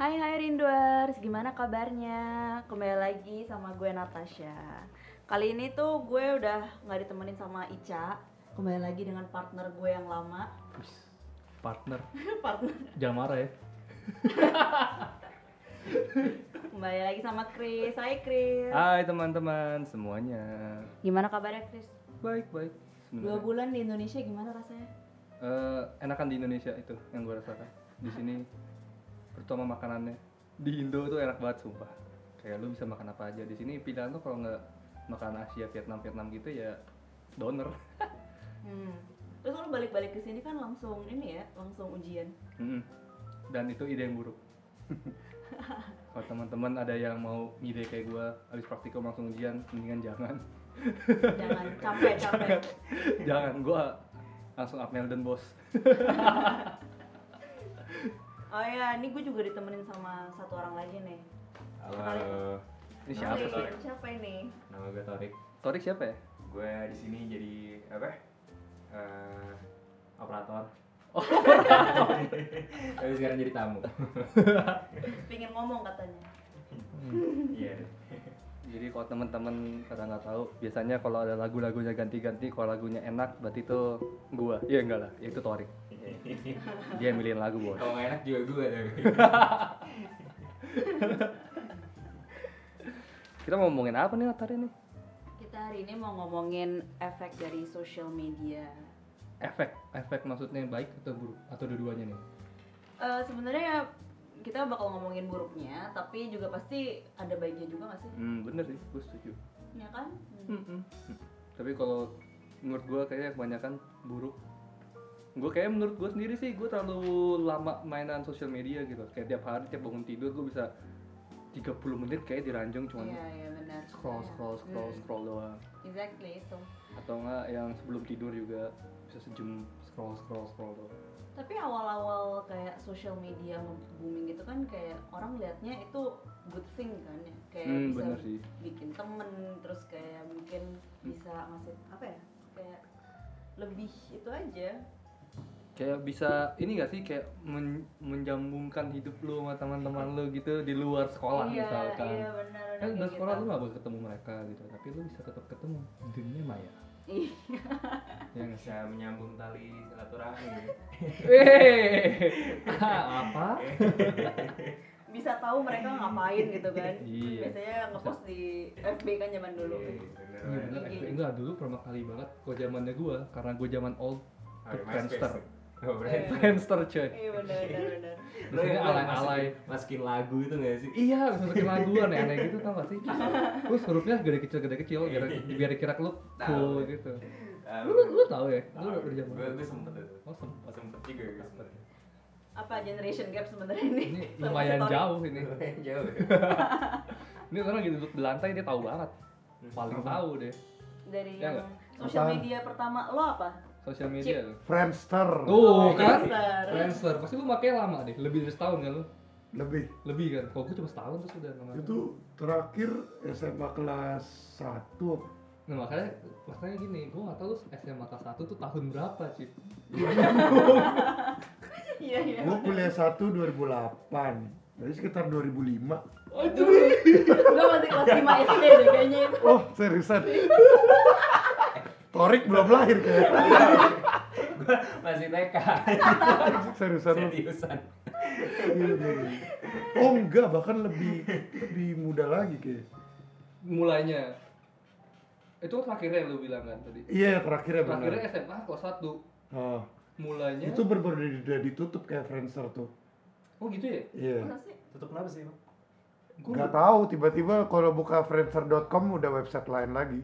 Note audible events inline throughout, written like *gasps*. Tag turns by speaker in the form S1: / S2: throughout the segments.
S1: Hai hai Rinduers, gimana kabarnya? Kembali lagi sama gue Natasha Kali ini tuh gue udah nggak ditemenin sama Ica Kembali lagi dengan partner gue yang lama
S2: Wis, partner
S1: *laughs* Partner
S2: jangan marah ya
S1: Kembali lagi sama Chris, hai Chris
S2: hai teman-teman semuanya
S1: Gimana kabarnya Chris?
S2: baik baik
S1: Dua
S2: sebenarnya
S1: bulan di Indonesia gimana rasanya?
S2: Eh, enakan di Indonesia itu yang gue rasakan di sini terutama makanannya di Indo tuh enak banget sumpah kayak lu bisa makan apa aja di sini pilihan tuh kalau nggak makan Asia Vietnam Vietnam gitu ya doner
S1: Hmm. Terus lu balik-balik ke sini kan langsung ini ya, langsung ujian *laughs*
S2: Mm-mm. dan itu ide yang buruk kalau teman-teman ada yang mau ngide kayak gue habis praktikum langsung ujian mendingan jangan
S1: Jangan capek-capek
S2: jangan gue langsung up Melden bos
S1: Oh ya, ini gue juga ditemenin sama satu orang lagi nih
S3: Halo,
S2: ini siapa
S3: Siapa,
S1: Ini
S2: sih
S3: Torik?
S1: Siapa ini?
S3: nama gue Torik.
S2: Torik siapa ya
S3: Gue di sini jadi apa? Eh, operator.
S2: Oh.
S3: *laughs* Tapi sekarang jadi tamu.
S1: Pengen ngomong katanya
S2: Hmm,
S3: Iya.
S2: *laughs* jadi kalau teman-teman pada nggak tahu biasanya kalau ada lagu-lagunya ganti-ganti kalau lagunya enak berarti itu gua iya enggak lah itu Torik dia yang milihin lagu bos
S3: Kalau nggak enak juga gue tapi.
S2: *laughs* kita mau ngomongin apa nih Natar ini
S1: Kita hari ini mau ngomongin efek dari social media.
S2: efek efek maksudnya baik atau buruk atau dua-duanya nih
S1: Eh Sebenarnya kita bakal ngomongin buruknya, tapi juga pasti ada baiknya juga nggak sih?
S2: hmm bener sih gua setuju
S1: Ya kan? Hmm.
S2: Mm-mm. tapi kalau menurut gua kayaknya kebanyakan buruk gue kayak menurut gue sendiri sih gue terlalu lama mainan sosial media gitu kayak tiap hari tiap bangun tidur gue bisa 30 menit kayak diranjung cuman
S1: Iya iya benar.
S2: scroll scroll scroll
S1: Hmm,
S2: scroll doang
S1: Exactly itu.
S2: atau enggak yang sebelum tidur juga bisa sejam scroll scroll scroll doang
S1: Tapi awal-awal kayak social media booming gitu kan kayak orang liatnya itu good thing kan ya, kayak
S2: hmm
S1: bisa
S2: bener sih Hmm.
S1: bikin temen, terus kayak mungkin bisa ngasih apa ya? Kayak lebih itu aja.
S2: kayak bisa ini gak sih kayak men- menjambungkan hidup lu sama teman-teman lu gitu di luar sekolah
S1: iya,
S2: misalkan
S1: Iya benar.
S2: kan di luar sekolah lu gak bakal ketemu mereka gitu tapi lu bisa tetap ketemu di dunia maya
S1: Iya.
S2: ya nggak sih
S3: Bisa menyambung tali silaturahmi.
S2: Weh, *laughs* apa
S3: Eh,
S1: bisa tahu mereka ngapain gitu kan
S2: *laughs* Iya.
S1: biasanya ngepost di FB kan zaman dulu
S3: Iya,
S2: Iya
S3: bener.
S2: bener, FB. enggak dulu pertama kali banget kok zamannya gua karena gua zaman old Ke
S3: Oke, Ah, MySpace.
S2: Friendster.
S3: Oh, Friendster.
S2: Friendster coy
S1: iya benar benar benar
S2: Biasanya
S3: Lo yang
S2: alay-alay.
S3: masukin- Masukin lagu itu nggak sih?
S2: Iya, harus masukin lagu aneh-aneh gitu tau gak sih? Terus hurufnya gede kecil gede kecil, biar biar kira lu cool
S3: Iya. Tahu.
S2: gitu.
S3: Ah,
S2: Lu lu tahu ya? Lu
S3: tahu.
S2: udah zaman.
S3: Gue gue sempet itu.
S2: Oh sempat.
S3: Sempet juga gue sempet.
S1: apa generation gap sebenarnya ini
S2: Ini
S1: Sama
S2: lumayan
S1: story.
S2: jauh ini.
S3: Jauh.
S2: *laughs* Ini orang lagi duduk di lantai dia tahu banget. Paling tahu deh.
S1: dari
S2: Iya
S1: yang
S2: nggak?
S1: social
S4: Apaan?
S1: media pertama lo
S2: *laughs*
S1: apa
S2: Sosial media lu.
S4: Friendster
S2: Tuh kan?
S1: Friendster.
S2: Friendster. Pasti lu makanya lama deh, lebih dari setahun kan lu?
S4: lebih
S2: Lebih kan? Kalau gua cuma setahun terus udah nggak main.
S4: itu terakhir SMA kelas 1
S2: Nah makanya makanya gini, gua nggak tahu lu SMA kelas 1 tuh tahun berapa, Cip.
S1: iya iya
S4: gue kuliah 1 2008 jadi sekitar 2005
S1: aduh lo masih kelas 5 SD deh kayaknya itu
S4: oh seriusan Torik belum lahir kayaknya
S3: Gue *laughs* masih
S2: *laughs*
S3: TK.
S4: seriusan lu?
S3: Seriusan.
S4: Iya, iya, iya. oh enggak bahkan lebih lebih muda lagi kayak
S2: Mulainya. Itu terakhirnya lu bilang kan tadi.
S4: iya terakhirnya benar
S2: Terakhirnya SMA kelas 1
S4: Oh,
S2: mulainya
S4: itu berbeda udah ditutup kayak Friendster tuh
S2: Oh gitu ya?
S4: iya
S1: Masa sih?
S3: Tutup kenapa sih, Bang?
S2: Gua
S4: nggak tahu tiba-tiba kalau buka friendster.com udah website lain lagi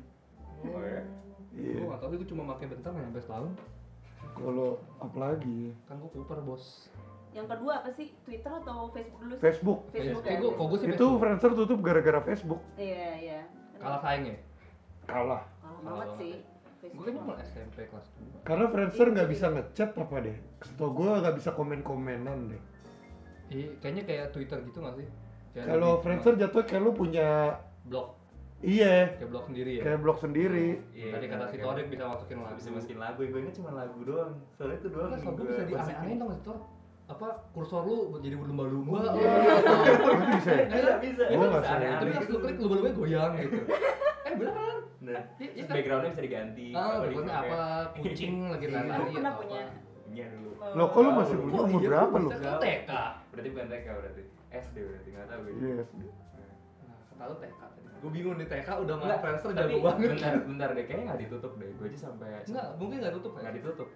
S3: Oh ya.
S2: Gue
S4: iya
S2: gak tau sih, gue cuma pakai bentar nggak sampai setahun
S4: kalau apalagi
S2: Kan gue kuper bos
S1: yang kedua apa sih Twitter atau Facebook dulu sih?
S4: Facebook
S1: Facebook
S2: Kayak
S1: ya
S2: gue, Eh, kok gue sih
S4: itu
S2: Facebook.
S4: Friendster tutup gara-gara Facebook
S1: iya iya
S2: Kalah saing ya?
S4: kalah
S1: kalah
S2: Kalah
S1: banget
S2: banget
S1: sih
S2: ya. Gue
S1: Facebook
S2: kayaknya mulai SMP kelas
S4: karena
S2: Iya,
S4: Friendster nggak bisa ngechat apa deh setau gue nggak bisa komen-komenan deh
S2: 2 Iya, kayaknya kayak Twitter gitu gak sih? Kayak
S4: kalau
S2: lebih-
S4: Friendster jatuh kayak lu punya
S2: Blog,
S4: iya
S2: kayak blog sendiri ya?
S4: kayak blog sendiri
S3: Iya,
S2: Tadi kata si
S3: kayak-
S2: Torik bisa masukin lagu
S3: bisa masukin lagu, gue ingat cuma lagu doang Soalnya itu doang
S2: Kan
S3: yang
S2: soalnya
S3: gue
S2: bisa
S3: masukin.
S2: dianeh-anehin dong, Tor apa kursor lu jadi berlumba-lumba
S4: Iya.
S2: atau
S4: Itu bisa ya?
S3: Bisa, bisa.
S4: Gua nggak gitu.
S3: Bisa,
S4: sadar.
S2: Iya
S3: aneh-aneh.
S2: kan? Tapi pas lu klik lubang-lubangnya goyang gitu. Eh beneran?
S3: Nah,
S2: Iya, iya
S3: terus
S2: kan?
S3: backgroundnya bisa diganti.
S2: Ah,
S3: apa
S2: pokoknya
S3: dipakai.
S2: apa kucing lagi
S3: Iya.
S2: lari-lari
S1: Lu pernah
S2: atau
S1: punya?
S2: apa?
S3: Iya dulu.
S4: Loh, kok lu masih
S3: Oh,
S4: punya
S2: Oh,
S4: umur
S2: iya,
S4: berapa
S2: lu
S4: lu?
S2: kan TK.
S3: Berarti bukan TK berarti. SD berarti nggak tahu gue.
S4: Yes.
S3: Nah.
S2: Nah, kata lu TK tadi. Gue bingung nih TK udah main
S3: Nggak,
S2: Friendster
S3: tapi
S2: jago banget.
S3: Bentar, bentar deh, kayaknya nggak ditutup deh. Gue aja sampai
S2: Enggak, mungkin enggak tutup
S3: nggak
S2: ya.
S3: ditutup.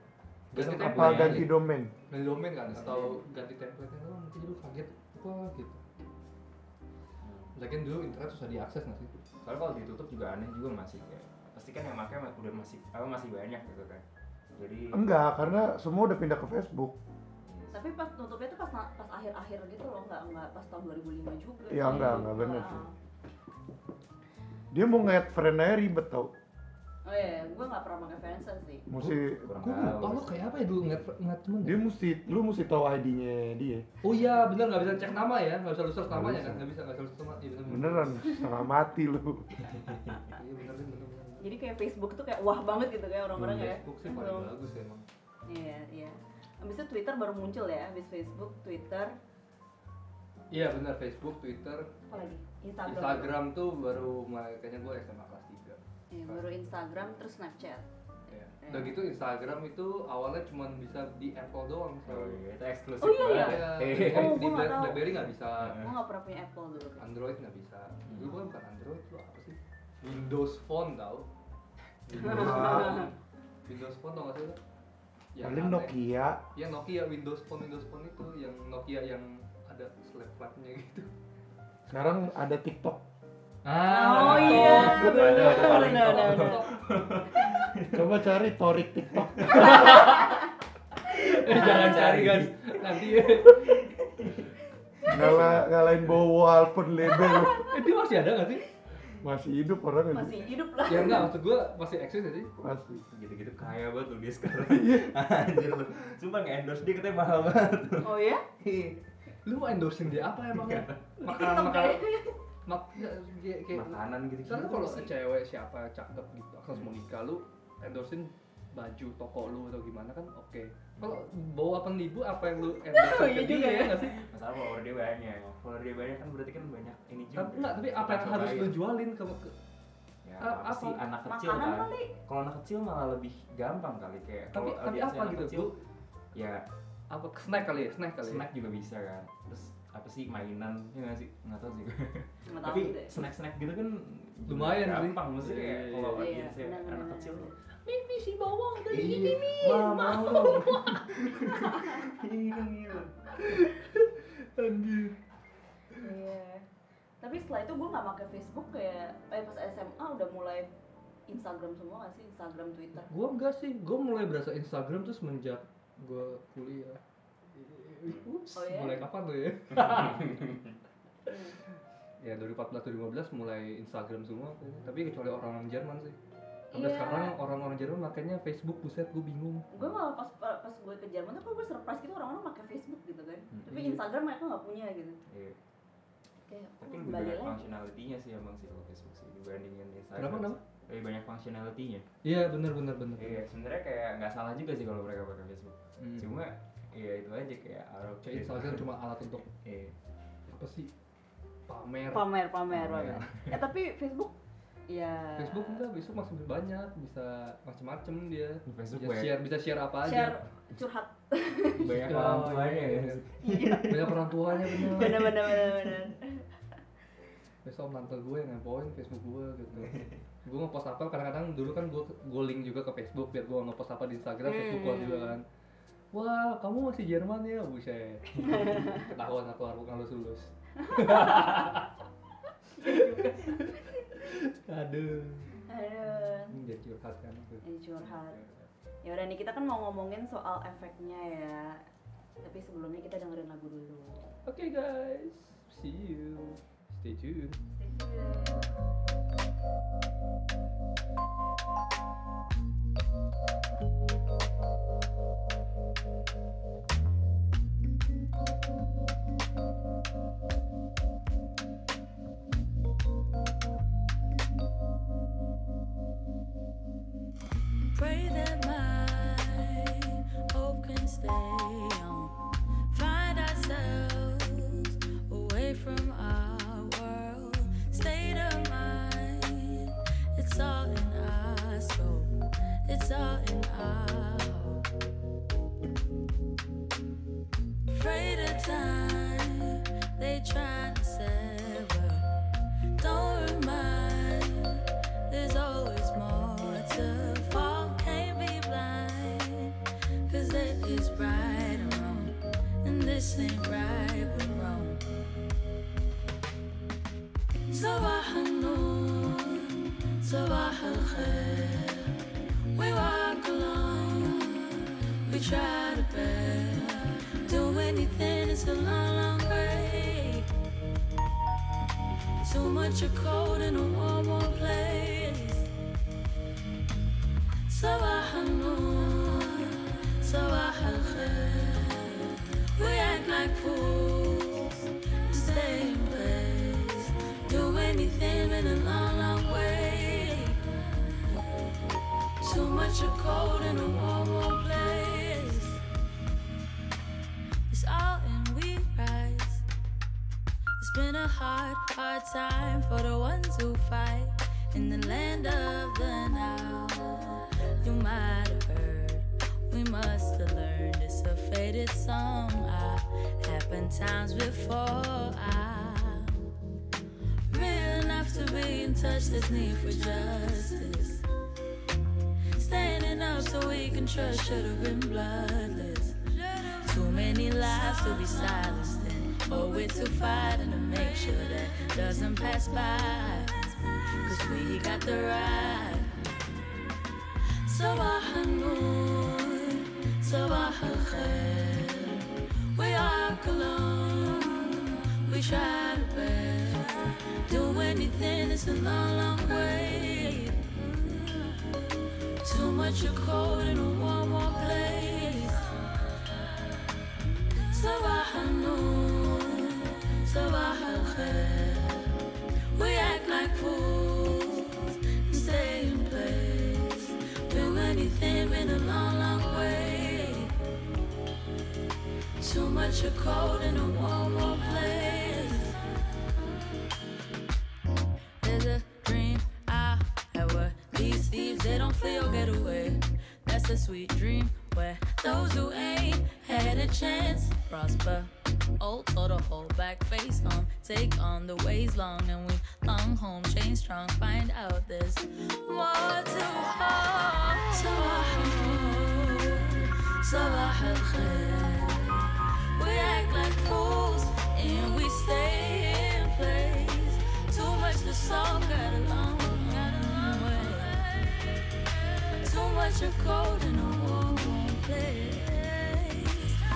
S3: Gue
S2: Ganti
S3: sempat
S2: tempat.
S4: Apa
S3: bayangin.
S4: ganti domain?
S2: Dari domain kan atau ganti template-nya doang mungkin dulu kaget wah gitu. Hmm. Lagian dulu internet susah diakses nggak sih?
S3: Soalnya kalau ditutup juga aneh juga masih kayak pasti kan yang pakai udah masih apa masih banyak gitu kan. Jadi
S4: Enggak, karena semua udah pindah ke Facebook.
S1: Tapi pas nutupnya tuh pas na- pas akhir-akhir gitu loh, nggak nggak pas tahun 2005 juga.
S4: Ya enggak, enggak bener
S1: Ah.
S4: sih. Dia mau nge-add friend aja ribet tau.
S1: Oh iya, gue nggak pernah pakai Friendster sih.
S4: Mesti
S3: kurang
S2: Gue
S3: tahu.
S2: lupa lu kayak apa ya dulu ngeliat ngeliat temen ya?
S4: dia mesti lu mesti tahu ID-nya dia.
S2: Oh iya bener nggak bisa cek nama ya, nggak bisa lu search
S4: Nggak
S2: namanya
S4: bisa.
S2: kan, nggak bisa nggak bisa lu search nama. Iya bener bener.
S4: Beneran setengah mati lu.
S2: Iya bener bener bener. bener.
S1: Jadi kayak Facebook tuh kayak wah banget gitu kayak orang-orang ya.
S2: Iya, Facebook sih paling
S1: Belum.
S2: bagus ya emang.
S1: Iya, iya. Abis itu Twitter baru muncul ya, abis Facebook, Twitter,
S2: Iya bener Facebook, Twitter,
S1: apa lagi? Instagram.
S2: Instagram tuh baru mulai kayaknya gue SMA kelas tiga.
S1: Iya, baru Instagram terus Snapchat. Iya.
S2: Ya. Udah gitu Instagram itu awalnya cuma bisa di Apple doang. so.
S3: Oh iya, itu eksklusif
S1: Oh iya,
S3: banget.
S1: iya.
S2: Kayak
S3: Eh,
S2: di- di
S1: Oh, gua nggak tahu. Iya.
S2: BlackBerry nggak bisa,
S1: Gue nggak pernah punya Apple dulu. kan.
S2: Android nggak bisa. Dulu bukan bukan Android itu apa sih? Windows Phone tau? Windows Phone, Windows Phone tau nggak sih? lo? Yang
S4: Paling
S2: aneh.
S4: Nokia.
S2: Ya Nokia Windows Phone Windows Phone itu yang Nokia yang ada slap flapnya gitu.
S1: *laughs*
S4: Sekarang ada TikTok.
S2: Ah,
S1: Oh iya,
S3: Betul,
S1: bener,
S3: itu paling
S1: bener,
S3: top.
S1: bener.
S4: *laughs* Coba cari Torik *laughs* TikTok.
S2: Eh, jangan cari guys. Nanti eh
S4: Ngala, ngalahin Bowo Alpen
S2: *laughs*
S4: Lebe lu.
S2: Eh, dia masih ada nggak sih?
S4: Masih hidup orang
S1: Masih
S4: masih.
S1: hidup lah.
S2: Ya enggak, maksud gua masih eksis ya sih.
S4: Masih. Iya.
S3: Gitu-gitu kaya banget
S4: *laughs*
S3: lu dia sekarang. Anjir lu. Sumpah nge-endorse dia katanya mahal banget.
S1: Oh ya?
S2: Iya. Lu mau endorsein dia apa emangnya?
S3: Iya.
S2: Makanan
S1: TikTok
S2: makanan. Mak ya, kayak kayak-
S3: Makanan gitu-gitu.
S2: Soalnya kalau
S3: sih.
S2: cewek siapa cakep gitu, harus mau nikah lu endorsein baju toko lu atau gimana kan oke. Kalau bawa apa ibu apa yang lu
S1: *laughs*
S2: gitu? endorse
S1: Oh, iya juga ya.
S2: nggak sih?
S3: Masalah follower dia banyak. Follower dia banyak kan berarti kan banyak ini juga.
S2: Tapi enggak, tapi apa yang harus lu jualin ke, ke
S3: Ya,
S2: Eh,
S3: apa sih
S2: apa?
S3: anak kecil
S1: Makanan
S3: kan?
S1: kali.
S3: Kalau anak kecil malah lebih gampang kali kayak
S2: Tapi-
S3: kalau
S2: tapi
S3: audiensnya
S2: apa
S3: anak
S2: gitu,
S3: kecil,
S2: Bu?
S3: Ya,
S2: apa snack kali ya, snack kali. Ya?
S3: snack juga bisa kan. Terus apa sih mainan? Ya nggak sih? Nggak tahu sih gue.
S1: Nggak tahu
S3: tapi
S1: deh.
S3: snack-snack gitu kan
S2: Lumayan sih.
S3: gampang maksudnya kayak
S2: Iya,
S3: kalau
S1: iya, iya.
S3: audiensnya
S1: Benar,
S3: anak
S1: benar,
S3: kecil
S1: benar.
S2: Mimi si bawang
S3: Iya, Wah, mau dong. *laughs* Iya, iya.
S2: Anjir.
S1: Iya. Tapi setelah itu gue nggak pakai Facebook kayak eh pas SMA udah mulai Instagram semua nggak sih Instagram Twitter.
S2: Gua enggak sih, gua mulai berasa Instagram tuh semenjak gua kuliah. Ups,
S1: Oh, iya?
S2: mulai kapan tuh
S1: *laughs*
S3: *laughs*
S2: ya?
S1: Hmm.
S2: Ya 2014 2015 mulai Instagram semua, tapi kecuali orang-orang Jerman sih. Sampai
S1: Hmm. Iya.
S2: sekarang orang-orang Jerman makanya Facebook, buset gue bingung.
S1: Gue malah pas pas gue ke Jerman tuh gue surprise gitu orang-orang pakai Facebook gitu kan.
S3: Hmm,
S1: Tapi
S2: iya.
S1: Instagram mereka nggak punya gitu.
S3: Iya.
S1: Kayak
S3: Tapi
S1: oh,
S3: lebih
S1: balik
S3: banyak
S1: lagi.
S3: functionality-nya sih emang sih kalau Facebook sih dibandingin Instagram.
S2: Kenapa, kenapa?
S3: Lebih banyak functionality-nya.
S2: Iya benar benar benar.
S3: Iya, sebenarnya kayak nggak salah juga sih kalau mereka pakai Facebook.
S2: Hmm.
S3: Cuma ya itu aja kayak arah
S2: Kayak Instagram cuma alat untuk
S3: Iya.
S2: apa sih? Pamer.
S1: Pamer, pamer,
S3: Pamer.
S1: pamer. eh tapi Facebook ya.
S2: Facebook enggak, Facebook masih banyak, bisa macem-macem dia.
S3: Facebook
S2: Bisa
S3: banyak.
S2: share, bisa share apa aja.
S1: share curhat.
S3: Banyak
S2: Oh,
S3: orang tuanya
S2: iya,
S3: ya.
S2: iya. Banyak orang tuanya benar.
S1: Bener, bener, bener, bener.
S2: besok mantel gue yang ngepoin Facebook gue gitu gue ngepost apa kadang-kadang dulu kan gue gue link juga ke Facebook biar gue ngepost apa di Instagram
S1: Hmm.
S2: Facebook gue juga kan wah kamu masih Jerman ya buset ketahuan aku aku halus lulus aduh
S1: Aduh.
S2: Ini dia curhat kan gitu.
S1: Eh, curhat. Ya udah nih kita kan mau ngomongin soal efeknya ya. Tapi sebelumnya kita dengerin lagu dulu.
S2: oke guys see you stay tuned
S1: Stay tune.
S5: Pray that my hope can stay on. Find ourselves away away from our world state of mind. It's all in our soul. It's all in our hope. Afraid of time, they try to sever. Don't remind, there's always more to fall. Can't be blind, cause there is right and wrong, and this ain't right but wrong. صباح النور صباح الخير We walk alone, we try to bear. Do anything, it's a long, long way. Too much of cold in a warm, warm place. صباح النور صباح الخير We act like fools Stay in place Do anything in a long, long way Too much of cold in a warm, warm place It's all in we rise it's been a hard, hard time for the ones who fight in the land of the now. You might have heard, we must have learned it's a faded song. I happened times before. I real enough to be in touch. This need for justice. Standing up so we can trust should have been bloodless. Too many lives to be silenced in, or we're too fighting to make sure that doesn't pass by. Cause we got the right. صباح النور صباح الخير We are cologne, we try to bear. Do anything, it's a long, long way. Too much of cold in a warm, warm place. صباح النور صباح الخير We act like fools and stay in place. Do anything in a long, long way. Too much of cold in a warm, warm place. There's a dream I had where these thieves they don't flee or get away. That's a sweet dream where those who ain't had a chance prosper. Old or the whole back face on, take on the ways long, and we long home chain strong. Find out there's more to hope. صباح النور، صباح الخير. We act like fools and we stay in place. Too much to solve, got a long, got a long way. Too much of cold in a warm, warm place. Ah.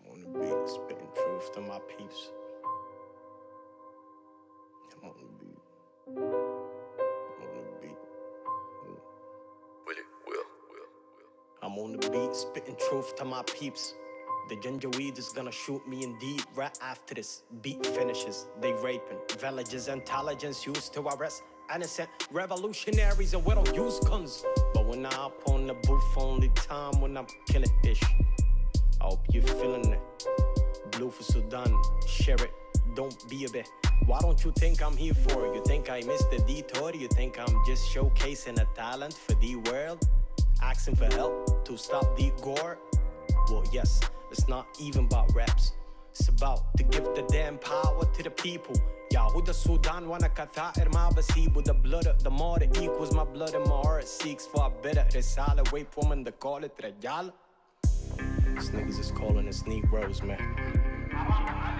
S6: I'm on the beat, spitting truth to my peeps. I'm on the beat. I'm on the beat. Will it will will will. I'm on the beat, spitting truth to my peeps. The ginger weed is gonna shoot me indeed right after this. Beat finishes, they raping. Villages, intelligence used to arrest innocent revolutionaries, and we don't use guns. But when I up on the booth, only time when I'm killing ish. I hope you're feeling it. Blue for Sudan, share it. Don't be a bit. Why don't you think I'm here for? You think I missed the detour? You think I'm just showcasing a talent for the world? Asking for help to stop the gore? Well, yes, it's not even about raps. It's about to give the damn power to the people. Yahuda Sudan wanna katha'ir ma basibu The blood of the more it equals my blood and my heart seeks for a better risala. Wait for woman to call it rajala. These niggas is calling us Negroes, man.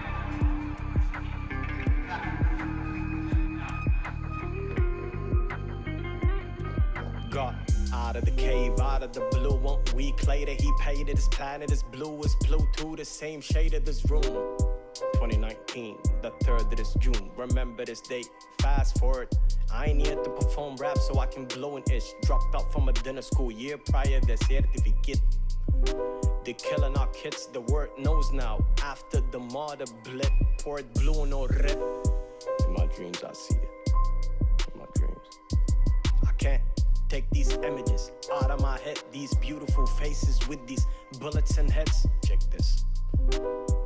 S6: God, I Out of the cave, out of the blue. One week later, he painted his planet as blue as Pluto, the same shade of this room. 2019, the third of this June. Remember this date, fast forward. I ain't here to perform rap, so I can blow an ish. Dropped out from a dinner school year prior, the certificate. They killing our kids, the word knows now. After the martyr blip, poured blue no red. In my dreams, I see it. In my dreams. I can't take these images out of my head. These beautiful faces with these bullets and heads. Check this.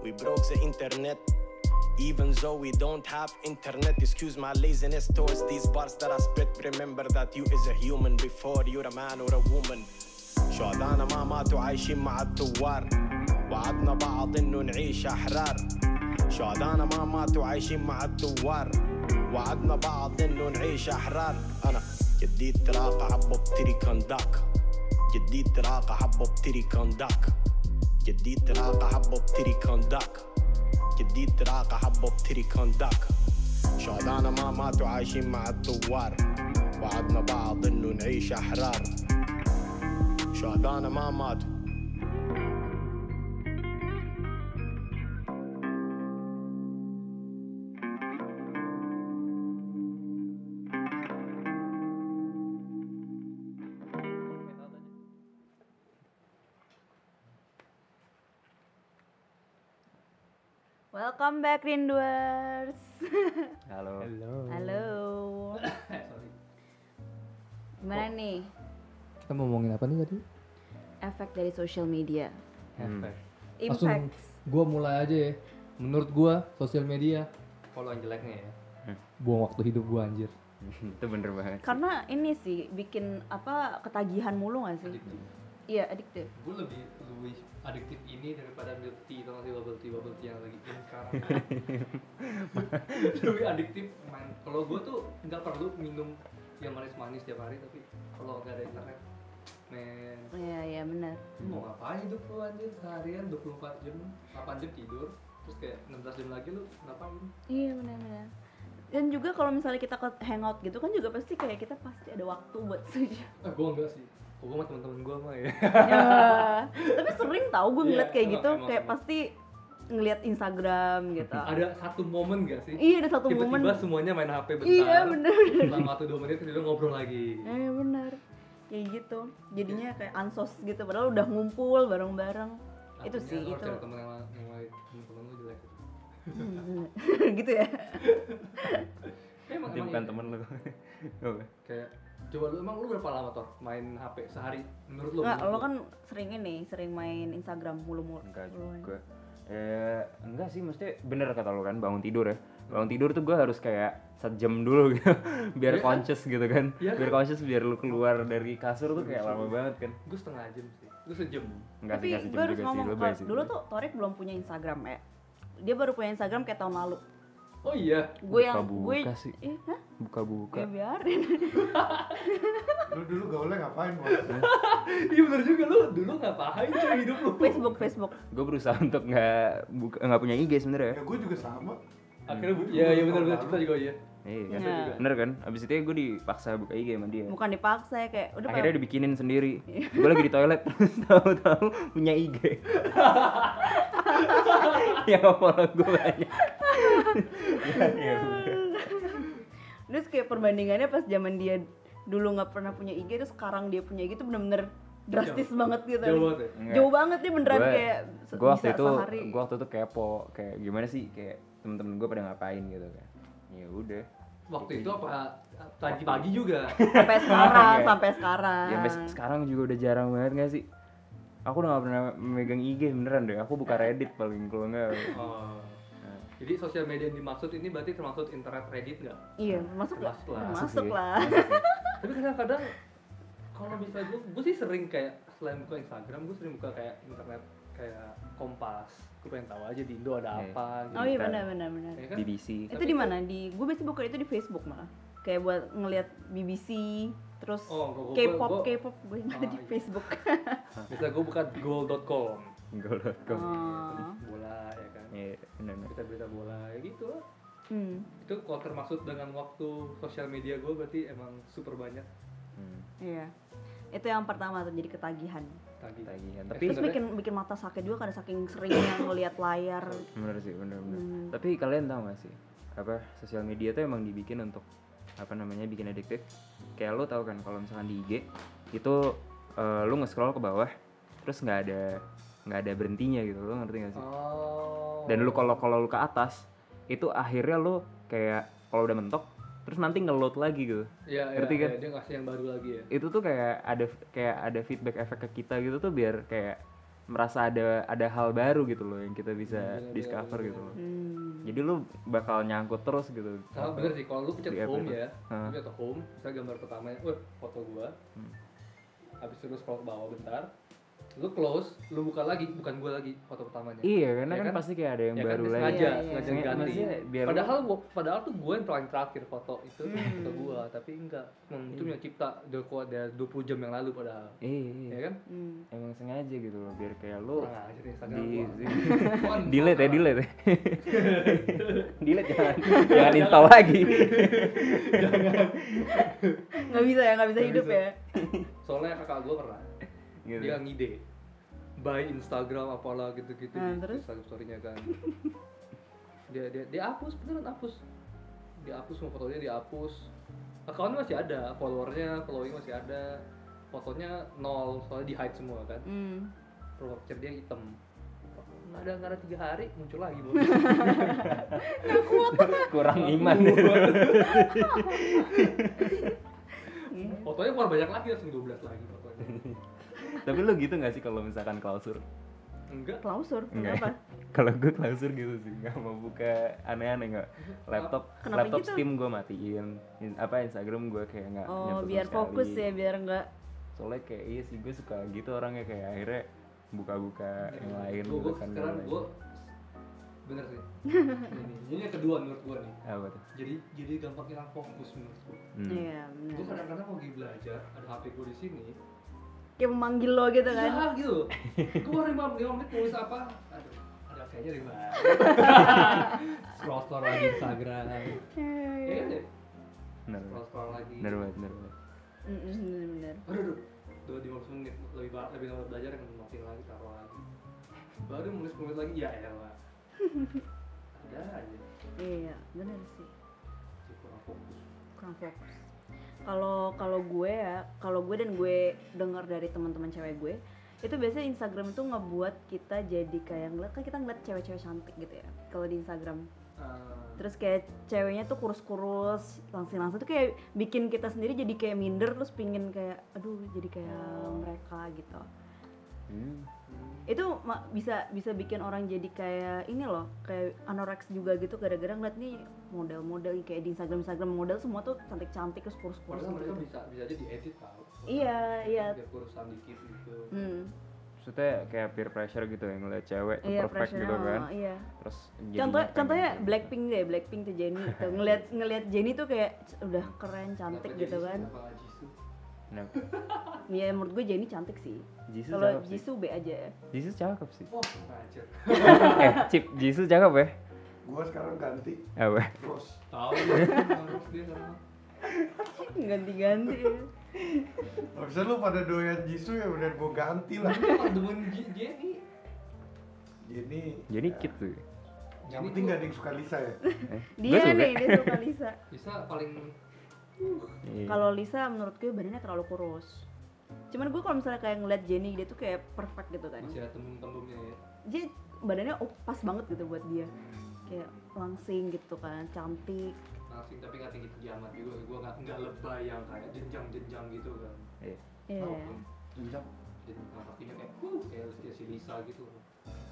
S6: We broke the internet. Even though we don't have internet, excuse my laziness towards these bars that I spit. Remember that you is a human before you're a man or a woman. شعدانا ما ماتوا عايشين مع الثوار وعدنا بعض انه نعيش احرار شعدانا ما ماتوا عايشين مع الثوار وعدنا بعض انه نعيش احرار انا جديد تلاقى عبو بتري كنداك جديد تلاقى عبو بتري كنداك جديد تلاقى حبه بتري كونداك جديد تلاقى حبه بتري كونداك شادانا ما ماتوا عايشين مع الثوار وعدنا بعض انه نعيش احرار شادانا ما ماتوا
S1: Welcome back Rinduers.
S3: Halo.
S1: *laughs* Halo. Gimana nih
S2: Kita mau ngomongin apa nih tadi?
S1: efek dari social media?
S2: Hashtag. Langsung
S1: Impacts.
S2: gua mulai aja ya. Menurut gua sosial media kalau yang jeleknya ya. Buang waktu hidup gua anjir.
S3: *laughs* itu bener banget.
S1: Karena ini sih bikin apa ketagihan mulu gak sih? Iya, addictive.
S2: Gue lebih lebih adiktif ini daripada milk tea tau gak sih bubble tea bubble tea yang lagi in *laughs* sekarang. lebih adiktif main. Kalau gue tuh nggak perlu minum yang manis-manis tiap hari tapi kalau nggak ada internet, men
S1: Iya, iya benar.
S2: lu mau ngapain hidup lu anjir seharian 24 jam 8 jam tidur terus kayak 16 jam lagi lu ngapain
S1: Iya, benar benar. Dan juga kalau misalnya kita ke hangout gitu kan juga pasti kayak kita pasti ada waktu buat sejarah.
S2: eh gue enggak sih gue sama teman-teman gue mah ya
S1: Ya. *laughs* Tapi sering tau gue
S2: Iya,
S1: ngeliat kayak
S2: emang,
S1: gitu,
S2: emang,
S1: kayak
S2: emang.
S1: pasti ngeliat Instagram gitu.
S2: *laughs* *laughs* ada satu momen gak sih
S1: Iya, ada satu
S2: tiba-tiba
S1: momen.
S2: semuanya main HP bentar
S1: Iya, bener.
S2: selama satu dua menit tiba ngobrol lagi
S1: Eh benar. Kayak gitu. Jadinya kayak ansos gitu padahal udah ngumpul bareng-bareng. itu
S2: Artinya
S1: sih
S2: lu harus
S1: itu.
S2: cari temen yang la- yang lain temen-temen lu jelek gitu.
S1: Hmm, *laughs* gitu ya.
S2: emang
S3: Itu
S2: emang
S3: bukan
S2: iya.
S3: temen lu. *laughs*
S2: kayak coba lu emang lu berapa lama tor main HP sehari menurut lu
S1: Enggak,
S2: menurut
S1: lo
S2: lu?
S1: kan sering ini, sering main Instagram mulu-mulu.
S3: enggak
S1: mulu.
S3: juga eh enggak sih mesti bener kata lu kan bangun tidur ya bangun tidur tuh gue harus kayak sejam dulu gitu *laughs*
S2: Iya
S3: biar
S2: kan?
S3: conscious gitu kan
S2: Iya
S3: biar
S2: kan?
S3: conscious biar lu keluar dari kasur tuh kayak lama banget kan
S2: gue setengah jam sih gue sejam
S3: enggak sih
S1: Tapi
S3: enggak sejam
S1: gue harus
S3: juga sih
S1: ngomong,
S3: lebay
S1: kalau
S3: sih
S1: dulu tuh Torik belum punya Instagram ya. Dia baru punya Instagram kayak tahun lalu.
S2: oh iya
S1: Gue yang gue
S3: Buka-buka sih.
S1: Eh, hah?
S3: buka-buka
S1: Ya biarin. *laughs*
S4: Lu dulu gaulnya ngapain,
S2: *laughs*
S4: Bos?
S2: iya bener juga lu dulu ngapain cuy
S3: *laughs*
S2: hidup lu
S1: Facebook, Facebook.
S3: gue berusaha untuk nggak buka nggak punya IG sebenernya ya
S4: Ya gue juga sama.
S2: akhirnya bu- iya iya bener bener kita juga iya
S3: iya kan?
S1: Iya.
S3: bener kan abis itu gue dipaksa buka IG sama dia
S1: Bukan dipaksa ya, kayak udah
S3: akhirnya dibikinin sendiri
S1: Iya.
S3: gue lagi di toilet *laughs* terus tahu-tahu punya IG yang Ya, follow gue banyak ya,
S1: Iya,
S3: ya udah.
S1: *laughs* Terus kayak perbandingannya pas zaman dia dulu nggak pernah punya IG terus sekarang dia punya IG itu bener-bener drastis banget gitu.
S2: jauh banget ya
S3: Enggak.
S1: Jauh banget dia beneran
S3: Gua-
S1: kayak se-
S3: gua waktu
S1: bisa
S3: itu
S1: sehari.
S3: gua waktu itu kepo kayak gimana sih kayak temen-temen gue pada ngapain gitu kan ya udah
S2: waktu itu apa tadi pagi juga
S1: Sampai sekarang,
S3: Iya.
S1: sampai sekarang.
S3: ya sampai sekarang juga udah jarang banget gak sih aku udah gak pernah memegang IG beneran deh aku buka Reddit paling kalau nggak
S2: oh. jadi sosial media yang dimaksud ini berarti termasuk internet Reddit nggak
S1: Iya, masuk lah.
S2: Termasuk lah.
S1: Masuk
S3: Masuk ya.
S1: lah.
S2: *laughs* tapi kadang-kadang kalau misalnya gue gue sih sering kayak selain buka Instagram gue sering buka kayak internet kayak Kompas gue pengen tahu aja di Indo ada
S3: Iya.
S2: apa gitu
S1: Oh iya
S3: Bentar.
S1: benar benar benar.
S2: Ya kan?
S3: BBC
S1: Itu di mana? Di gue biasanya buka itu di Facebook malah. Kayak buat ngelihat BBC, terus
S2: Oh, gua- gua-
S1: K-pop,
S2: gua-
S1: K-pop gue nggak ada
S2: Ah,
S1: di
S2: iya.
S1: Facebook. *laughs*
S2: misalnya gue buka goal.com
S3: Gol.com
S1: Oh.
S2: bola ya kan
S3: Iya, bener-bener.
S2: berita-berita bola ya gitu lah
S1: Hmm.
S2: itu kalau termaksud dengan waktu sosial media gue berarti emang super banyak
S3: Hmm.
S1: Iya. Itu yang pertama tuh jadi ketagihan.
S2: Tadi.
S3: Tagihan.
S2: Eh,
S3: Tapi
S1: Terus
S2: sebenarnya-
S1: bikin bikin mata sakit juga karena saking
S2: *coughs*
S1: seringnya ngelihat layar.
S2: Iya,
S3: bener sih bener bener.
S1: Hmm.
S3: Tapi kalian tahu gak sih apa sosial media tuh emang dibikin untuk apa namanya bikin adiktif. Kayak lo tahu kan kalau misalkan di IG itu eh, lo nge-scroll ke bawah terus nggak ada nggak ada berhentinya gitu lo ngerti gak sih?
S2: Oh.
S3: dan lu kalau kalau lu ke atas itu akhirnya lu kayak kalau udah mentok terus nanti ngeload lagi gitu
S2: Iya, iya,
S3: ngerti kan?
S2: iya, dia ngasih yang baru lagi ya.
S3: itu tuh kayak ada kayak ada feedback efek ke kita gitu tuh biar kayak merasa ada ada hal baru gitu loh yang kita bisa
S2: Bener, bener,
S3: discover
S2: bener,
S3: gitu loh
S1: Hmm.
S3: jadi lu bakal nyangkut terus gitu
S2: Sama bener sih, kalau lu pencet
S3: Di app
S2: home
S3: itu.
S2: ya,
S3: Hah. Hmm.
S2: lu pencet home, bisa gambar pertamanya, wah foto gua. Habis itu lu scroll ke bawah bentar, lu close, lu buka lagi, bukan gua lagi foto pertamanya.
S3: iya karena
S2: Ya
S3: kan,
S2: kan?
S3: pasti kayak ada yang
S2: ya
S3: baru
S2: kan,
S3: lagi
S2: sengaja,
S1: Iya, iya.
S2: sengaja
S3: Sengaja-
S2: ganti.
S3: maksudnya biar Hmm. lu-
S2: padahal gua, padahal tuh gua yang paling terakhir foto itu foto gua, tapi enggak. Emang itu yang cipta udah kuat dari 20 jam yang lalu padahal.
S3: iya, iya.
S2: Ya kan?
S1: Hmm.
S3: emang sengaja gitu loh biar kayak lu
S2: Kurang aja nih Instagram
S3: di,
S2: gua.
S3: di- delete ya delete ya
S2: *laughs*
S3: delete jangan jangan install lagi
S1: Nggak bisa ya, nggak bisa
S2: Nggak
S1: hidup
S2: bisa.
S1: ya.
S2: Soalnya kakak gua pernah.
S3: Gitu.
S2: Dia ngide. By Instagram apalah gitu-gitu
S1: Nah,
S2: di
S1: terus?
S2: Instagram story-nya kan. dia dia dia hapus beneran hapus. Dia hapus semua fotonya dihapus. Akunnya masih ada, followernya, following masih ada. Fotonya nol, soalnya di hide semua kan.
S1: Hmm.
S2: Profile picture dia hitam. Nggak ada nggak ada tiga hari muncul lagi. *laughs* Bos.
S3: kurang iman
S2: fotonya keluar banyak lagi langsung 12 lagi fotonya.
S3: tapi lu gitu gak sih kalau misalkan klausur
S2: Enggak.
S1: Klausur.
S3: Nggak. ya?
S1: Kenapa?
S3: *laughs* kalau gue klausur gitu sih nggak mau buka aneh-aneh nggak laptop
S1: Kenapa
S3: laptop
S1: gitu?
S3: steam gue matiin In- apa instagram gue kayak nggak
S1: Oh,
S3: nyentuh sama
S1: biar
S3: sekali.
S1: fokus ya, biar nggak
S3: soalnya kayak iya sih gue suka gitu orangnya kayak akhirnya buka-buka yang lain
S2: Gua-
S3: gitu
S2: gua
S3: kan
S2: sekarang
S3: yang lain.
S2: gue bener sih. ini, ini yang kedua menurut gue nih.
S3: apa tuh
S2: jadi jadi gampang hilang fokus menurut gue.
S3: Hmm.
S1: Iya,
S2: Gue
S1: benar.
S2: kadang-kadang mau lagi belajar ada HP gue di sini.
S1: Kayak memanggil lo gitu kan.
S2: Ya gitu. Gue baru lima lima menit nulis apa? Aduh, ada kayaknya di mana? scroll scroll lagi Instagram. Iya kan ya?
S3: bener
S2: Scroll
S3: banget
S2: scroll lagi.
S3: bener banget bener banget
S1: Benar-benar.
S2: Aduh, aduh. Dua lima belas menit lebih ba- lebih lama belajar yang matiin lagi taruh lagi. Baru nulis nulis lagi ya elah. ada aja.
S1: Iya, benar sih.
S2: Jadi Kurang fokus.
S1: kurang fokus kalau kalau gue ya kalau gue dan gue dengar dari teman-teman cewek gue itu biasanya Instagram itu ngebuat kita jadi kayak ngeliat kan kita ngeliat cewek-cewek cantik gitu ya kalau di Instagram
S2: Eh,
S1: terus kayak ceweknya tuh kurus-kurus langsing-langsing tuh kayak bikin kita sendiri jadi kayak minder terus pingin kayak aduh jadi kayak mereka gitu
S3: Hmm.
S1: itu ma- bisa bisa bikin orang jadi kayak ini loh kayak anoraks juga gitu gara-gara ngeliat nih model-model kayak di Instagram Instagram model semua tuh cantik-cantik terus kurus-kurus
S2: Padahal mereka
S1: gitu.
S2: bisa bisa aja diedit tau.
S1: Iya, iya.
S2: Biar kurusan dikit gitu.
S1: Hmm.
S3: maksudnya kayak peer pressure gitu yang ngeliat cewek tuh
S1: Iya,
S3: perfect gitu
S1: pressure-nya,
S3: kan
S1: oh, Iya.
S3: terus jadinya
S1: Contoh,
S3: pengen
S1: contohnya
S3: kayak gitu.
S1: Blackpink deh, Blackpink tuh Jennie tuh ngeliat ngeliat Jennie tuh kayak "C- udah keren cantik
S2: Kenapa
S1: gitu
S2: jadi
S1: kan.
S2: siapa Jisoo?
S3: Kenapa?
S1: Ya menurut gue Jennie cantik sih.
S3: Jisoo
S1: Kalau
S3: cakep sih.
S1: Jisoo B aja.
S3: Jisoo cakep sih.
S1: Oh.
S2: Wah, ngajar.
S3: *laughs* eh, Cip, Jisoo cakep ya?
S4: Gua sekarang ganti
S3: Apa?
S4: terus.
S2: Tahu dia harus dia sama.
S1: *laughs* Ganti-ganti. ya.
S4: *laughs* Harusnya lu pada doyan Jisoo ya udah gua ganti lah.
S2: Kalau demen J- Jenny.
S4: Jadi
S3: Jadi
S4: ya,
S3: kid tuh.
S4: Yang
S2: Jadi
S4: penting
S2: gua-
S4: gak ada yang suka Lisa ya. *laughs*
S3: Eh, gua
S1: Dia
S3: suka.
S1: nih, dia suka
S2: *laughs*
S1: Lisa.
S2: Bisa paling
S3: Iya.
S1: Kalau Lisa menurut gue badannya terlalu kurus. Cuman gue kalau misalnya kayak ngeliat Jennie dia tuh kayak perfect gitu kan.
S2: masih ada temen-temennya ya.
S1: Dia badannya oh, pas banget gitu buat dia.
S2: Hmm.
S1: Kayak langsing gitu kan, cantik.
S2: Langsing tapi nggak tinggi tinggi amat juga. Gue nggak nggak lebay yang kayak jenjang-jenjang gitu kan.
S3: Iya.
S1: Iya.
S4: Jenjang.
S2: Jadi nah, kakinya kayak uh, kayak kayak si Lisa gitu.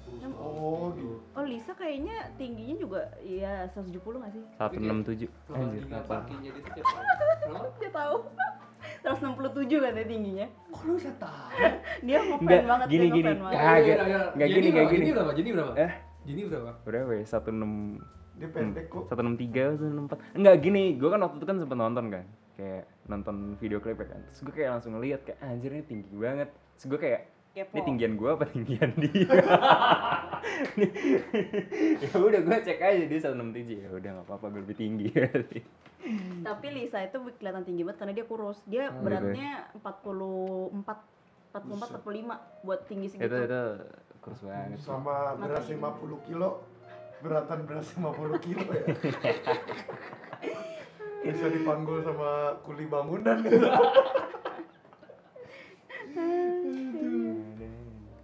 S2: Kurus
S1: Yang-
S2: banget
S4: Oh,
S2: gitu.
S1: Oh Lisa kayaknya tingginya juga ya 170 gak sih?
S3: 167. Anjir,
S2: Perbandingan
S3: apa?
S2: kakinya gitu tiap hari. Kenapa?
S1: *laughs* Dia tahu. *laughs* 167 katanya kan ya tingginya.
S2: Kok lu bisa tahu?
S1: *laughs* Dia ngefan
S3: Enggak,
S1: banget,
S3: gini,
S1: dia
S3: gini.
S1: ngefan banget.
S3: Ah,
S2: Ayo,
S3: gak-
S2: ayo, ayo.
S3: gak
S2: Iya, Jenny
S3: gini, gak
S2: berapa?
S3: gini.
S2: Jenny berapa? Jenny berapa?
S3: Eh?
S2: Jenny berapa?
S3: Berapa ya? 16
S4: Dia pendek kok.
S3: 163, 164. Enggak gini, gue kan waktu itu kan sempet nonton kan. "Ah, Kayak nonton video klip ya kan. Terus gue kayak langsung ngeliat kayak anjir ini tinggi banget. Terus gue kayak
S1: kepo.
S3: ini tinggian gua apa tinggian dia *laughs* ya udah gua cek aja dia 167 ya udah nggak apa-apa gue lebih tinggi *laughs*
S1: Tapi Lisa itu kelihatan tinggi banget karena dia kurus. Dia
S3: Oh, gitu.
S1: beratnya 44 44 45 buat tinggi segitu.
S3: itu itu kurus banget sih.
S4: sama beras 50 kilo beratan beras 50 kilo ya bisa dipanggul sama kuli bangunan gitu.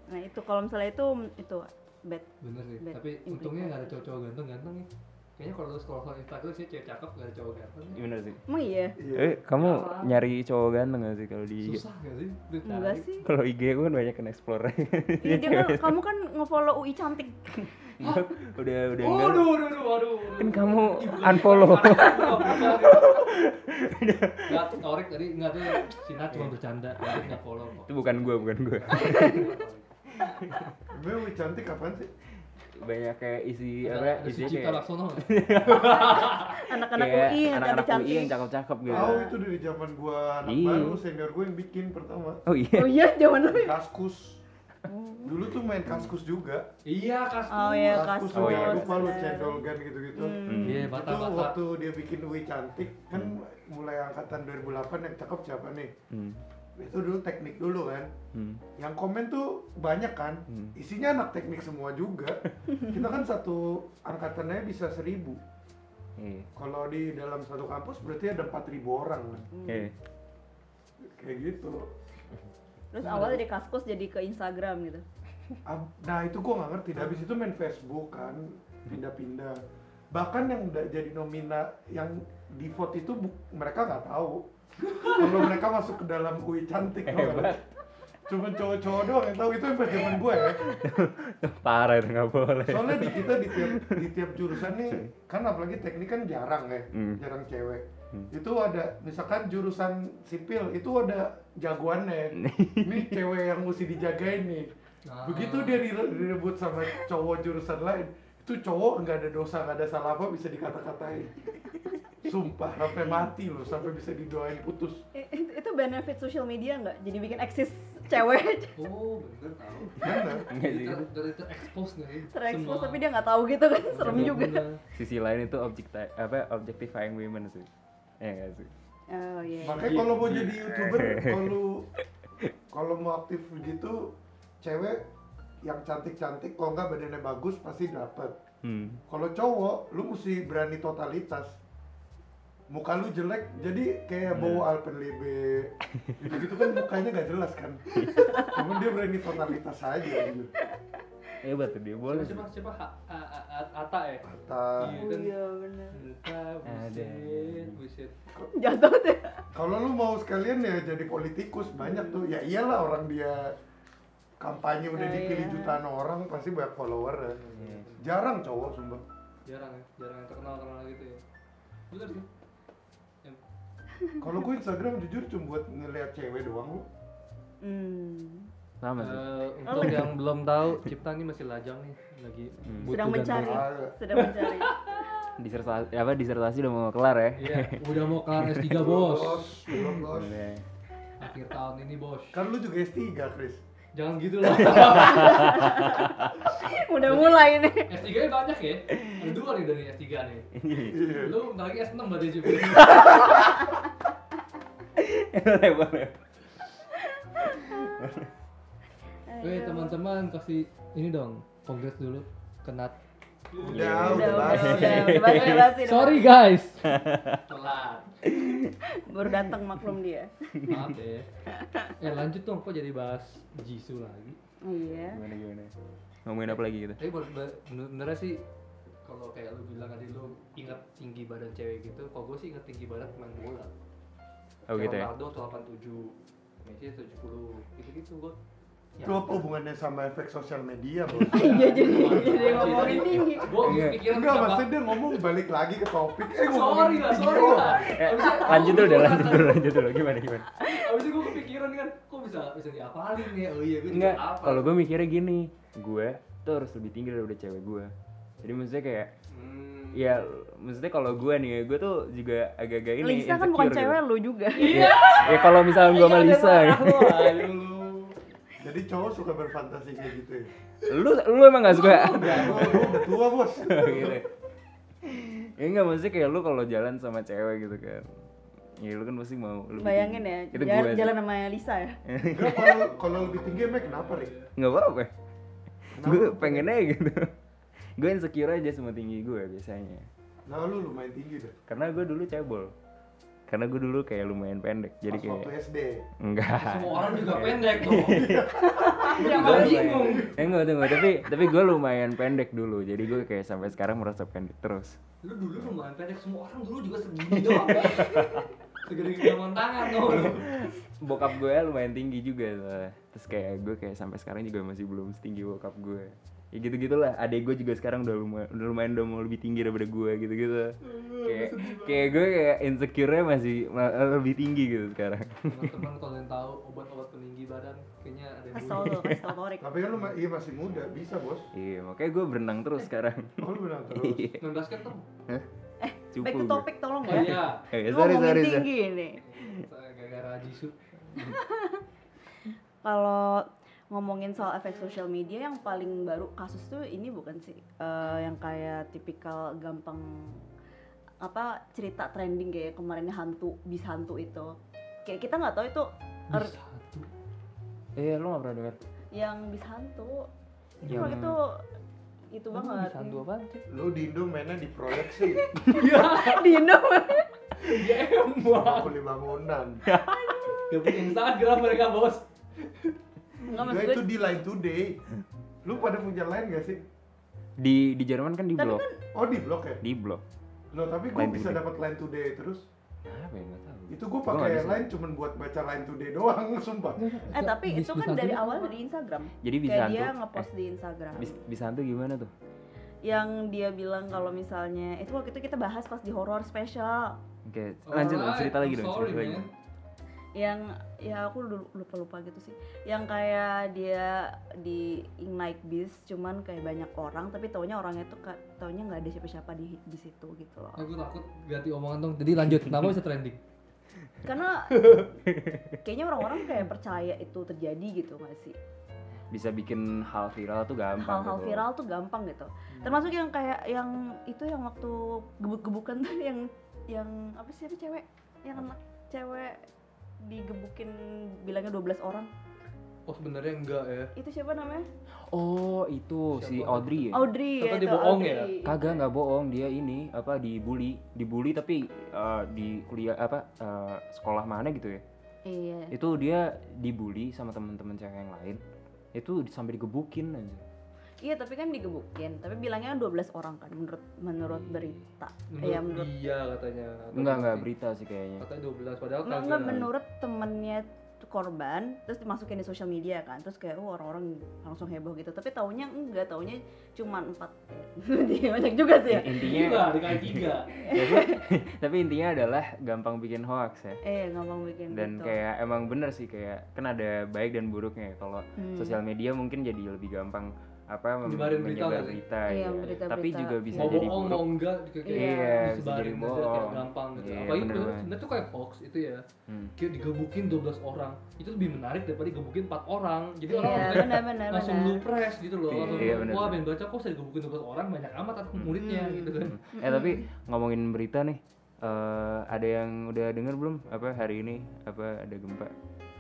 S1: Nah, itu kalau misalnya itu itu bad.
S2: bener sih
S1: Bad
S2: tapi untungnya nggak ada cowok-cowok ganteng-ganteng ya kayaknya kalau lu scroll scroll Instagram sih cewek cakep nggak ada cowok ganteng ya.
S3: Gimana sih
S1: Emang
S2: *laughs*
S1: iya.
S4: Iya.
S3: eh kamu
S2: Apa?
S3: nyari cowok ganteng gak sih kalau di IG?
S2: susah gak sih Lu
S1: Enggak
S2: cari.
S1: sih.
S3: *laughs* kalau IG gue kan banyak yang explore
S1: Iya, dia
S3: *laughs*
S1: kan, kamu kan nge-follow UI cantik.
S3: udah udah enggak
S2: waduh waduh waduh waduh
S3: kan kamu unfollow
S2: nggak orek tadi nggak tuh Sina cuma
S3: Iya.
S2: bercanda Orek nggak follow kok
S3: *laughs* itu bukan gue bukan
S1: *laughs*
S3: gue
S4: Emang Wi cantik apaan sih?
S3: banyak kayak isi
S2: ada
S3: apa ya?
S2: ada si
S3: isinya
S2: Cipta
S3: kayak
S2: Laksono nggak?
S1: Anak-anak
S3: kayak
S1: UI yang
S3: Iya, anak-anak UI
S1: cantik.
S3: yang cakep-cakep gitu
S4: Tahu itu dari zaman gua anak
S3: Iya.
S4: baru senior gua yang bikin pertama.
S3: oh iya
S1: Oh iya, zaman lu.
S4: Kaskus. Dulu tuh main kaskus juga.
S2: iya kaskus
S1: Oh iya,
S4: Kaskus
S1: kaskus.
S4: tuh
S3: Oh iya,
S4: yang lupa lu
S1: bener.
S4: cendol gan gitu-gitu.
S1: Hmm.
S2: iya
S4: Itu
S2: bata-bata
S4: waktu dia bikin Wi cantik kan mulai angkatan 2008 yang cakep siapa nih?
S3: Hmm,
S4: Itu dulu teknik dulu kan.
S3: hmm.
S4: Yang komen tuh banyak kan,
S3: Hmm.
S4: isinya anak teknik semua
S3: *laughs*
S4: juga. Kita kan satu angkatannya bisa seribu.
S3: Iya.
S4: Kalau di dalam satu kampus berarti ada 4000 orang kan.
S3: Iya.
S4: Kayak gitu.
S1: Terus awal dari kaskus jadi ke Instagram gitu.
S4: Ab- Nah itu gua nggak ngerti. Habis itu main Facebook kan, pindah-pindah. Bahkan yang udah jadi nomina yang di vote itu bu- mereka nggak tahu. Kalau mereka masuk ke dalam UI cantik, tau nggak?
S3: Hebat.
S4: Cuman cowok-cowok doang yang tahu itu yang pas zaman gue ya.
S3: *laughs* parah itu nggak boleh
S4: soalnya di kita di
S3: *laughs*
S4: tiap di tiap jurusan nih kan apalagi teknik kan jarang ya
S3: Hmm.
S4: jarang cewek
S3: Hmm.
S4: itu ada misalkan jurusan sipil itu ada
S3: *laughs*
S4: jagoannya ini cewek yang mesti dijagain nih
S2: Ah.
S4: begitu dia dire- direbut sama cowok jurusan lain itu cowok nggak ada dosa nggak ada salah apa bisa dikata-katain sumpah sampai mati loh sampai bisa didoain putus
S1: Eh, Itu itu benefit social media nggak? Jadi bikin eksis cewek
S2: oh bener tahu
S4: bener
S3: Nggak
S2: Jadi
S3: sih.
S2: ter- ter- terekspos nggak sih
S1: terekspos
S2: Semua-
S1: tapi dia nggak tahu gitu kan serem
S2: Iya,
S1: juga.
S2: bener.
S3: sisi lain itu objek apa objectifying women sih ya nggak sih
S1: Oh iya.
S4: Makanya kalau mau jadi youtuber, kalau kalau mau aktif gitu, cewek yang cantik-cantik, kalau nggak badannya bagus pasti dapet.
S3: hmm.
S4: Kalau cowok, lu mesti berani totalitas. Muka lu jelek, jadi kayak bau Alpenlibe. Gitu-gitu kan mukanya nggak jelas kan. Cuman dia berani totalitas aja gitu.
S3: hebat tuh Iya, dia boleh
S2: siapa siapa siapa Ha- A- A- A- Ata ya
S4: Kata,
S1: Oh, iya benar.
S2: Ata
S3: Ada.
S2: buset buset
S1: Jatuh deh.
S4: kalau lu mau sekalian ya jadi politikus banyak tuh. Ya iyalah orang dia kampanye udah
S1: Oh,
S4: dipilih
S1: iya.
S4: jutaan orang pasti banyak follower ya.
S3: Iya.
S4: Jarang cowok sumpah.
S2: jarang ya jarang yang terkenal terkenal gitu ya bener sih Yang-
S4: Kalau gue Instagram jujur cuma buat ngeliat cewek doang lu.
S1: Hmm.
S3: sama sih
S2: Eh, untuk yang belum tahu Cipta ini masih lajang nih lagi
S3: Hmm.
S2: butuh
S1: Sedang
S2: dan-
S1: mencari.
S4: Ah.
S1: Sedang mencari.
S3: disertasi apa disertasi udah mau kelar ya
S2: Iya, udah mau kelar S3
S3: *laughs*
S2: bos.
S4: Belum bos.
S3: Udah.
S2: Akhir tahun ini bos.
S4: Kan lu juga S3, Chris.
S2: Jangan
S1: *laughs*
S2: gitu lah.
S1: Udah mulai nih.
S2: S3 nya banyak ya. Ada dua nih dari S3 nih.
S4: Iya.
S2: Lu bentar lagi S6 berarti juga.
S3: boleh boleh
S2: Weh teman-teman kasih ini dong kongres dulu kenat.
S4: Udah,
S1: Udah,
S4: udah,
S1: udah,
S4: basi.
S1: udah, udah, basi, basi, udah.
S2: Iya. Sorry guys. Telat.
S1: *laughs* Baru datang maklum dia.
S2: Maaf deh. Eh lanjut dong kok jadi bahas Jisoo lagi.
S1: Oh, iya.
S3: gimana gimana ngomongin apa lagi gitu *laughs*
S2: Tapi buat- buat- bener- bener sih kalau kayak lu bilang tadi lu inget tinggi badan cewek gitu, kalau gue sih inget tinggi badan main bola.
S3: oh gitu ya
S2: Ronaldo tuh 87, Messi 70, gitu-gitu Ya. gue.
S4: Itu apa hubungannya sama efek sosial media, bos?
S1: Ya, *laughs* Iya jadi jadi ngomongin tinggi.
S2: Gue
S3: Iya.
S2: pikiran
S4: Enggak, maksudnya dia ngomong balik lagi ke topik. Eh,
S2: Sorry
S4: ngomongin
S2: lah,
S4: video.
S2: sorry lah.
S3: Eh,
S2: Abis itu-
S3: lanjut dulu deh
S2: gua
S3: lanjut
S2: rasa-
S3: dulu lanjut dulu gimana gimana
S2: Abis itu gue kepikiran kan, kok bisa bisa diapalin ya? Oh iya, gue
S3: Enggak, kalau gue mikirnya gini, gue tuh harus lebih tinggi daripada cewek gue. Jadi maksudnya kayak,
S4: Hmm.
S3: ya maksudnya kalau gue nih, gue tuh juga agak-agak ini gitu.
S1: Lisa kan bukan
S3: insecure
S2: Iya.
S1: *laughs* cewek Iya,
S3: gitu.
S1: lu juga.
S3: Ya, ya kalau misalnya gue sama Lisa,
S2: Aduh,
S4: Jadi Jadi cowok suka berfantasi kayak gitu ya.
S3: lu lu emang gak suka
S4: Enggak, gua gua udah tua bos.
S3: *laughs* gitu ya enggak maksudnya kayak lu kalau jalan sama cewek gitu kan ya lu kan pasti mau lu
S1: Bayangin ya,
S3: bikin. itu
S1: jalan,
S3: gue
S1: jalan sama Lisa ya.
S4: Enggak kalau kalau lebih tinggi emang kenapa Rick?
S3: *laughs* nggak apa apa
S4: Kenapa?
S3: gue pengen aja gitu gue insecure aja sama tinggi gue biasanya
S4: Nah lu lumayan tinggi deh.
S3: karena gue dulu cebol karena gue dulu kayak lumayan pendek jadi
S4: Pas waktu Iya.
S3: kayak
S4: SD.
S3: enggak
S2: Semua orang
S3: *laughs*
S2: juga pendek dong.
S3: Gua
S2: Jangan bingung.
S3: lumayan- Eh, enggak tunggu tapi tapi gue lumayan pendek dulu jadi gue kayak sampai sekarang merasa pendek terus
S2: Lu dulu lumayan pendek, semua orang dulu juga segini doang.
S3: *laughs*
S2: Segede gaman tangan tuh lu.
S3: bokap gue lumayan tinggi juga soalnya. terus kayak gue kayak sampai sekarang juga masih belum setinggi bokap gue ya gitu gitulah adek gue juga sekarang udah lumayan udah lumayan udah mau lebih tinggi daripada gue gitu gitu
S2: Hmm.
S3: kayak kayak gue kayak insecure-nya masih ma- lebih tinggi gitu sekarang
S2: Teman-teman kalau yang tahu obat-obat peninggi badan kayaknya ada yang
S1: Kasih tau
S2: dulu.
S1: lo, kasih tau Torik.
S4: Tapi kan lu ma- iya masih muda, bisa bos.
S3: iya makanya gue berenang
S2: Eh,
S3: terus sekarang
S4: Oh, lu benar terus.
S3: iya
S2: Main basket tuh.
S1: Eh, Back to
S3: cupu gue
S1: topic tolong
S2: Oh
S1: ya.
S2: iya.
S3: eh,
S1: Lu
S3: sorry
S1: ngomongin
S3: sorry sorry
S1: tinggi ini.
S2: Saya gara-gara Jisoo.
S1: Kalau ngomongin soal efek sosial media yang paling baru kasus tuh ini bukan sih eh, yang kayak tipikal gampang apa cerita trending kayak kemarin hantu bis hantu itu kayak kita nggak tahu itu er-
S2: Satu.
S3: eh lu gak pernah denger
S1: yang bis hantu itu
S3: Yang-
S1: waktu itu itu banget
S2: Sandu apaan sih?
S4: Lu di Indo mainnya di proyeksi,
S1: *laughs* di Indo
S2: Wah,
S4: beli bangunan.
S2: gak punya Instagram mereka bos.
S1: nggak
S4: Nah,
S1: maksud
S4: itu
S1: gue
S4: di Line Today. Lu pada punya Line gak sih?
S3: di di Jerman kan di
S1: Tapi
S3: blok
S4: Oh di blok ya?
S3: di blok
S4: Loh tapi gua
S3: Line
S4: bisa
S3: Today.
S4: dapat Line Today terus.
S3: apa ya nggak tahu
S4: Itu gua
S3: Gua nggak
S4: pakai
S3: bisa.
S4: Line cuman buat baca Line Today doang, *laughs* sumpah.
S1: eh tapi itu kan dari awal dari Instagram
S3: jadi bisa
S1: kayak dia
S3: hantu-
S1: ngepost
S3: eh,
S1: di Instagram
S3: bis- bisa hantu gimana tuh
S1: yang dia bilang kalau misalnya itu waktu itu kita bahas pas di horror special
S3: Oke, lanjut dong,
S2: Alright,
S3: cerita
S2: I'm
S3: lagi dong,
S2: Oh, eh, sorry,
S3: cerita lagi.
S2: man.
S1: yang ya aku dulu- lupa-lupa gitu sih yang kayak dia di ignite bis cuman kayak banyak orang tapi taunya orangnya tuh ka- taunya nggak ada siapa-siapa di di situ gitu loh
S2: Aku takut ganti omongan dong. Jadi lanjut, kenapa bisa trending? *laughs*
S1: karena kayaknya orang-orang kayak percaya itu terjadi gitu nggak sih
S3: Bisa bikin hal viral tuh gampang
S1: hal-hal
S3: gitu. Hmm.
S1: viral tuh gampang gitu termasuk yang kayak yang itu yang waktu gebuk-gebukan tuh yang yang apa sih ada cewek yang anak cewek digebukin bilangnya 12 orang
S2: Oh sebenarnya enggak ya.
S1: itu siapa namanya
S3: Oh, itu si
S2: Siapa?
S3: Audrey ya?
S1: Audrey ya
S2: Atau
S1: itu
S2: dia bohong ya?
S1: Audrey.
S3: Kagak nggak bohong, dia ini apa dibully, dibully tapi eh, di kuliah apa eh, sekolah mana gitu ya.
S1: iya
S3: Itu dia dibully sama temen-temen cewek yang lain. Itu di- sampai digebukin aja.
S1: Iya tapi kan digebukin, tapi bilangnya 12 orang kan menurut menurut
S3: Iya.
S1: berita.
S2: Menurut
S1: Iya menurut
S2: dia katanya. Atau
S3: Enggak enggak
S2: gimana sih?
S3: berita sih kayaknya.
S2: Katanya 12 padahal
S3: kan
S1: enggak,
S2: kagak.
S1: enggak, menurut temennya tuh korban terus dimasukin di sosial media kan terus kayak oh, orang-orang langsung heboh gitu tapi taunya enggak taunya cuma empat *laughs* eh, banyak juga sih ya
S3: In-
S2: Tiga,
S3: Intinya
S2: dikali tiga.
S3: *laughs* tapi intinya adalah gampang bikin hoax ya.
S1: eh gampang bikin
S3: dan
S1: gitu
S3: kayak emang bener sih kayak kan ada baik dan buruknya ya kalau
S1: Hmm.
S3: sosial media mungkin jadi lebih gampang apa mem-
S2: Nyebarin berita
S3: menyebar
S2: nggak sih?
S3: berita,
S1: Iya,
S3: ya.
S1: berita-berita.
S3: tapi juga bisa
S2: mau
S3: jadi
S2: bohong
S3: buruk
S2: mau enggak kayak kayak
S1: Iya,
S2: gitu,
S3: bisa
S2: disebarin
S3: jadi
S2: aja kayak
S3: bohong.
S2: gampang gitu.
S3: Iya,
S2: Apalagi
S3: bener
S2: itu
S3: banget.
S2: sebenarnya tuh kayak hoax itu ya.
S3: Hmm.
S2: Kayak digebukin 12 orang. Itu lebih menarik daripada digebukin 4 orang. Jadi orang
S1: iya
S2: kayak
S1: benar benar
S2: langsung
S1: benar
S2: lu press gitu loh.
S3: Iya,
S2: Langsung
S3: iya,
S2: lu,
S3: bener.
S2: wah ben baca kok saya digebukin 12 orang banyak amat aku muridnya
S1: Hmm.
S2: gitu kan.
S3: eh tapi ngomongin berita nih eh, ada yang udah denger belum apa hari ini apa ada gempa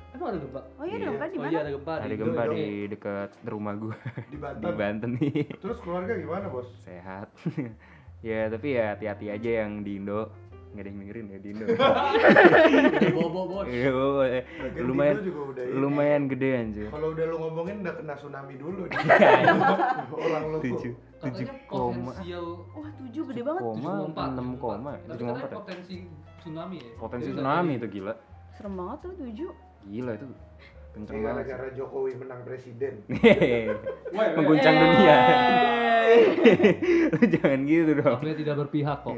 S2: Emang ada gempa?
S1: oh iya dong
S3: Iya.
S1: kan di
S2: Oh
S1: mana
S2: iya ada gempa.
S3: ada
S2: Indo,
S3: gempa
S2: Indo.
S3: di dekat rumah gue
S4: Di
S3: di
S4: Banten.
S3: Banten nih
S4: Terus keluarga gimana bos?
S3: sehat ya tapi ya hati-hati aja yang di Indo nggak ada yang dengerin ya di Indo
S2: Ada bobo bos.
S3: Iya, bobo, eh.
S4: Lagian
S3: lumayan
S4: Indo juga udah ini.
S3: lumayan gede anjir
S4: *laughs*
S3: *laughs*
S4: Kalau udah lu ngomongin udah kena tsunami dulu nih. Orang lu
S3: tujuh tujuh
S2: Katanya
S3: koma
S2: potensial
S1: wah tujuh gede banget
S3: koma
S2: 7,4,
S3: enam koma
S2: 7,4. Tapi
S3: 7,4
S2: katanya
S3: ya?
S2: potensi tsunami ya.
S3: potensi
S2: Jadi
S3: *laughs* tsunami
S2: katanya-
S3: itu gila
S1: serem banget tuh tujuh
S3: gila itu kenceng
S4: Ini
S3: banget
S4: Iya,
S3: sih. *laughs*
S4: gara-gara Jokowi menang presiden.
S2: Wah, eh. wah, wah.
S3: mengguncang dunia *laughs*
S4: *laughs*
S3: Lu jangan gitu dong
S2: Kami tidak berpihak
S3: *laughs*
S2: kok.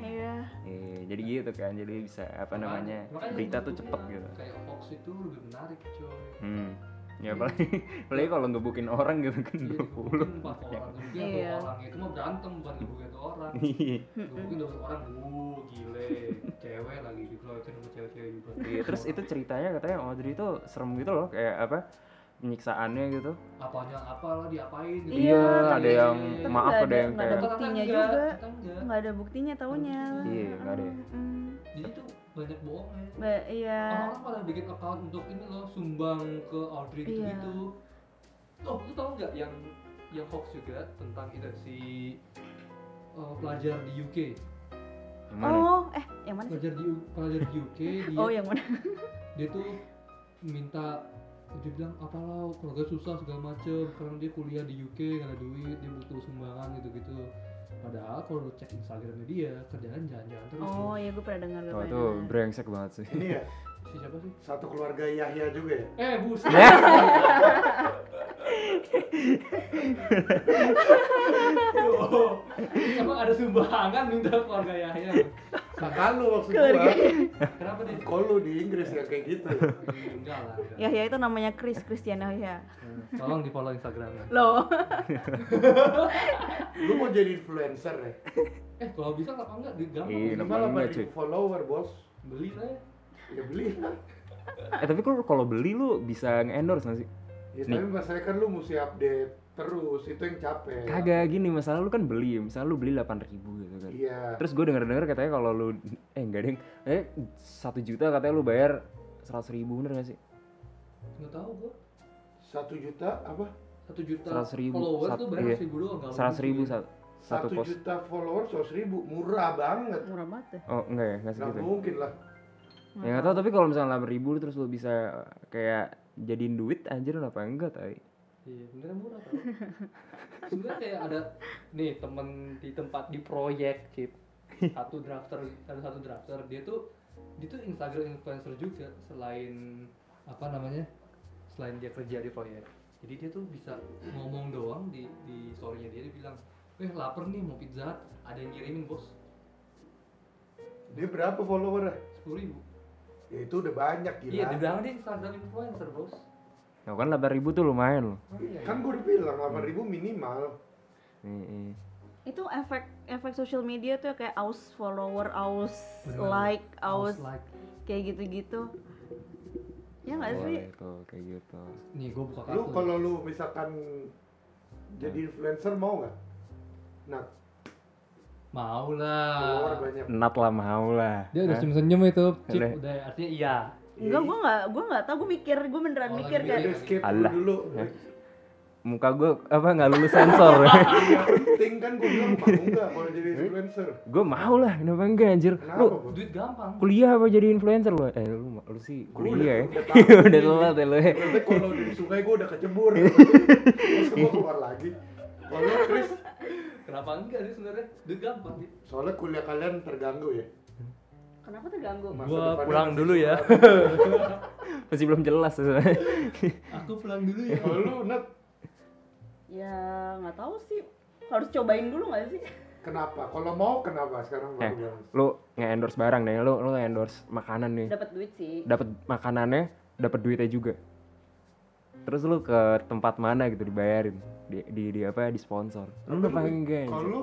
S1: iya
S3: Eh, jadi gitu kan jadi bisa apa namanya
S2: Makanya
S3: berita tuh
S2: gua
S3: cepet
S2: bilang,
S3: gitu
S2: Kayak hoax itu lebih menarik, coy.
S3: hmm. ya apalagi *laughs* apalagi kalau ngebukin orang gitu kan
S2: Iya,
S3: dua
S2: digebukin
S3: puluh
S2: empat orang, gebukin dua
S1: Iya.
S2: orang. Itu mah berantem bukan gebukin satu orang.
S3: Iya.
S2: Gebukin dua orang, wuh gile, cewek lagi dikeroyokin sama cewek-cewek juga.
S3: Iya, terus itu ceritanya katanya Audrey itu serem gitu loh kayak apa penyiksaannya gitu
S2: apanya apa lah diapain gitu. Iya,
S1: Iya,
S3: ada
S2: iya,
S3: yang
S2: iya.
S1: Tapi
S3: maaf ada
S1: nggak ada-
S3: yang
S1: nggak ada
S3: kayak
S2: Ternyata
S1: buktinya
S2: enggak,
S1: juga.
S2: ternyata enggak.
S1: nggak ada buktinya taunya
S2: Hmm.
S3: Iya, nggak ada ya?
S1: Mm-mm.
S2: Jadi tuh banyak bohongnya.
S1: Ba- iya
S2: Orang-orang pada bikin account untuk ini loh sumbang ke Audrey
S1: Iya.
S2: gitu-gitu. Oh, lu tau nggak yang yang hoax juga tentang itu si eh, pelajar di UK,
S3: gimana
S1: oh eh yang mana sih
S2: pelajar di U- pelajar di
S1: *laughs*
S2: UK dia
S1: oh yang mana
S2: dia tuh minta dia bilang apa lo keluarga susah segala macem sekarang dia kuliah di UK gak ada duit dia butuh sumbangan gitu gitu padahal kalau lu cek Instagramnya dia kerjaan jalan-jalan terus
S1: oh iya gue pernah dengar gue
S3: oh
S1: pernah
S3: tuh
S1: dengar.
S3: brengsek banget sih
S4: Ini ya,
S2: si siapa sih
S4: satu keluarga Yahya juga ya?
S2: eh
S3: *laughs*
S2: buset Yo, emang ada sumbangan minta keluarga Yahya
S4: Kakak lu maksud
S1: Keluarga.
S4: gua.
S2: kenapa dia
S4: Kok lu di Inggris ya kayak gitu?
S2: Ih, enggak lah enggak.
S1: Yahya Ya, itu namanya Chris Christian Oh, iya. Yahya
S2: tolong di follow Instagramnya
S1: loh
S4: Lu mau jadi influencer ya?
S2: *laughs* eh kalau bisa kenapa enggak gampang
S3: Iya,
S4: Lima delapan
S3: enggak, cuy.
S4: ribu follower bos.
S2: beli lah ya
S4: Ya beli.
S3: eh tapi kalau kalau beli lu bisa nge-endorse nggak sih
S4: Ya
S3: Nih.
S4: tapi masalahnya kan lu mesti update terus, itu yang capek.
S3: kagak gini masalah lu kan beli misalnya lu beli 8000 gitu kan
S4: Iya.
S3: Terus gue denger dengar katanya kalau lu eh enggak deng, eh satu juta katanya lu bayar seratus ribu bener gak sih?
S2: nggak tahu gua
S4: Satu juta apa?
S2: satu juta
S3: 100.000,
S2: followers
S3: sat-
S2: tuh bayar
S3: iya.
S2: seribu doang nggak
S3: Seratus
S2: mungkin.
S3: ribu satu, satu
S4: Satu
S3: pos.
S4: juta follower seratus ribu, murah banget.
S1: murah banget ya
S3: Oh enggak ya nggak
S4: Gak
S3: segitu. ya?
S4: mungkin lah.
S3: Ya nggak tahu tapi kalau misalnya delapan ribu terus lu bisa kayak jadiin duit anjir apa enggak tapi
S2: Iya, beneran murah *laughs* tau. Sebenarnya kayak ada nih temen di tempat di proyek
S4: *laughs*
S2: Cip. Satu drafter, ada satu drafter, dia tuh dia tuh Instagram influencer juga selain apa namanya? Selain dia kerja di proyek. Jadi dia tuh bisa ngomong doang di di story-nya dia dia bilang, "Eh, lapar nih mau pizza." Hut." Ada yang ngirimin, Bos.
S4: Dia berapa followernya?
S2: 10.000.
S4: Ya itu udah banyak gila.
S2: Iya, dibilang dia Instagram influencer, Bos.
S3: Nah kan delapan ribu tuh lumayan loh.
S2: Oh, iya,
S4: Kan gue udah bilang 8 ribu minimal.
S3: Nih, nih.
S1: *laughs* itu efek efek social media tuh ya, kayak aus follower aus
S2: Bener.
S1: like aus
S2: House like.
S1: kayak gitu-gitu ya nggak
S3: Wah,
S1: sih
S3: itu kayak gitu.
S2: Nih, gue buka kartu.
S4: Lu kalau lu misalkan jadi influencer mau nggak? Nah,
S2: mau lah.
S4: follower banyak.
S3: Nat lah mau lah.
S2: Dia udah
S3: Hah?
S2: senyum-senyum itu, Cip.
S3: Nah. Udah.
S2: Udah artinya iya.
S1: Enggak, gue nggak, gue nggak tahu, gue mikir, gue beneran
S2: Oh, lagi
S1: mikir
S2: mikir.
S1: kayak
S4: Udah skip dulu
S3: Alah.
S4: dulu.
S3: Muka gue apa nggak lulus
S4: *laughs*
S3: sensor? *laughs*
S4: Yang penting kan gue bilang mau nggak kalau jadi influencer?
S3: gue mau lah kenapa enggak anjir?
S4: Kenapa?
S3: Lu
S4: Bos?
S2: Duit gampang.
S3: kuliah apa jadi influencer lu? Eh lu, lu sih
S4: Gua
S3: kuliah ya. *laughs*
S4: udah- udah tahu.
S3: udah telat ya lu ya.
S4: Berarti kalau dari sungai gue udah
S3: *laughs*
S4: kecebur. Terus gue keluar lagi. Kalau lu, Chris,
S2: Kenapa enggak sih sebenarnya? Duit gampang sih.
S4: soalnya kuliah kalian terganggu ya.
S1: kenapa terganggu?
S4: Masa
S2: Gua
S4: depannya
S2: pulang
S4: masih
S2: dulu ya.
S4: sekolah.
S3: *laughs* Masih belum jelas sebenarnya.
S2: Aku pulang dulu ya.
S4: Kalau lu, Nat,
S1: Ya nggak tahu sih, harus cobain dulu nggak sih?
S4: kenapa? Kalau mau kenapa sekarang
S3: *laughs* Eh,
S4: baru bilang.
S3: lu nge-endorse barang deh, lu lu nge-endorse makanan nih.
S1: Dapat duit sih.
S3: Dapat makanannya, dapat duitnya juga. Terus lu ke tempat mana gitu dibayarin? Di di, di apa? Di sponsor. Lu udah pengen enggak?
S4: Kalau
S3: anjir?
S4: lu,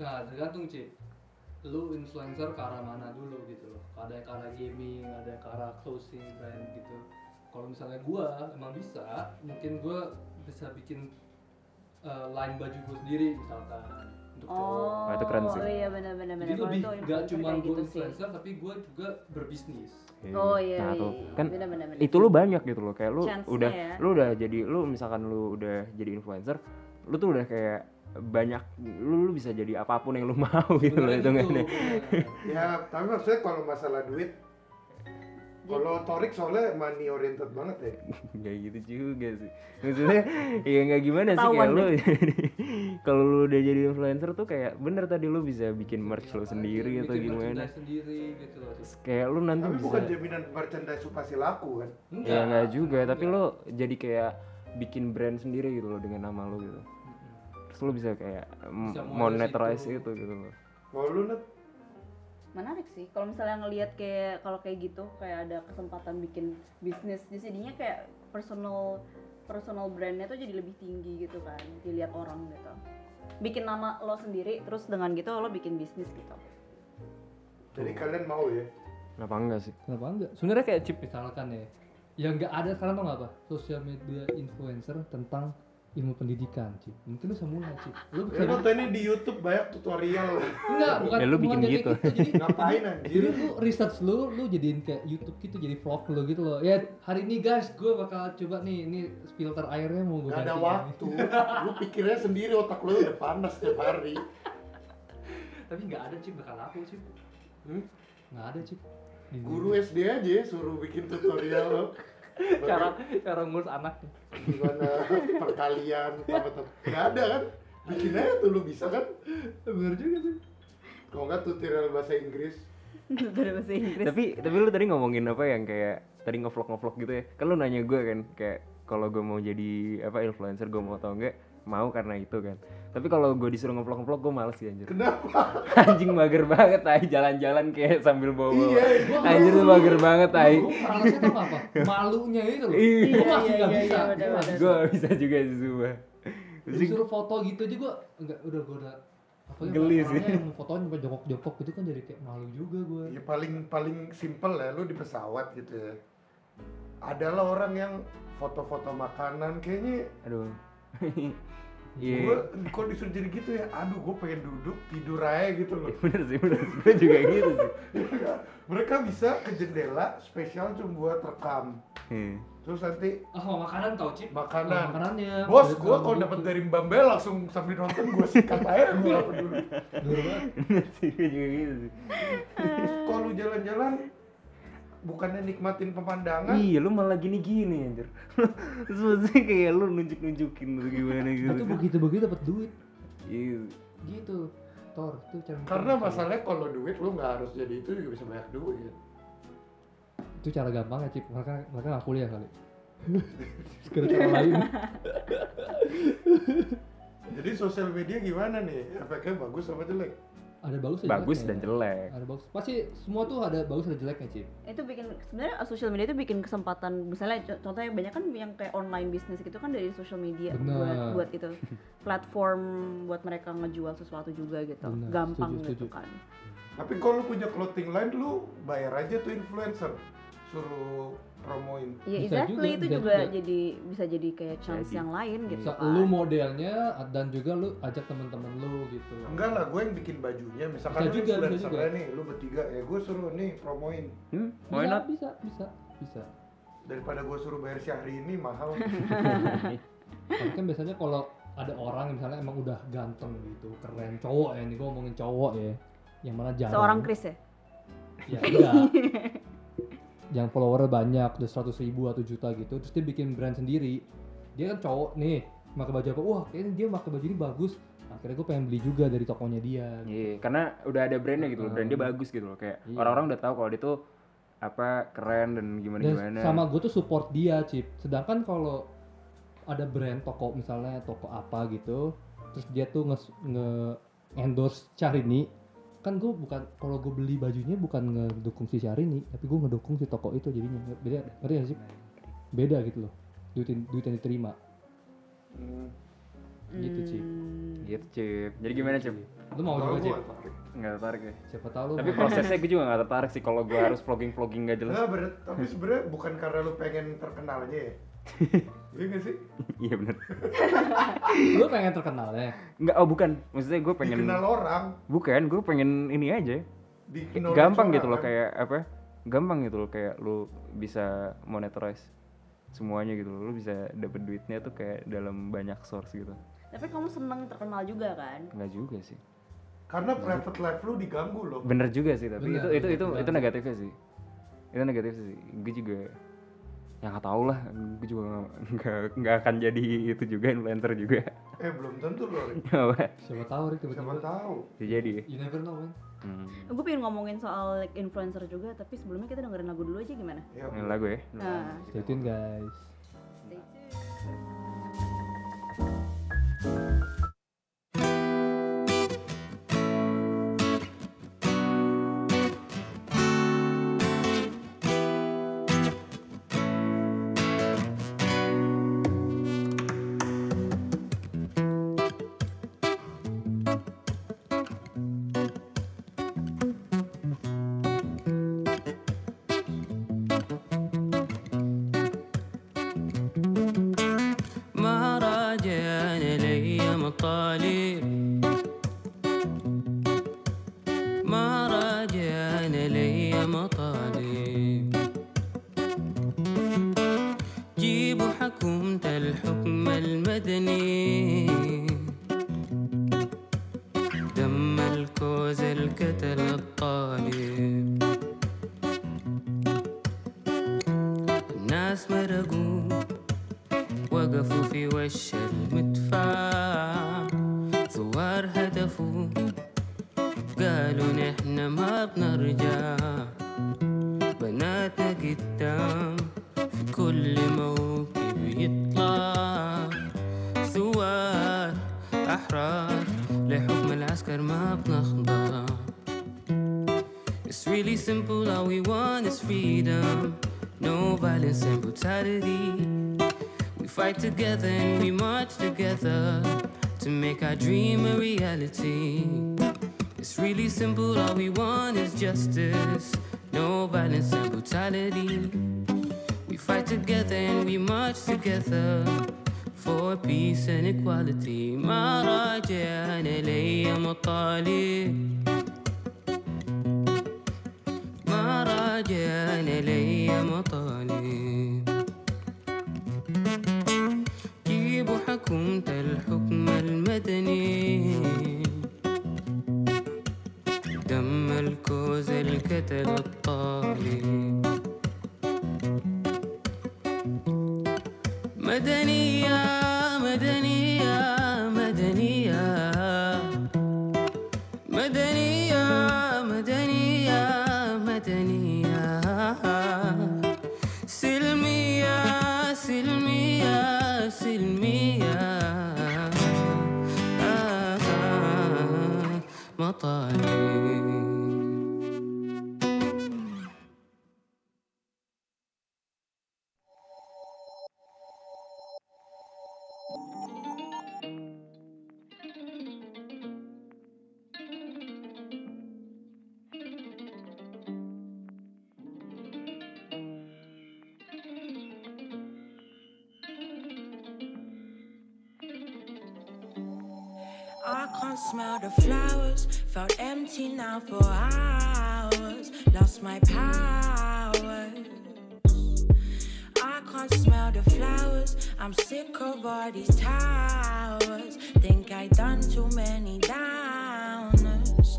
S2: Nah, tergantung, Cip. Lu influencer ke arah mana dulu gitu loh. Ada yang ke arah gaming, ada yang ke arah closing brand gitu. Kalau misalnya gua emang bisa, mungkin gua bisa bikin eh, line baju gua sendiri misalkan untuk cowok.
S1: Oh,
S3: Wah, itu keren sih.
S1: Oh iya benar-benar benar.
S2: Jadi
S1: Kalau
S2: lebih
S1: itu
S2: gak
S1: influencer
S2: cuma
S1: kayak
S2: gua
S1: gitu sih.
S2: influencer, tapi gua juga berbisnis.
S1: Oh iya,
S3: Nah,
S1: iya,
S3: tuh.
S1: iya.
S3: Kan
S1: benar, benar, benar.
S3: itu lu banyak gitu loh kayak lu
S1: Chance-nya
S3: udah
S1: ya.
S3: lu udah jadi lu misalkan lu udah jadi influencer lu tuh udah kayak banyak lu, lu bisa jadi apapun yang lu *laughs* mau gitu loh
S2: Sebenarnya gitu,
S3: hitungannya
S2: bener.
S4: ya tapi maksudnya kalau masalah duit, kalau Torik soalnya money oriented banget ya.
S3: nggak gitu juga sih maksudnya ya nggak gimana sih
S1: Ketahuan
S3: kayak lu
S1: deh.
S3: *laughs* kalau lu udah jadi influencer tuh kayak bener tadi lu bisa bikin merch lu
S2: Apalagi
S3: *laughs* sendiri atau
S2: bikin
S3: gimana
S2: merchandise sendiri gitu loh
S3: Terus kayak lu nanti
S4: Tapi
S3: bisa
S4: bukan jaminan merchandise lu pasti laku kan.
S3: ya nggak juga
S2: Iya.
S3: tapi lu jadi kayak bikin brand sendiri gitu loh dengan nama lu gitu terus lu bisa kayak mm,
S2: Bisa monetize
S3: monetize gitu
S2: itu.
S3: itu gitu loh
S4: Kalau lu Nat,
S1: menarik sih kalau misalnya ngelihat kayak kalau kayak gitu kayak ada kesempatan bikin bisnis jadi jadinya kayak personal personal brandnya tuh jadi lebih tinggi gitu kan dilihat orang gitu bikin nama lo sendiri terus dengan gitu lo bikin bisnis gitu
S4: Jadi kalian mau ya?
S3: Kenapa enggak sih?
S2: Kenapa enggak? Sebenarnya kayak chip misalkan ya. Yang enggak ada sekarang tuh apa? Sosial media influencer tentang ilmu pendidikan, Cip. Mungkin lu bisa mulai, Cip.
S4: Ya
S2: Lu bisa
S4: nontonnya di YouTube banyak tutorial.
S2: enggak, bukan
S3: Ya, lu bikin
S2: bukan jadi
S3: gitu.
S2: Jadi
S4: Ngapain ya?
S2: jadi
S4: anjir?
S2: lu research lu, lu jadiin kayak YouTube gitu, jadi vlog lu gitu loh. Ya hari ini guys, gue bakal coba nih, ini filter airnya mau gue
S4: Gak ada
S2: ganti. ya.
S4: waktu. Lu pikirnya sendiri otak lu udah panas tiap hari.
S2: *laughs* Tapi nggak ada Cip, bakal laku Cip.
S4: Hmm?
S2: Nggak ada Cip. Di-
S4: Guru SD aja ya suruh bikin tutorial lo.
S2: cara cara ngurus anaknya.
S4: Gimana perkalian, apa-apa. Gak ada kan? Bikin aja tuh lu bisa kan?
S2: Bener juga sih.
S4: Kalau nggak tutorial bahasa Inggris.
S1: dari bahasa Inggris
S3: Tapi tapi lu tadi ngomongin apa yang kayak tadi ngevlog ngevlog gitu ya? Kan lu nanya gue kan kayak kalau gue mau jadi apa influencer gue mau atau enggak? Mau karena itu kan. Tapi kalau gue disuruh ngevlog ngevlog gue males sih anjir.
S4: Kenapa?
S3: *laughs* Anjing mager banget tai jalan-jalan kayak sambil bawa-bawa.
S4: Iya,
S2: gua
S3: Anjir
S2: males.
S3: lu mager banget tai.
S2: Gue malasnya tau apa? Malunya itu loh.
S3: Iya.
S2: Gue masih
S1: Iya,
S2: nggak
S1: iya,
S2: bisa.
S1: iya, udah,
S2: Gua
S3: *laughs*
S1: udah.
S3: Gue bisa juga sih sumpah. Terus
S2: disuruh foto gitu aja gue enggak udah gue udah apa ya,
S3: Geli
S2: orangnya
S3: sih.
S2: yang fotonya cuma jongkok-jongkok gitu kan jadi kayak malu juga gue
S4: Ya paling paling simpel ya lu di pesawat gitu ya. Adalah orang yang foto-foto makanan
S3: *laughs*
S4: kayaknya
S3: Aduh. Iya. *laughs*
S4: gue kok disuruh jadi gitu ya aduh gue pengen duduk tidur aja gitu
S3: *laughs*
S4: loh Iya
S3: Ya, bener sih, bener sih. Gue juga gitu
S4: *laughs*
S3: sih.
S4: mereka bisa ke jendela spesial cuma buat rekam
S3: Hmm.
S4: terus nanti
S2: ah mau makanan tau cip
S4: Makanan.
S2: Oh, makanannya
S4: bos
S2: Udah
S4: gue
S2: terlalu
S4: kalau
S2: gitu.
S4: dapat dari Mbak langsung sambil nonton gue sikat aja gue gak peduli
S2: Dulu banget.
S3: Bener sih, gue juga gitu sih.
S4: *laughs* kalau lu jalan-jalan bukannya nikmatin pemandangan
S3: Iya, lu malah gini-gini anjir. *laughs* Terus maksudnya kayak lu nunjuk-nunjukin tuh gimana
S2: Nah,
S3: gitu.
S2: tuh begitu-begitu dapat duit
S3: Iya.
S2: gitu tor tuh cara
S4: karena masalahnya kalau duit lu nggak harus jadi itu juga bisa banyak duit
S2: itu cara gampang ya cip mereka mereka nggak kuliah kali *laughs* Sekarang cara lain
S4: *laughs* jadi sosial media gimana nih efeknya bagus apa jelek
S2: ada bagus dan
S3: Bagus
S2: jeleknya.
S3: dan jelek.
S2: ada bagus pasti semua tuh ada bagus ada jeleknya cip
S1: itu bikin sebenarnya sosial media itu bikin kesempatan misalnya co- contohnya banyak kan yang kayak online bisnis gitu kan dari sosial media
S2: Benar.
S1: buat buat itu *laughs* platform buat mereka ngejual sesuatu juga gitu
S2: Benar,
S1: gampang
S2: setuju,
S1: gitu
S2: setuju.
S1: kan
S4: Tapi kalau lu punya clothing line, lu bayar aja tuh influencer suruh promoin.
S1: ya
S2: Bisa
S1: exactly
S2: juga,
S1: itu
S2: bisa
S1: juga,
S2: juga.
S1: jadi bisa jadi kayak chance
S3: Jadi.
S1: yang lain gitu
S2: Bisa
S1: kan
S2: lu modelnya dan juga lu ajak temen-temen lu gitu
S4: Enggak lah, gue yang bikin bajunya. Misalkan
S2: Bisa
S4: lu
S2: juga, bisa
S4: influencer
S2: juga.
S4: nih, lu bertiga, ya gue suruh nih promoin.
S3: Hmm,
S1: Iya.
S3: why
S2: bisa
S3: not?
S2: bisa bisa bisa
S4: Daripada gue suruh bayar syahri ini
S1: *laughs*
S4: mahal.
S2: Tapi kan biasanya kalau ada orang yang misalnya emang udah ganteng gitu, keren cowok ya, ini gue ngomongin cowok ya, yang mana jarang.
S1: seorang Chris ya *laughs*
S2: Ya enggak. yang followernya banyak, udah 100 ribu atau juta gitu, terus dia bikin brand sendiri. Dia kan cowok nih, pakai baju apa? Wah, kayaknya dia pakai baju ini bagus. Akhirnya gue pengen beli juga dari tokonya dia.
S3: Iya, karena udah ada brandnya gitu loh. Brand dia
S2: Hmm.
S3: bagus gitu loh. Kayak
S2: Iya.
S3: orang-orang udah tahu kalau dia tuh apa keren dan gimana
S2: Dan
S3: gimana.
S2: sama gue tuh support dia, Cip. Sedangkan kalau ada brand toko misalnya toko apa gitu, terus dia tuh nge, nge- endorse Syahrini, kan gue bukan kalau gue beli bajunya bukan ngedukung si Syahrini, tapi gue ngedukung si toko itu jadinya beda, ngerti gak sih? Beda gitu loh, duit duit yang diterima.
S4: Hmm.
S2: Gitu, Ci.
S1: Hmm.
S3: Gitu, Cip. Jadi gimana, Cip?
S2: Lu mau
S4: Kalau
S2: juga
S4: gue
S2: Cip?
S4: tarik.
S3: Nggak tertarik ya?
S2: Siapa tahu lu
S3: Tapi
S2: mau-
S3: prosesnya gue juga nggak tertarik sih kalau gue harus vlogging-vlogging nggak jelas.
S4: Enggak, bener- tapi sebenarnya bukan karena lu pengen terkenal aja ya. Iya gak sih?
S3: *laughs* *laughs* Iya bener.
S2: lu pengen terkenal ya.
S3: Nggak, oh bukan. Maksudnya gue pengen...
S4: Dikenal orang.
S3: Bukan, gue pengen ini aja.
S4: Dikenal
S3: Gampang
S4: orang
S3: gitu loh
S4: kan.
S3: kayak apa? Gampang gitu loh kayak lu bisa monetize semuanya gitu loh. Lu bisa dapet duitnya tuh kayak dalam banyak source gitu.
S1: tapi kamu seneng terkenal juga kan
S3: Enggak juga sih.
S4: Karena private life lu diganggu loh.
S3: Bener juga sih tapi
S2: Bener,
S3: itu itu itu
S2: bener.
S3: itu negatifnya sih. Itu negatif sih. Gue juga ya nggak tau lah. Gue juga nggak- nggak nggak akan jadi itu juga influencer juga. *laughs*
S4: Eh belum tentu loh. Rik.
S3: Apa?
S2: Siapa tahu Rick
S4: Siapa
S2: tiba-tiba.
S4: tahu.
S3: Bisa jadi. ya?
S2: You never know, man.
S3: Hmm.
S1: gue pengen ngomongin soal like, influencer juga tapi sebelumnya kita dengerin lagu dulu aja gimana
S4: Ya,
S3: Ini lagu ya.
S1: nah
S2: Stay tune guys.
S1: stay tune.
S7: مطالب ما راجعنا ليا مطالب جيبوا حكومة الحكم المدني دم الكوز الكتل الطالب الناس مرقوا وقفوا في وش المدفع ثوار هدفوا قالوا نحن ما بنرجع بناتنا قدام في كل موكب يطلع ثوار أحرار لحكم العسكر ما بنخضع It's really simple, all we want is freedom No violence and brutality We fight together and we march together to make our dream a reality. It's really simple, all we want is justice, no violence and brutality. We fight together and we march together for peace and equality. ما راجعنا لي مطالب ما راجعنا لي مطالب جيبوا حكومة الحكم المدني دم الكوز الكتل الطالب مدنية مدنية مدنية مدنية مدنية مدنية سلمية سلمية سلمية آه، آه، مطالب
S3: Ya.
S2: *laughs*
S8: I can't smell the flowers. Felt empty now for hours. Lost my powers. I can't smell the flowers. I'm sick of all these towers. Think I done too many downers.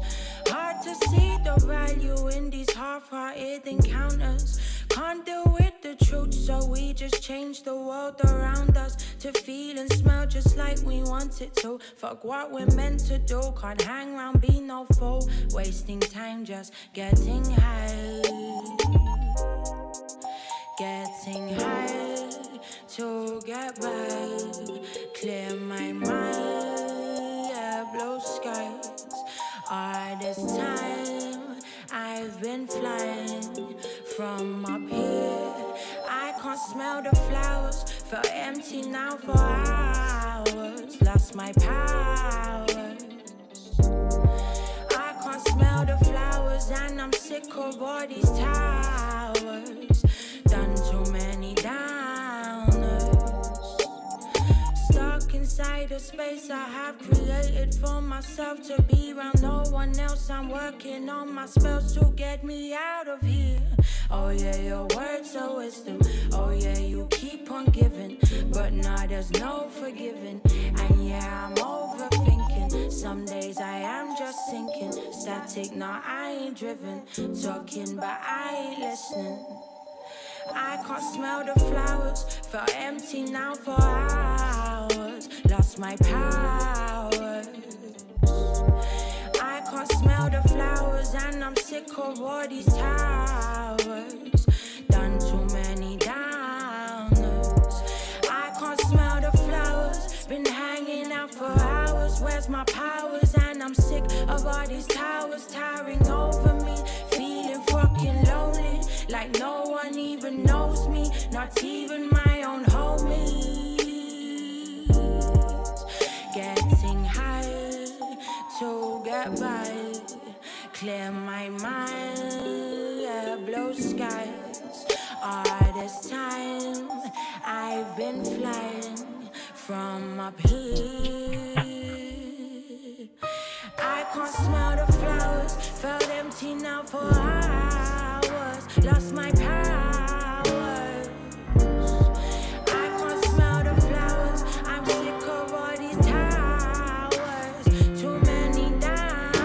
S8: Hard to see the value in these half-hearted encounters. Can't deal with the truth, so we just change the world around us to feel and smell just like we want it to. Fuck what we're meant to do. Can't hang round, be no fool. Wasting time just getting high getting higher to get by. Clear my mind, yeah, blue skies. All this time I've been flying from up here. I can't smell the flowers, felt empty now for hours. Lost my powers. I can't smell the flowers and I'm sick of all these towers. Done too many downers. Stuck inside a space I have created for myself to be around no one else. I'm working on my spells to get me out of here. Oh yeah, your words are wisdom. Oh yeah, you keep on giving, but now there's no forgiving. And yeah, I'm overthinking. Some days I am just sinking. Static, nah, I ain't driven. Talking, but I ain't listening. I can't smell the flowers. Felt empty now for hours. Lost my powers. I can't smell the flowers, and I'm sick of all these towers. Done too many downers. I can't smell the flowers. Been hanging out for hours. Where's my powers? And I'm sick of all these towers towering over me. Feeling fucking lonely. Like no one even knows me. Not even my own homies. Getting higher to get by. Clear my mind, yeah, blue skies. All this time I've been flying from up here. can't smell the flowers. Felt empty now for hours. Lost my powers. I can't smell the flowers. I'm sick of all these towers. Too many downers.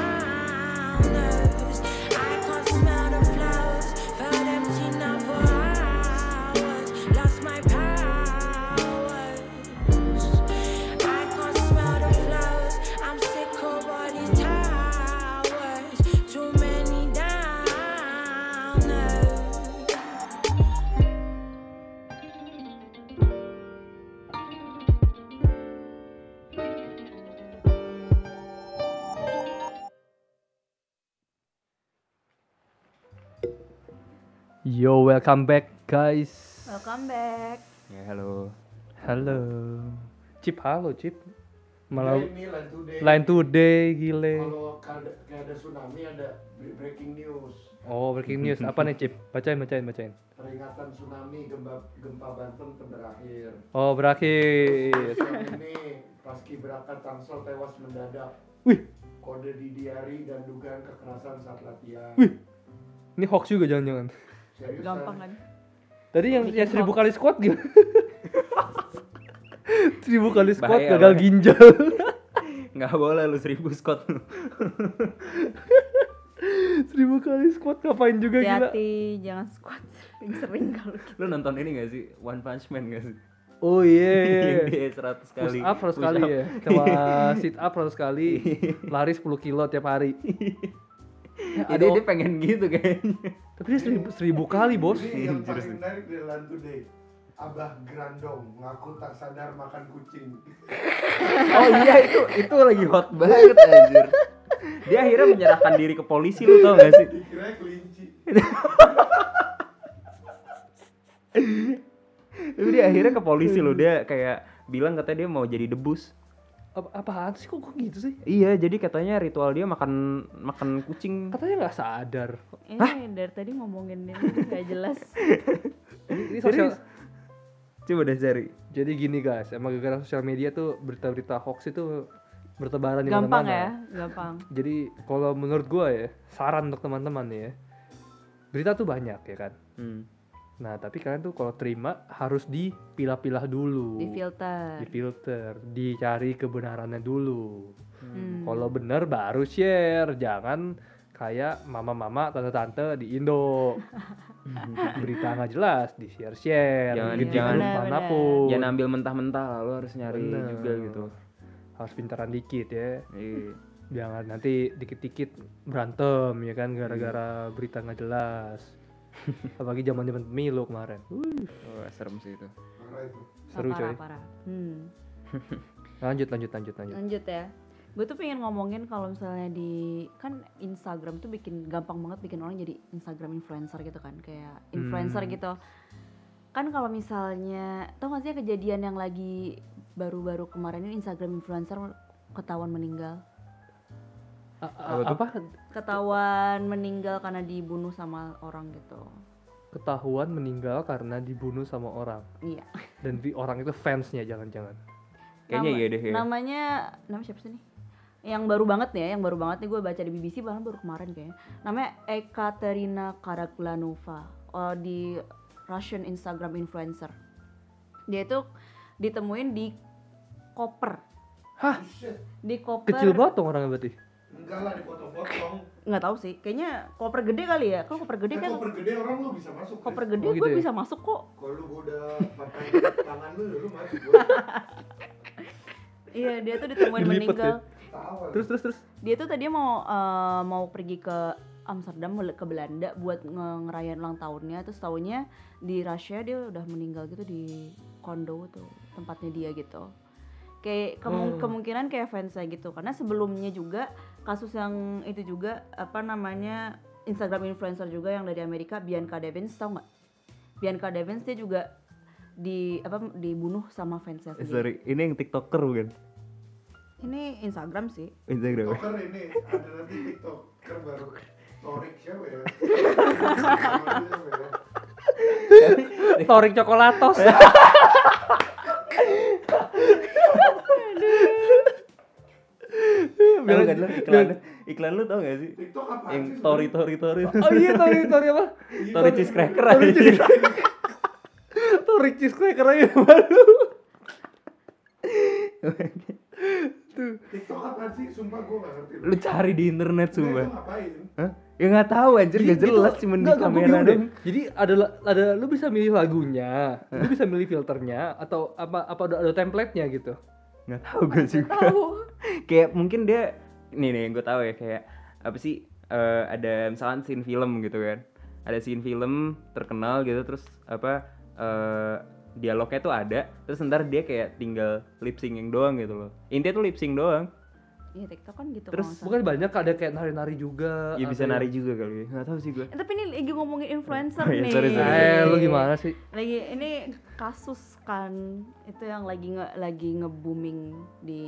S8: I can't smell the flowers. Felt empty now for hours. Lost my powers. I can't smell the flowers. I'm sick of all these towers. Too many downers.
S2: Yo, welcome back guys.
S1: Welcome back.
S3: Ya halo.
S2: Halo. Cip halo Cip. Malah
S4: Ya, ini Line Today.
S2: line today gile.
S4: Kalau kada- kayak ada tsunami ada breaking news.
S2: Oh, breaking news apa nih Cip? Bacain bacain bacain.
S4: *laughs* Peringatan tsunami gempa gempa Banten berakhir.
S2: Oh, berakhir.
S4: Siang ini paskibraka Tangsel tewas mendadak.
S2: Wih.
S4: Kode diari dan dugaan kekerasan saat latihan.
S2: Ini hoax juga jangan-jangan.
S4: Seriusan.
S1: Gampang kan?
S2: Tadi yang
S1: Bikin
S2: yang seribu
S1: hoax.
S2: kali squat
S3: *laughs*
S2: gimana? seribu kali squat
S3: Bahaya,
S2: gagal
S3: bahaya.
S2: ginjal.
S3: *laughs*
S2: *laughs*
S3: Nggak boleh lu seribu Scott lu. *laughs*
S2: seribu kali squat ngapain juga
S9: Ya, *laughs*
S2: gitu? gila.
S1: Hati-hati, jangan squat *laughs* sering-sering kalau gitu.
S3: Lu nonton ini nggak sih One Punch Man nggak sih?
S2: Oh iya.
S3: *laughs* Yang dia 100 kali.
S2: Push up 100
S3: push
S2: kali
S3: up. *laughs*
S2: ya. Sama sit up 100 kali, lari 10 kilo tiap
S3: *laughs*
S2: hari.
S3: Ya,
S2: Ada
S3: dia,
S2: o-
S3: dia pengen gitu kayaknya.
S2: Tapi dia seribu, seribu kali
S3: *laughs*
S2: bos.
S4: Ini yang paling menarik dari Line Today. Abah Grandong ngaku tak sadar makan kucing.
S3: Oh iya itu itu lagi hot banget anjir. Dia akhirnya menyerahkan diri ke polisi lu tau gak sih?
S4: Dikira
S3: *laughs*
S4: kelinci.
S3: Tapi dia akhirnya ke polisi lu dia kayak bilang katanya dia mau jadi debus.
S2: Apa- Apaan sih kok, kok gitu sih?
S3: Iya, jadi katanya ritual dia makan makan kucing.
S2: Katanya nggak sadar.
S1: Ini dari tadi
S2: *laughs*
S1: ngomongin ini nggak jelas.
S2: Ini sosial.
S3: Serius? Coba deh cari.
S2: Jadi gini guys, emang gara-gara sosial media tuh berita-berita hoax itu bertebaran di
S1: Gampang
S2: mana-mana.
S1: ya, gampang.
S2: Jadi kalau menurut gua ya, saran untuk teman-teman nih ya. Berita tuh banyak ya kan.
S3: Hmm.
S2: Nah, tapi kalian tuh kalau terima harus dipilah-pilah dulu.
S1: Di filter.
S2: Difilter, dicari kebenarannya dulu.
S1: Hmm.
S2: Kalau bener baru share, jangan kayak mama-mama, tante-tante di Indo.
S3: *laughs*
S2: Berita nggak jelas, di share-share.
S3: Jangan-
S2: Gitu
S3: jangan-
S2: kan,
S1: Benar,
S2: manapun.
S3: Jangan ambil mentah-mentah lah, lu harus nyari
S2: Bener.
S3: juga gitu.
S2: Harus pintaran dikit ya.
S3: Iya.
S2: Jangan nanti dikit-dikit berantem ya kan
S3: Iya.
S2: gara-gara berita nggak
S3: *laughs*
S2: jelas. Apalagi zaman zaman pemilu kemarin. Uh,
S3: Wah, Oh, serem sih itu.
S4: Parah itu.
S2: seru
S1: parah,
S2: coy.
S1: parah. Hmm.
S2: Lanjut lanjut lanjut lanjut.
S1: Lanjut ya. Gue tuh pengen ngomongin kalau misalnya di kan Instagram tuh bikin gampang banget bikin orang jadi Instagram influencer gitu kan, kayak influencer
S2: Hmm.
S1: gitu. Kan kalau misalnya, tau gak sih kejadian yang lagi baru-baru kemarin ini Instagram influencer ketahuan meninggal,
S2: A- a-
S3: Apa
S2: apa
S3: tuh?
S1: ketahuan meninggal karena dibunuh sama orang gitu.
S2: ketahuan meninggal karena dibunuh sama orang
S1: Iya.
S2: dan di orang itu fansnya jangan-jangan.
S3: Kayaknya
S1: Nama-
S3: iya deh ya.
S1: Namanya nama siapa sih nih? Yang baru banget nih ya, yang baru banget nih gue baca di BBC bahkan baru kemarin kayaknya. Namanya Ekaterina Karakulanova oh, di Russian Instagram influencer. Dia itu ditemuin di koper.
S2: Hah?
S1: Di koper.
S2: Kecil banget dong orangnya berarti.
S4: Enggak lah dipotong-potong.
S1: Nggak tahu sih. Kayaknya koper gede kali ya. Kalau koper gede
S4: Kan
S1: kan
S4: koper gede orang lu bisa masuk.
S1: koper
S4: Chris.
S1: gede
S2: Oh, gitu
S1: gue
S2: ya?
S1: bisa masuk kok.
S4: Kalau lu udah patahin *laughs* tangan lu, lu masuk. Gua
S1: Iya, dia tuh ditemuin
S2: Dilipet ya?
S1: meninggal.
S4: tahu.
S2: Terus terus terus.
S1: dia tuh tadi mau eh, mau pergi ke Amsterdam bel- ke Belanda buat nge- ngerayain ulang tahunnya terus tahunya di Rusia dia udah meninggal gitu di kondo tuh tempatnya dia gitu kayak kemu-
S2: Hmm.
S1: kemungkinan kayak fansnya gitu karena sebelumnya juga kasus yang itu juga apa namanya Instagram influencer juga yang dari Amerika Bianca Devins tau nggak Bianca Devins dia juga di apa dibunuh sama fansnya
S3: Eh, Sorry,
S1: sendiri
S3: ini yang TikToker bukan?
S1: ini Instagram sih
S3: Instagram.
S4: Toker ini ada nanti TikToker baru. Torik siapa ya?
S2: Torik coklatos.
S3: Tahu kan lu iklannya? Iklan lu tau gak sih?
S4: TikTok apa
S3: Yang
S4: sih?
S3: tori tori tori.
S2: *laughs* oh iya tori tori apa
S3: *laughs* Tori cheese cracker Tori aja. cheese- tori cheese cracker aja baru.
S4: TikTok apa sih? Sumpah gue gak ngerti.
S3: *laughs* Lu cari di internet
S4: Nah,
S3: sumpah.
S4: itu ngapain?
S3: Hah? Ya nggak tahu anjir gak jelas cuman di
S2: Gitu. Nggak, nggak, gua
S3: kamera
S2: bingung deh.
S3: dong.
S2: Jadi ada la- ada lu bisa milih lagunya, lu bisa milih filternya atau apa apa ada, ada template-nya gitu.
S3: nggak tahu gue juga *laughs* kayak mungkin dia nih nih yang gue tahu ya kayak apa sih eh, ada misalkan scene film gitu kan ada scene film terkenal gitu terus apa eh, dialognya tuh ada terus ntar dia kayak tinggal lip syncing doang gitu loh intinya tuh lip sync doang
S1: Iya TikTok kan
S3: Terus
S1: gitu kalau nggak salah.
S2: Bukan banyak ada kayak nari-nari juga.
S3: ya bisa
S2: ada- Iya.
S3: nari juga kali ya. nggak tahu sih gue
S1: Eh, tapi ini lagi ngomongin influencer
S3: Oh iya,
S1: nih.
S3: sorry, sorry.
S2: Eh, lu gimana sih?
S1: Lagi ini kasus kan itu yang lagi nge lagi nge booming di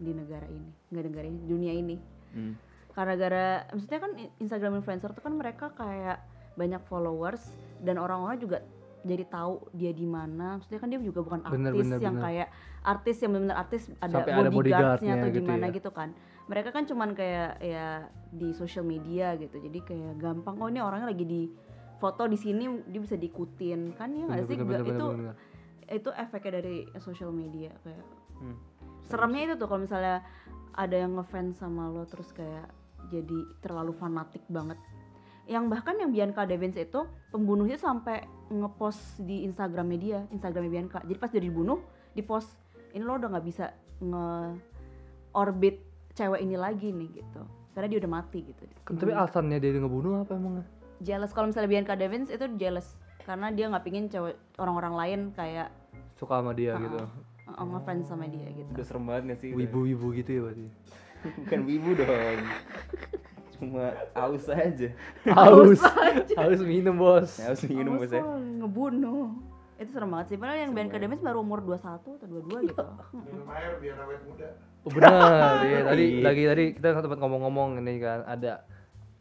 S1: di negara ini, nggak negara ini, dunia ini.
S3: Hmm.
S1: Karena gara maksudnya kan i- Instagram influencer tuh kan mereka kayak banyak followers dan orang-orang juga jadi tahu dia di mana. Maksudnya kan dia juga bukan artis
S2: Bener, bener,
S1: yang
S2: bener.
S1: kayak artis yang benar-benar artis ada
S2: Sampai ada
S1: bodyguardnya atau
S2: bodyguardnya gitu
S1: gimana
S2: ya.
S1: gitu kan. Mereka kan cuman kayak ya di social media gitu. Jadi kayak gampang kok ini orangnya lagi di foto di sini dia bisa diikutin kan
S5: Iya,
S1: ya nggak sih
S2: Bener, bener,
S1: Gua- itu
S2: bener, bener.
S1: itu efeknya dari social media kayak
S2: Hmm.
S1: seremnya itu tuh kalau misalnya ada yang ngefans sama lo terus kayak jadi terlalu fanatik banget yang bahkan yang Bianca Devens itu pembunuhnya sampai ngepost di Instagramnya dia Instagramnya Bianca jadi pas dia dibunuh di post ini lo udah nggak bisa nge orbit cewek ini lagi nih gitu karena dia udah mati gitu
S2: Kan Tapi alasannya dia ngebunuh apa emangnya?
S1: jealous kalau misalnya Bianca Devins itu jealous karena dia nggak pingin cewek orang-orang lain kayak
S2: Suka sama dia gitu.
S1: uh, uh, ngefans sama dia gitu
S3: udah serem banget gak sih
S2: Wibu-wibu gitu ya berarti.
S3: *laughs* bukan wibu dong cuma aus aja
S2: Haus. Haus minum, Bos.
S3: aus minum
S1: Awas
S3: bos ya
S1: lo, ngebunuh itu serem banget sih padahal yang
S3: Serem
S1: Bianca
S3: banget.
S1: Devins baru umur 21 atau
S2: Iya.
S1: 22 gitu
S4: Minum air biar awet muda.
S2: Oh,
S4: *laughs*
S2: benar iya tadi
S3: Iya.
S2: lagi tadi kita sempat ngomong-ngomong ini kan ada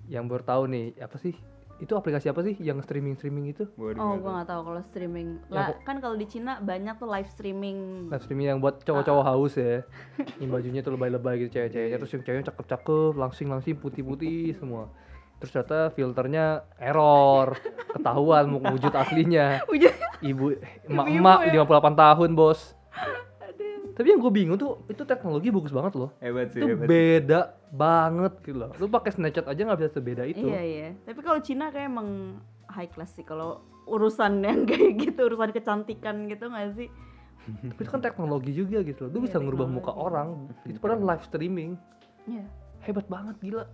S2: yang baru tahu nih apa sih itu aplikasi apa sih yang streaming streaming itu
S3: Waduh,
S1: oh
S3: nggak
S1: gue
S3: tahu.
S1: nggak tahu kalau streaming
S2: Ya,
S1: lah
S2: kok-
S1: kan kalau di Cina banyak tuh live streaming
S2: live streaming yang buat
S1: Ah.
S2: cowok-cowok haus ya
S1: *laughs*
S2: yang bajunya tuh lebay-lebay gitu
S1: Iya,
S2: cewek-ceweknya terus yang ceweknya cakep-cakep langsing-langsing putih-putih semua terus ternyata filternya
S1: *laughs*
S2: error ketahuan mau wujud aslinya
S1: Wujud- ya.
S2: ibu emak-emak 58 tahun bos tapi yang gue bingung tuh itu teknologi bagus banget loh
S3: hebat sih
S2: itu
S3: hebat sih.
S2: beda banget gitu loh lu pakai Snapchat aja nggak bisa sebeda itu
S1: iya iya tapi kalau Cina kayak emang high class sih kalau urusan *laughs* yang kayak gitu urusan kecantikan gitu nggak sih
S2: tapi itu kan teknologi juga gitu loh lu
S1: Iya,
S2: bisa ngerubah muka
S1: teknologi.
S2: orang itu padahal live streaming
S1: Iya.
S2: hebat banget gila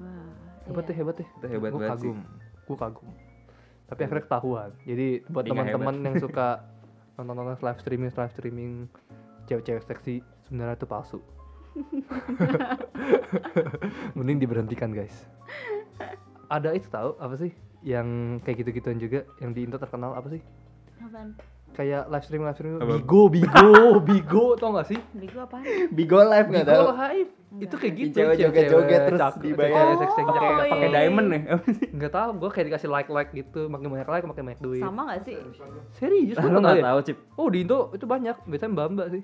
S1: Wah,
S2: hebat ya,
S1: iya.
S2: deh hebat deh
S3: itu hebat
S2: Gua
S3: banget sih
S2: kagum gue kagum tapi akhirnya ketahuan jadi buat
S3: Jadi nggak
S2: teman-teman
S3: *laughs*
S2: yang suka nonton nonton live streaming live streaming cewek-cewek seksi sebenarnya itu palsu
S3: *laughs*
S2: mending diberhentikan guys ada itu tahu apa sih yang kayak gitu-gituan juga yang di Indo terkenal apa sih
S1: Apaan?
S2: kayak live streaming live streaming
S3: Apa?
S2: bigo bigo bigo tau gak sih
S1: Bego apaan?
S3: bigo live nggak tahu
S1: Oh,
S2: bigo live itu kayak
S3: Yang
S2: gitu
S3: cewek joget-joget terus
S2: cakep,
S3: dibayar.
S2: cewek seksi
S1: Oh,
S2: cakep.
S1: iya.
S3: pakai diamond nih
S2: nggak tahu gue kayak dikasih like like gitu makin banyak like makin banyak duit
S1: sama nggak sih Iya,
S2: serius lu
S3: lu
S2: nggak
S3: nggak
S2: tahu ya?
S3: tahu cip
S2: oh di Indo itu banyak biasanya mbak mbak sih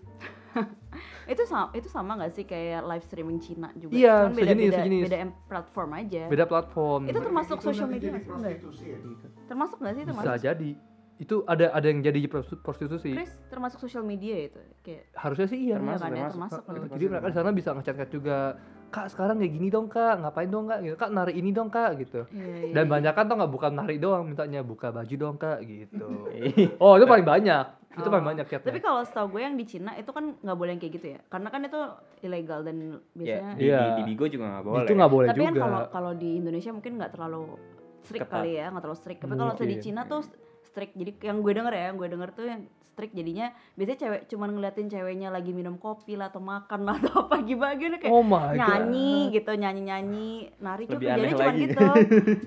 S1: itu sama itu sama nggak sih kayak live streaming Cina juga
S2: Iya,
S1: cuman beda
S2: sejenis,
S1: beda
S2: sejenis.
S1: beda em- platform aja
S2: beda platform
S1: itu termasuk
S4: Itu
S1: social
S4: nanti
S1: media
S4: jadi
S1: nggak sih? Nggak ya?
S4: prostitusi ya?
S1: termasuk nggak sih
S2: bisa
S1: termasuk
S2: jadi itu ada ada yang jadi prostitu- prostitusi
S1: Chris termasuk social media ya itu kayak
S2: harusnya sih iya
S1: Termasuk,
S2: Heeh,
S1: ya, termasuk.
S2: heeh, jadi mereka di sana bisa ngechat chat juga kak sekarang kayak gini dong kak ngapain dong kak gitu kak nari ini dong kak gitu
S1: iya, iya,
S2: dan
S1: iya.
S2: banyak kan tau nggak bukan nari doang mintanya buka baju dong kak gitu
S3: Ih,
S2: oh itu paling banyak itu
S1: Oh.
S2: paling banyak chatnya
S1: tapi kalau setahu gue yang di Cina itu kan nggak boleh yang kayak gitu ya karena kan itu ilegal dan
S3: ya
S1: biasanya
S3: di,
S2: Iya.
S3: di, di bigo juga nggak boleh
S2: itu nggak boleh
S1: tapi kan
S2: juga
S1: kalau kalau di Indonesia mungkin nggak terlalu strict
S3: Ketat.
S1: kali ya nggak terlalu strict tapi kalau misalnya di
S2: Mungkin.
S1: Cina tuh strict jadi yang gue denger ya yang gue denger tuh yang strict jadinya biasanya cewek cuman ngeliatin ceweknya lagi minum kopi lah atau makan lah atau apa gimana gitu kayak
S2: oh my god
S1: nyanyi gitu nyanyi nyanyi nari juga
S3: Lebih aneh
S1: jadi cuman
S3: lagi.
S1: gitu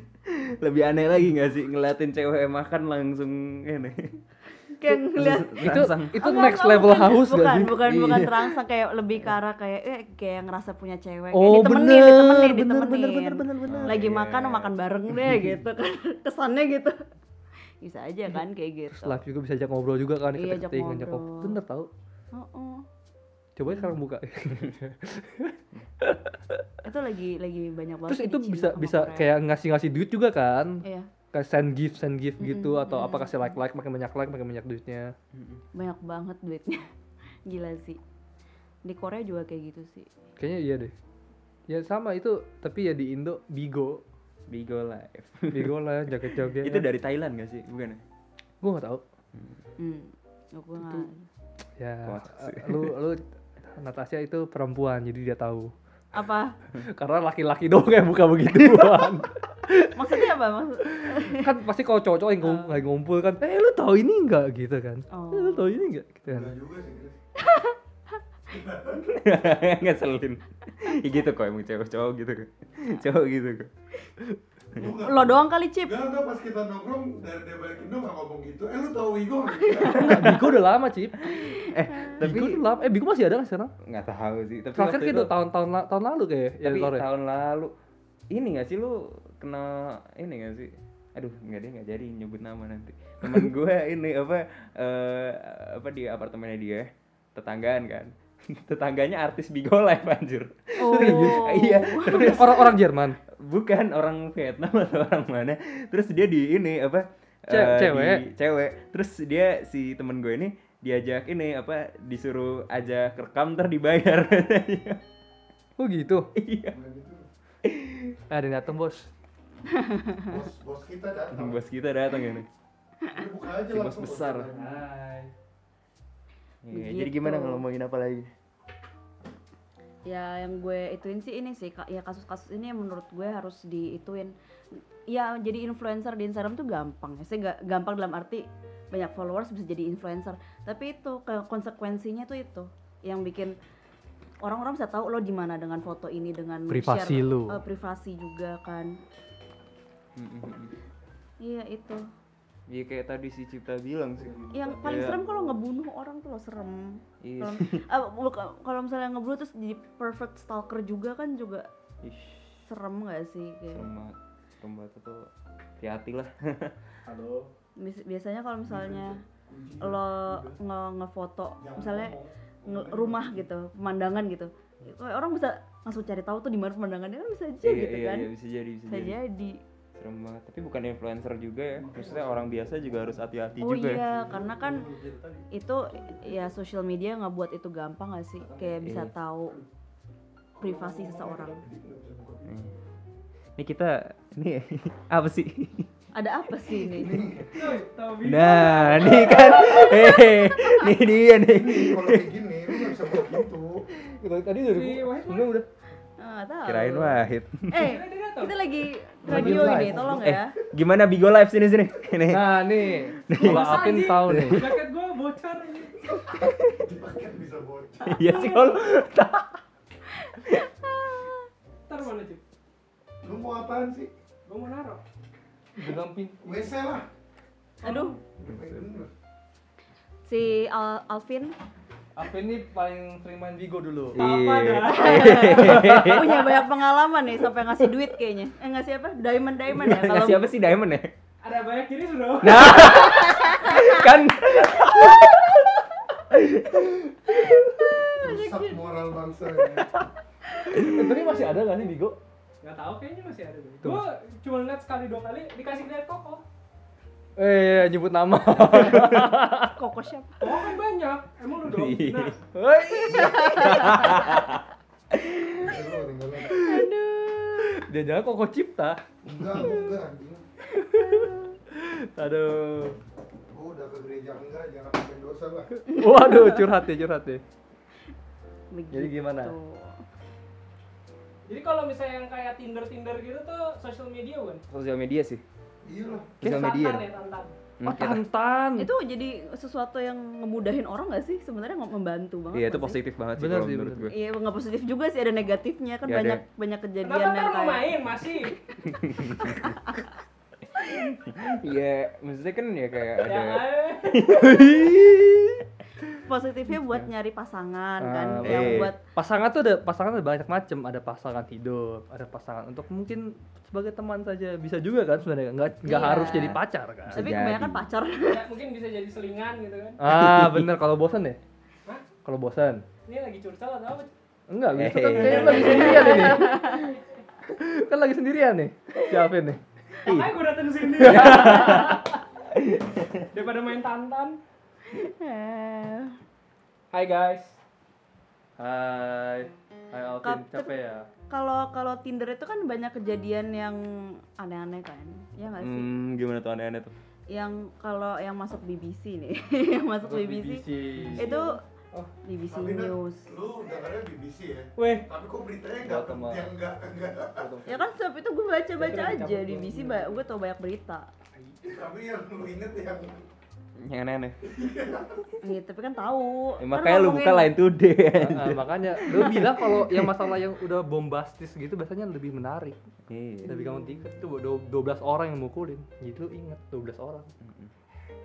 S3: *laughs* lebih aneh lagi nggak sih ngeliatin cewek makan langsung ini *laughs*
S1: kayak ngeliat
S2: itu
S3: Rangsang.
S2: itu
S1: Enggak,
S2: next
S1: enggak,
S2: level
S1: bukan.
S2: haus
S1: bukan,
S2: gak sih?
S1: bukan bukan
S2: Iya.
S1: terangsang kayak lebih ke arah kayak eh kayak ngerasa punya cewek kayak
S2: Oh
S1: ditemenin
S2: bener,
S1: ditemenin
S2: bener,
S1: ditemenin
S2: bener, bener, bener, bener.
S1: lagi
S3: Iya.
S1: makan makan bareng
S2: *laughs*
S1: deh gitu kan kesannya gitu bisa aja kan kayak gitu
S2: Terus live juga bisa ajak ngobrol juga kan
S1: Iya,
S2: kita
S1: ajak
S2: chatting, ajak
S1: ngobrol.
S2: ngobrol. Bener tau.
S1: Oh, oh.
S2: coba sekarang
S1: *laughs*
S2: buka
S1: itu lagi lagi banyak banget
S2: terus itu
S1: dicinta
S2: bisa
S1: sama
S2: bisa
S1: Korea.
S2: kayak ngasih ngasih duit juga kan
S1: iya
S2: kayak send gift send gift gitu
S1: Mm-mm,
S2: atau apa
S1: mm-mm.
S2: kasih like like makin banyak like makin banyak duitnya
S1: banyak banget duitnya *laughs* gila sih di Korea juga kayak gitu sih
S2: kayaknya iya deh ya sama itu tapi ya di Indo bigo
S3: Bigo Live.
S2: bigo lah joget joget
S3: Itu dari Thailand gak sih? Bukan ya?
S2: gue nggak tahu
S1: hmm. Aku nggak
S2: ya
S3: Kocak Oh, sih.
S2: lu
S3: *laughs*
S2: lu Natasha itu perempuan jadi dia tahu *laughs*
S1: apa
S2: karena laki-laki doang yang buka
S3: *laughs*
S2: begituan
S1: maksudnya apa maksud
S2: kan pasti kalau cowok-cowok yang ngum- lagi ngumpul kan eh lu tahu ini enggak gitu kan
S1: Oh.
S2: eh, lu tahu ini enggak gitu kan
S4: Enggak juga sih, Chris.
S3: Ngeselin. ya gitu kok emang cowok cowok gitu kok. Cowok gitu kok.
S4: Lu nggak-
S1: lo doang kali cip
S4: Enggak, enggak, pas kita nongkrong dari dia balik Indo nggak ngomong gitu. Eh lu tahu Wigo?
S2: Enggak, Bigo udah lama cip
S3: Eh, tapi
S2: Bigo udah lama eh Bigo masih ada nggak sekarang
S3: nggak tahu sih. Tapi
S2: terakhir
S3: waktu
S2: kayak udah tahun-tahun la- tahun lalu kayak ya,
S3: Tapi
S2: Lor, ya?
S3: tahun lalu ini nggak sih lu kena ini nggak sih? Aduh, nggak deh nggak jadi nyebut nama nanti.
S2: *laughs*
S3: Temen gue ini apa eh, apa di apartemennya dia tetanggaan kan. *laughs* Tetangganya artis Bigo Live *laughs* anjir.
S1: Oh.
S3: iya, terus
S2: orang-orang Jerman
S3: bukan orang Vietnam atau orang mana terus dia di ini apa
S2: Ce-
S3: eh, di-
S2: cewek.
S3: cewek terus dia si temen gue ini diajak ini apa disuruh ajak rekam ntar dibayar *laughs*
S2: oh gitu
S3: iya
S2: eh ada yang dateng bos
S4: Bos, bos kita datang.
S3: bos kita datang ini
S4: Lu Buka aja
S3: Si bos
S4: langsung,
S3: besar.
S4: kita.
S3: Iya, jadi gimana
S1: Begitu.
S3: ngomongin apa lagi
S1: ya yang gue ituin sih ini sih Kak. ya kasus-kasus ini yang menurut gue harus diituin ya jadi influencer di Instagram tuh gampang ya saya ga- gampang dalam arti banyak followers bisa jadi influencer tapi itu ke- konsekuensinya tuh itu yang bikin orang-orang bisa tahu lo di mana dengan foto ini dengan
S2: Privasi
S1: share,
S2: lo.
S1: eh, privasi juga kan iya itu
S3: Iya kayak tadi si Cipta bilang sih Iya.
S1: yang paling
S3: Kayak-
S1: serem kalau ngebunuh orang tuh lo serem
S3: Iya. *laughs*
S1: Kalau- ah, buka- kalau misalnya ngebunuh terus jadi perfect stalker juga kan juga
S3: Ish,
S1: serem gak sih kayak
S3: serem banget serem banget itu hati-hati lah
S9: Halo.
S1: Bis- biasanya kalau misalnya lo nge ngefoto misalnya nge- rumah gitu pemandangan gitu orang bisa langsung cari tahu tuh di mana pemandangannya kan bisa aja
S3: iya
S1: gitu
S3: iya,
S1: kan
S3: iya bisa jadi bisa,
S1: bisa
S3: jadi.
S1: jadi
S3: serem banget tapi bukan influencer juga ya maksudnya orang biasa juga harus hati-hati
S1: oh
S3: juga ya.
S1: iya karena kan itu ya social media nggak buat itu gampang gak sih kayak bisa
S3: Iya.
S1: tahu privasi seseorang
S3: Ini kita ini *laughs* apa sih?
S1: ada apa sih
S4: *laughs*
S1: ini Iya.
S3: Nah, ini kan eh ini dia nih.
S4: Kalau kayak gini, lu nggak bisa buat gitu.
S2: tadi udah udah udah
S1: Ah, nggak tahu
S3: Kirain Wahid.
S1: eh kita lagi radio ini tolong
S3: Eh,
S1: ya
S3: gimana Bigo Live sini sini? Ini.
S2: nah nih kalau Apin tahu nih
S4: Dipaket bisa bocor.
S3: Iya sih kalau
S4: Lu mau apaan sih?
S9: Bilang pin.
S4: WC lah.
S1: aduh si Al- Alvin
S9: Apa ini paling sering main Bigo dulu?
S2: Iya.
S3: *laughs*
S1: punya banyak pengalaman nih sampai ngasih duit kayaknya eh ngasih apa diamond diamond ya kalau
S3: Ngasih apa sih Diamond ya? Nah.
S2: ada banyak kiri
S3: *laughs*
S2: sudah
S1: *laughs*
S3: Kan
S4: Rusak moral bangsa ya. ini.
S2: Eh, tapi masih ada nggak sih Bigo
S10: Gak tau Oh, kayaknya masih ada deh. Gue cuma liat sekali dua kali dikasih lihat koko.
S2: eh nyebut nama
S1: *laughs*
S3: Iya.
S2: *laughs*
S1: koko siapa Iya.
S10: Koko kan banyak. Emang lu dong. Nah,
S4: Aduh, tinggalin.
S2: dia jangan koko cipta
S4: Enggak, gua enggak anjing.
S2: aduh
S4: Gua Oh, udah ke gereja enggak, jangan bikin dosa lah.
S2: *laughs* waduh curhat ya curhat ya
S1: begitu
S2: jadi gimana
S10: *laughs* jadi kalau misalnya yang kayak Tinder Tinder gitu tuh social media bukan?
S3: sosial media sih.
S4: Iya lah.
S3: Sosial
S10: Tantan
S3: media. Hmm.
S10: ya tantan.
S2: oh tantan
S1: itu jadi sesuatu yang ngemudahin orang gak sih sebenarnya nggak membantu banget
S3: Iya, itu
S1: nggak sih?
S3: positif banget sih
S2: Bener
S3: kalau
S2: sih,
S3: menurut
S2: bener.
S3: gue.
S1: iya nggak positif juga sih ada negatifnya kan
S3: Iya, ada.
S1: banyak banyak kejadian
S10: Kenapa ntar mau
S1: yang kayak *laughs*
S10: main masih?
S3: Iya, maksudnya kan ya kayak ada
S10: ya eh.
S3: Gitu.
S1: positifnya buat nyari pasangan kan
S2: Ah,
S1: yang
S3: eh.
S1: buat
S2: pasangan tuh ada pasangan ada banyak macam ada pasangan hidup ada pasangan untuk mungkin sebagai teman saja bisa juga kan sebenarnya nggak nggak
S1: Iya.
S2: harus jadi pacar kan
S1: tapi
S3: jadi.
S1: kebanyakan pacar
S10: Ya, mungkin bisa jadi selingan gitu kan.
S2: ah bener kalau Ah, bosan ya
S10: Hah?
S2: kalau bosan
S10: Ini lagi curcol atau apa?
S2: enggak gitu kan kayaknya lagi sendirian ini kan lagi sendirian nih siapa nih
S10: Makanya gue datang sini. Daripada main tantan.
S1: Eh,
S10: Hai guys.
S2: hai hai Alvin
S1: Kap-
S2: capek ya
S1: Kalau kalau Tinder itu kan banyak kejadian yang aneh-aneh kan, ya nggak sih?
S3: Hmm, gimana tuh aneh-aneh tuh?
S1: Yang kalau yang masuk BBC nih, *laughs* yang masuk BBC, itu
S9: Oh.
S1: BBC
S4: Tapi Nat,
S1: News.
S4: Lu dengarnya BBC ya?
S10: Weh,
S4: Tapi kok beritanya nggak
S2: Bottom up.
S4: yang nggak nggak.
S1: Ya kan sebab itu gue baca-baca
S9: Itu udah
S1: aja
S9: dicabut
S1: di
S9: dulu.
S1: BBC, ba- gue tau banyak berita.
S4: Tapi yang lu inget yang
S3: Yang aneh-aneh.
S1: Iya, tapi kan tahu.
S3: Ya,
S1: Kan
S3: makanya lu buka
S1: ngomongin-
S3: lain tuh
S1: *laughs*
S3: deh.
S2: Ah, ah, makanya lu
S3: Iya.
S2: bilang kalau yang masalah yang udah bombastis gitu biasanya lebih menarik
S3: Iya.
S2: lebih kamu tiket tuh do- 12 orang yang mukulin gitu inget 12 orang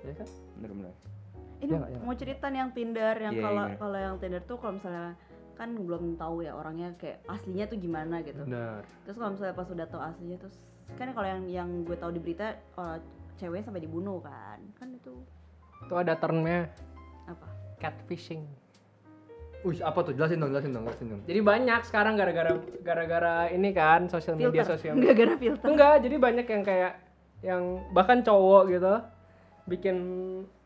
S2: ya kan
S3: Bener-bener.
S1: Ini
S2: Ya nggak, ya nggak?
S1: mau cerita nih yang Tinder, yang
S3: Iya,
S1: kalau
S3: gimana?
S1: kalau yang Tinder tuh kalau misalnya kan belum tahu ya orangnya kayak aslinya tuh gimana gitu.
S2: benar
S1: Terus kalau misalnya pas udah tahu aslinya terus kan kalau yang yang gue tahu di berita eh, cewek sampai dibunuh kan. Kan itu
S9: Itu ada termnya
S1: apa?
S9: catfishing.
S2: Wih, apa tuh? Jelasin dong, jelasin dong, jelasin dong.
S10: jadi banyak sekarang gara-gara gara-gara ini kan sosial media
S1: Filter.
S10: sosial media.
S1: Enggak gara filter.
S10: Enggak, jadi banyak yang kayak yang bahkan cowok gitu bikin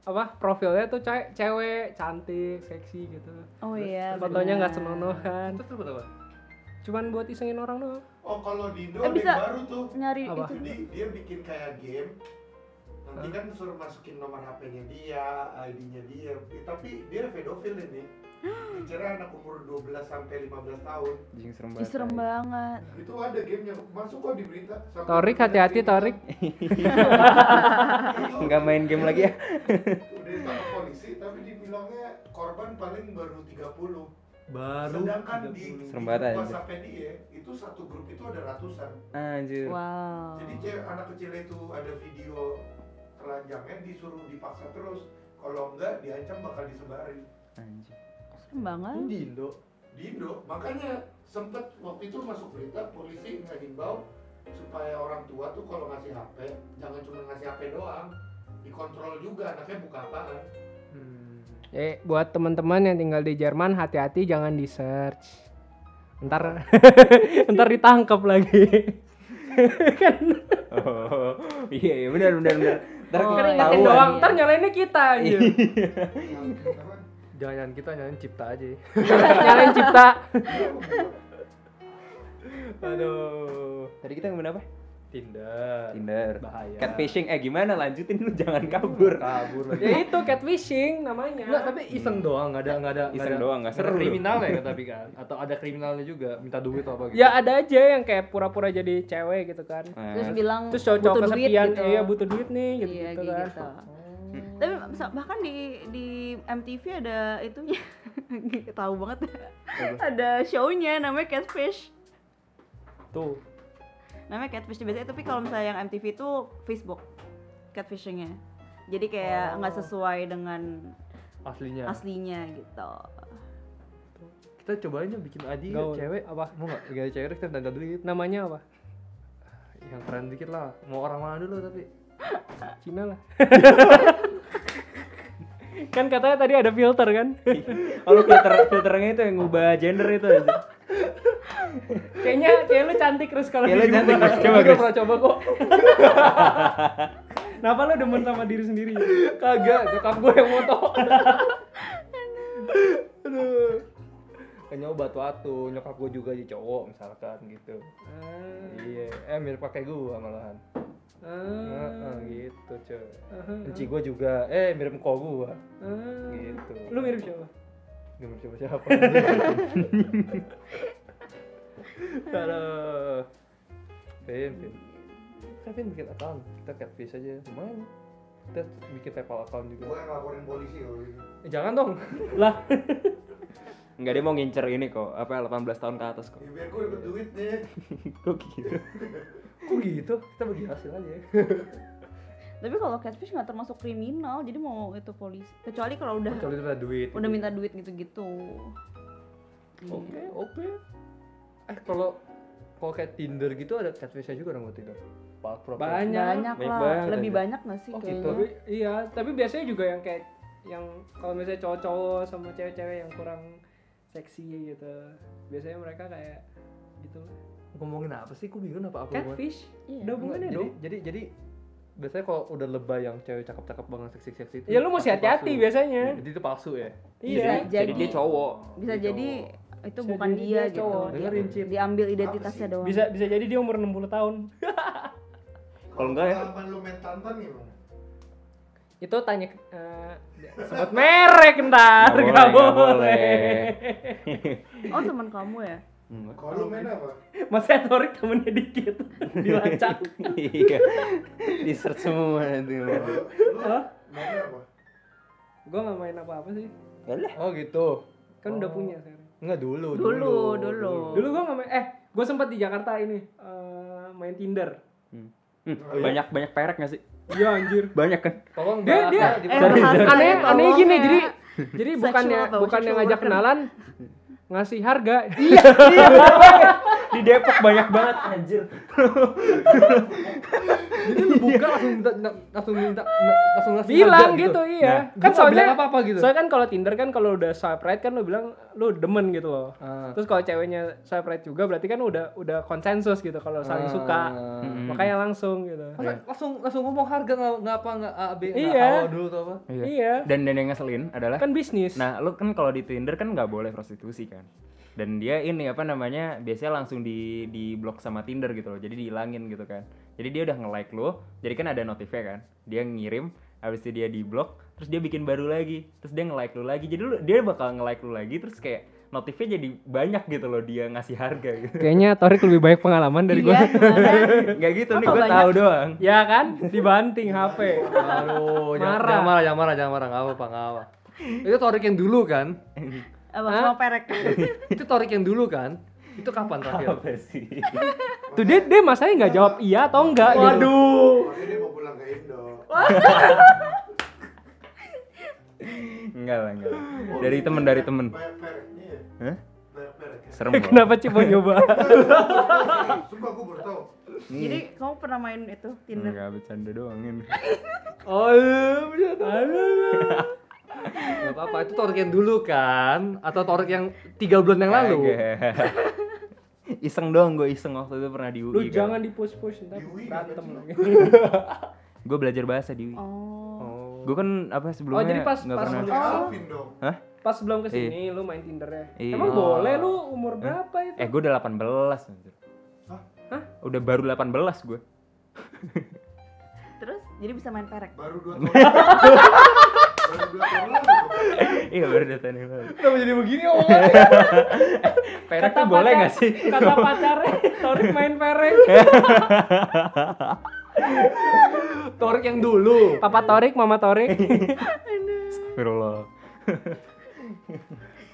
S10: apa profilnya tuh ce- cewek cantik seksi gitu
S1: Oh iya.
S10: fotonya nggak
S1: benar.
S10: senonohan
S2: Terus buat apa?
S10: cuman buat isengin orang doang
S4: oh kalau di Indo
S1: Eh,
S4: ada
S1: bisa.
S4: yang baru tuh.
S2: Iya,
S1: Nyari
S10: Apa?
S1: itu
S4: Jadi dia bikin kayak game. Nanti kan suruh masukin nomor HP-nya dia, ID-nya dia. Eh, Tapi dia pedofil
S1: *gasps*
S4: ini. Bicara anak umur 12 sampai 15 tahun.
S3: Jing serem
S2: iya.
S1: Ih,
S3: banget.
S1: serem banget.
S4: Itu ada gamenya masuk kok di berita. Sampai
S10: Torik
S4: berita gitu.
S10: hati-hati
S4: kriminal.
S3: *laughs*
S10: Torik
S4: Itu
S3: Enggak main game lagi ya.
S4: Udah ditangkap polisi tapi dibilangnya korban paling baru 30.
S2: Baru
S4: Sedangkan di, di
S3: Serem banget
S4: grup
S3: aja.
S4: WhatsApp dia itu satu grup itu ada ratusan.
S3: Anjir.
S1: Wow.
S4: Jadi cewek anak kecil itu ada video telanjangnya disuruh dipaksa terus. Kalau enggak diancam bakal disebarin.
S3: Anjir.
S1: Serem banget.
S2: Ini di Indo.
S4: Di Indo, makanya sempet waktu itu masuk berita polisi nggak himbau supaya orang tua tuh kalau ngasih HP jangan cuma ngasih HP doang dikontrol juga anaknya buka apaan
S10: eh buat teman-teman yang tinggal di Jerman hati-hati jangan di search ntar *laughs* ntar ditangkap lagi *laughs* kan
S3: *laughs* Oh, iya iya benar benar benar. Ntar
S10: kan
S1: Oh, iya.
S10: ingetin
S3: ketahuan.
S10: doang ntar nyalainnya kita
S3: *laughs*
S10: aja
S4: Yang- apa?
S2: Jangan kita nyanyi cipta aja. ya.
S10: nyalain cipta
S2: *laughs* Aduh.
S3: Tadi kita ngomongin apa?
S2: Tinder.
S3: Tinder.
S2: Bahaya.
S3: Catfishing eh gimana lanjutin lu jangan kabur.
S2: Kabur lagi.
S10: ya itu catfishing namanya
S2: Nggak, tapi iseng doang, nggak ada nggak ada
S3: Iseng doang, nggak
S2: seru.
S3: seru.
S2: Kriminalnya
S3: *laughs*
S2: kan tapi kan atau ada kriminalnya juga, minta duit atau apa gitu.
S10: ya ada aja yang kayak pura-pura jadi cewek gitu kan
S1: Terus
S3: Nah,
S1: bilang
S10: terus cowok-cowok
S1: butuh duit
S10: kesepian
S1: gitu.
S10: iya butuh duit nih gitu,
S1: iya
S10: gitu
S1: kayak
S10: kan
S1: gitu. Tapi bisa- bahkan di di MTV ada itunya *laughs* tahu banget ada show-nya namanya Catfish.
S10: tuh
S1: Namanya Catfish biasanya tapi kalau misalnya yang MTV itu Facebook catfishingnya. Jadi kayak nggak sesuai dengan
S2: Aslinya.
S1: aslinya gitu.
S2: Kita cobain yuk bikin aja
S10: Gaul.
S2: cewek apa? Mau nggak? Gak ada cewek terus kita minta duit.
S10: namanya apa
S2: Yang keren dikit lah. Mau orang mana dulu tapi.
S10: Cina
S2: *laughs*
S10: lah kan katanya tadi ada filter kan
S3: *laughs* oh lu filter filternya itu yang ngubah gender itu aja.
S10: kayaknya kayak lu cantik terus kalau
S3: Kayak lu
S10: dicoba.
S3: cantik, Mas.
S10: Lu
S3: Coba,
S10: udah
S3: Chris.
S10: pernah coba kok kenapa lu demen sama diri sendiri kagak nyokap gue yang foto
S2: Kayak nyoba tuh atuh, nyokap gue juga jadi cowok misalkan gitu.
S10: Ah.
S2: Iya, eh mirip pakai gue malahan.
S10: Ah.
S2: Heeh, gitu cuy. Enci gue juga, eh mirip kok gue. Gitu.
S10: Ah. lu mirip siapa
S2: Gak mirip siapa siapa.
S10: *laughs*
S2: *laughs* Halo. Vin, Vin. Kita Vin bikin account, kita catfish aja lumayan. Kita bikin PayPal account juga.
S4: Gua yang laporin polisi kalau gitu.
S2: Eh, jangan dong.
S10: lah
S3: Enggak dia mau ngincer ini kok, apa 18 tahun ke atas kok.
S4: *laughs* Ya, biar gua dapet duit
S2: *laughs*
S4: nih.
S3: Kok
S4: *laughs*
S3: gitu.
S2: Kok gitu? Kita bagi hasil aja.
S1: Tapi kalau catfish nggak termasuk kriminal, jadi mau itu polisi. Kecuali kalau udah
S2: Kecuali itu ada duit. gitu ya.
S1: udah minta duit gitu-gitu.
S2: Oke,
S1: Iya.
S2: oke. Eh, kalau kalau kayak Tinder gitu ada catfish juga dong buat Tinder. Pak Pro.
S10: banyak
S1: Banyak,
S3: Banyak
S1: lah,
S3: banget
S1: lebih
S3: aja.
S1: banyak nggak sih
S2: Oh, gitu.
S1: kayaknya?
S10: tapi iya tapi biasanya juga yang kayak yang kalau misalnya cowok-cowok sama cewek-cewek yang kurang seksi gitu biasanya mereka kayak gitu lah.
S2: ngomongin apa sih gue bingung apa apa
S10: catfish
S1: Iya.
S10: ada hubungannya
S2: jadi,
S10: dong
S2: jadi jadi biasanya kalau udah lebay yang cewek cakep-cakep banget seksi-seksi itu
S10: ya lu mesti
S2: pasti
S10: hati-hati
S2: palsu.
S10: biasanya
S2: Ya, jadi itu palsu ya
S1: Bisa
S10: iya
S1: jadi,
S3: dia
S1: *laughs*
S3: cowok
S1: bisa
S2: Dia
S1: jadi itu
S10: Bisa
S1: bukan
S10: jadi
S1: dia,
S10: dia
S1: gitu.
S10: cowok.
S1: Dia-
S2: dengerin cip
S1: Diambil identitasnya doang.
S10: bisa bisa jadi dia umur 60 tahun
S3: Kalau enggak ya-
S4: Pengalaman lu main tantan gimana?
S10: itu tanya ke- eh, sebut merek ntar
S3: Nggak
S10: nggak
S3: boleh, nggak
S10: boleh
S1: Oh, teman kamu ya?
S3: Enggak.
S4: Kalau lu main apa?
S10: masnya Torik temennya
S3: *laughs*
S10: dikit dilacak
S3: iya di search semua nanti
S4: Kalau
S3: lu.
S1: Ya
S4: lu
S10: Hah?
S4: main apa?
S10: gue nggak main apa-apa sih
S2: oh gitu
S10: kan udah punya sekarang
S2: Enggak dulu
S1: Dulu, dulu.
S10: dulu gue nggak main eh gue sempat di Jakarta ini eh, main Tinder
S3: Hmm, banyak banyak perek nggak sih
S10: iya anjir
S3: banyak kan
S2: tolong bahas
S10: dia dia
S2: ya, di-
S1: Eh,
S10: aneh
S1: bahasa
S10: aneh
S1: ya,
S10: aneh
S1: tolong
S10: gini
S1: ya.
S10: jadi jadi
S1: Sexual
S10: bukannya
S1: apa?
S10: bukannya
S1: Sexual
S10: ngajak
S1: worker.
S10: kenalan ngasih harga
S1: Iya,
S10: *laughs*
S3: di Depok banyak banget anjir
S2: jadi lu buka langsung minta langsung minta langsung ngasih
S10: bilang
S2: harga
S10: gitu, iya
S2: Nah,
S10: kan
S2: gua nggak
S10: soalnya
S2: bilang apa-apa gitu.
S10: soalnya kan kalau Tinder kan kalau udah swipe right kan lo bilang lo demen gitu loh
S2: Ah.
S10: terus kalau ceweknya swipe right juga berarti kan udah udah konsensus gitu kalau saling suka
S2: Ah. Iya,
S10: makanya langsung gitu
S2: Masa langsung langsung ngomong harga nggak nggak apa nggak A B nggak
S10: Iya.
S2: awal dulu atau apa
S3: iya.
S10: Iya.
S3: dan dan yang ngeselin adalah
S10: kan bisnis
S3: nah lu kan kalau di Tinder kan nggak boleh prostitusi kan dan dia ini apa namanya biasanya langsung di di blok sama Tinder gitu loh jadi dihilangin gitu kan jadi dia udah nge like lo jadi kan ada notifnya kan dia ngirim habis itu dia di blok terus dia bikin baru lagi terus dia nge like lo lagi jadi lu, dia bakal nge like lo lagi terus kayak notifnya jadi banyak gitu loh dia ngasih harga gitu
S10: kayaknya Torik lebih banyak pengalaman dari
S1: Iya, gimana?
S3: *laughs* nggak gitu nih
S1: Apa
S3: gue
S1: banyak?
S3: tahu doang
S10: ya kan dibanting HP
S2: aduh jangan,
S10: Marah.
S2: jangan marah jangan marah jangan marah nggak apa apa nggak apa itu Torik yang dulu kan
S1: Abang sama perek.
S2: itu Torik yang dulu kan itu kapan terakhir
S3: apa sih
S10: tuh dia dia masanya nggak jawab iya atau enggak gitu
S4: Makanya Oh, dia mau pulang ke Indo.
S3: enggak lah enggak lah. dari temen dari temen
S4: Banyak mereknya ya?
S3: Hah?
S4: Banyak mereknya.
S3: *laughs* serem banget
S10: kenapa sih mau nyoba
S4: Sumpah gue baru tau.
S1: Jadi kamu pernah main itu Tinder?
S3: Hmm. enggak bercanda doang ini
S2: oh iya nggak apa apa itu Torik yang dulu kan atau Torik yang tiga bulan yang lalu
S3: Kagak.
S2: *laughs*
S3: iseng doang gue iseng waktu itu pernah di UI
S10: lu jangan di push push ntar
S4: Di UI
S10: berantem Oh,
S4: ngapain
S10: lagi *laughs*
S3: gue belajar bahasa di UI
S1: Oh.
S3: gue kan apa sebelumnya
S10: Oh, jadi pas-
S3: nggak
S10: pas
S3: pernah
S4: Kayak Alvin dong.
S10: pas belum kesini lu main Tindernya
S3: Iya.
S10: emang boleh lu umur berapa itu
S3: eh *laughs* gue udah 18 anjir.
S4: Hah?
S10: Hah?
S3: udah baru 18 gue
S1: Terus jadi bisa main perek.
S4: Baru 2 tahun. Baru 2 tahun lalu. kok.
S3: *laughs* iya baru datang yang lalu
S2: kenapa jadi begini
S3: *laughs*
S2: omongannya
S3: perek tuh boleh
S10: pacar-
S3: nggak sih
S10: kata pacarnya Torik main perek
S2: Torik yang dulu
S10: papa Torik mama *laughs* Torik
S3: *laughs* Astagfirullah.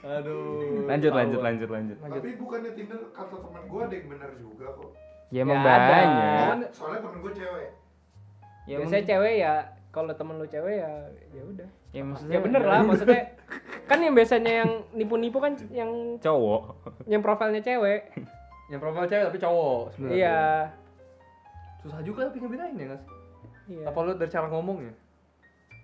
S2: aduh
S3: *laughs* lanjut lanjut lanjut lanjut
S4: Tapi bukannya Tinder kata temen gue ada yang benar juga kok.
S3: ya emang
S10: Ya, ada.
S3: banyak
S10: Kan-
S4: Soalnya temen gue cewek.
S3: ya,
S10: biasanya
S3: emang-
S10: cewek ya kalau temen lu cewek ya ya udah
S3: ya, maksudnya
S10: ya bener lah
S3: *laughs*
S10: maksudnya kan yang biasanya yang nipu-nipu kan yang
S3: cowok
S10: yang profilnya cewek
S2: yang profil cewek tapi cowok sebenarnya
S10: iya
S2: susah juga tapi ngebedain ya nggak sih
S10: iya
S2: apa lu dari cara ya, ngomongnya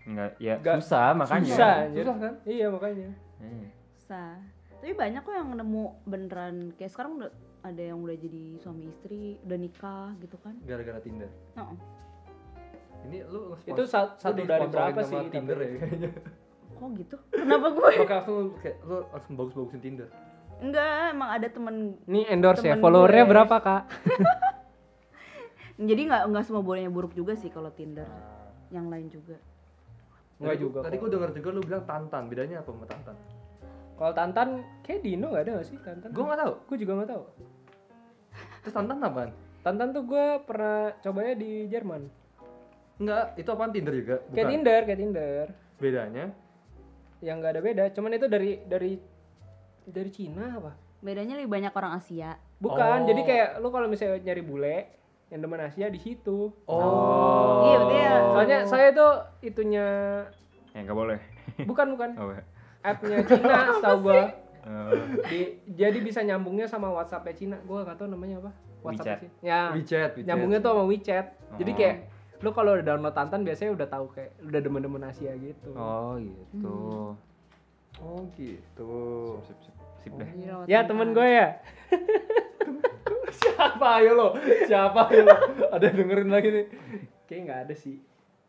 S3: Enggak, ya
S10: Nggak-
S3: susah makanya
S10: susah anjir.
S2: susah kan
S10: iya makanya
S3: Hmm.
S1: Sa. Tapi banyak kok yang nemu beneran kayak sekarang udah ada yang udah jadi suami istri, udah nikah gitu kan.
S2: gara-gara Tinder
S1: Heeh.
S2: ini lu nge-sponsor-
S10: itu sa-
S2: lu
S10: satu dari
S2: disponsorin
S10: berapa sih
S2: sama Tinder ya kayaknya
S1: Kok gitu? Kenapa gue?
S2: Oke langsung lu kayak lu langsung bagus-bagusin Tinder
S1: Enggak, emang ada temen
S10: ini endorse ya
S1: Temen
S10: followernya
S1: gue.
S10: berapa kak
S1: jadi nggak nggak semua bolanya buruk juga sih kalau Tinder. Yang lain juga.
S10: Enggak
S2: Tadi-
S10: juga
S2: tadi gua denger juga lu bilang Tantan bedanya apa sama Tantan
S10: kalau Tantan kayak Dino nggak ada nggak sih Tantan
S2: gua nggak tahu
S10: gue juga nggak tahu
S2: terus Tantan apaan
S10: Tantan tuh gue pernah cobanya di Jerman
S2: enggak itu apaan Tinder juga
S10: kayak
S2: Bukan.
S10: Tinder kayak Tinder
S2: bedanya
S10: yang nggak ada beda cuman itu dari dari dari Cina apa
S1: Bedanya lebih banyak orang Asia.
S10: bukan
S2: Oh.
S10: jadi kayak lu kalau misalnya nyari bule yang demen Asia di situ
S2: oh
S1: Iya, berarti ya.
S10: soalnya saya tuh itunya
S3: ya nggak boleh
S10: bukan bukan
S3: Nggak boleh.
S10: appnya Cina setahu gue
S3: Eh,
S10: jadi bisa nyambungnya sama WhatsAppnya Cina gue nggak tahu namanya apa
S3: WeChat.
S10: WhatsApp sih ya
S2: WeChat, WeChat.
S10: nyambungnya tuh sama WeChat jadi
S3: Oh.
S10: kayak lu kalau udah download Tantan biasanya udah tahu kayak udah demen-demen Asia gitu.
S3: Oh gitu.
S2: Oh gitu. Oh, iya,
S3: Sip, sip, sip deh.
S10: Hmm. Ya temen gue ya.
S11: Siapa ayo lo? Siapa ayo lo?
S2: *laughs*
S11: Ada yang dengerin lagi nih.
S10: Kayaknya nggak ada sih.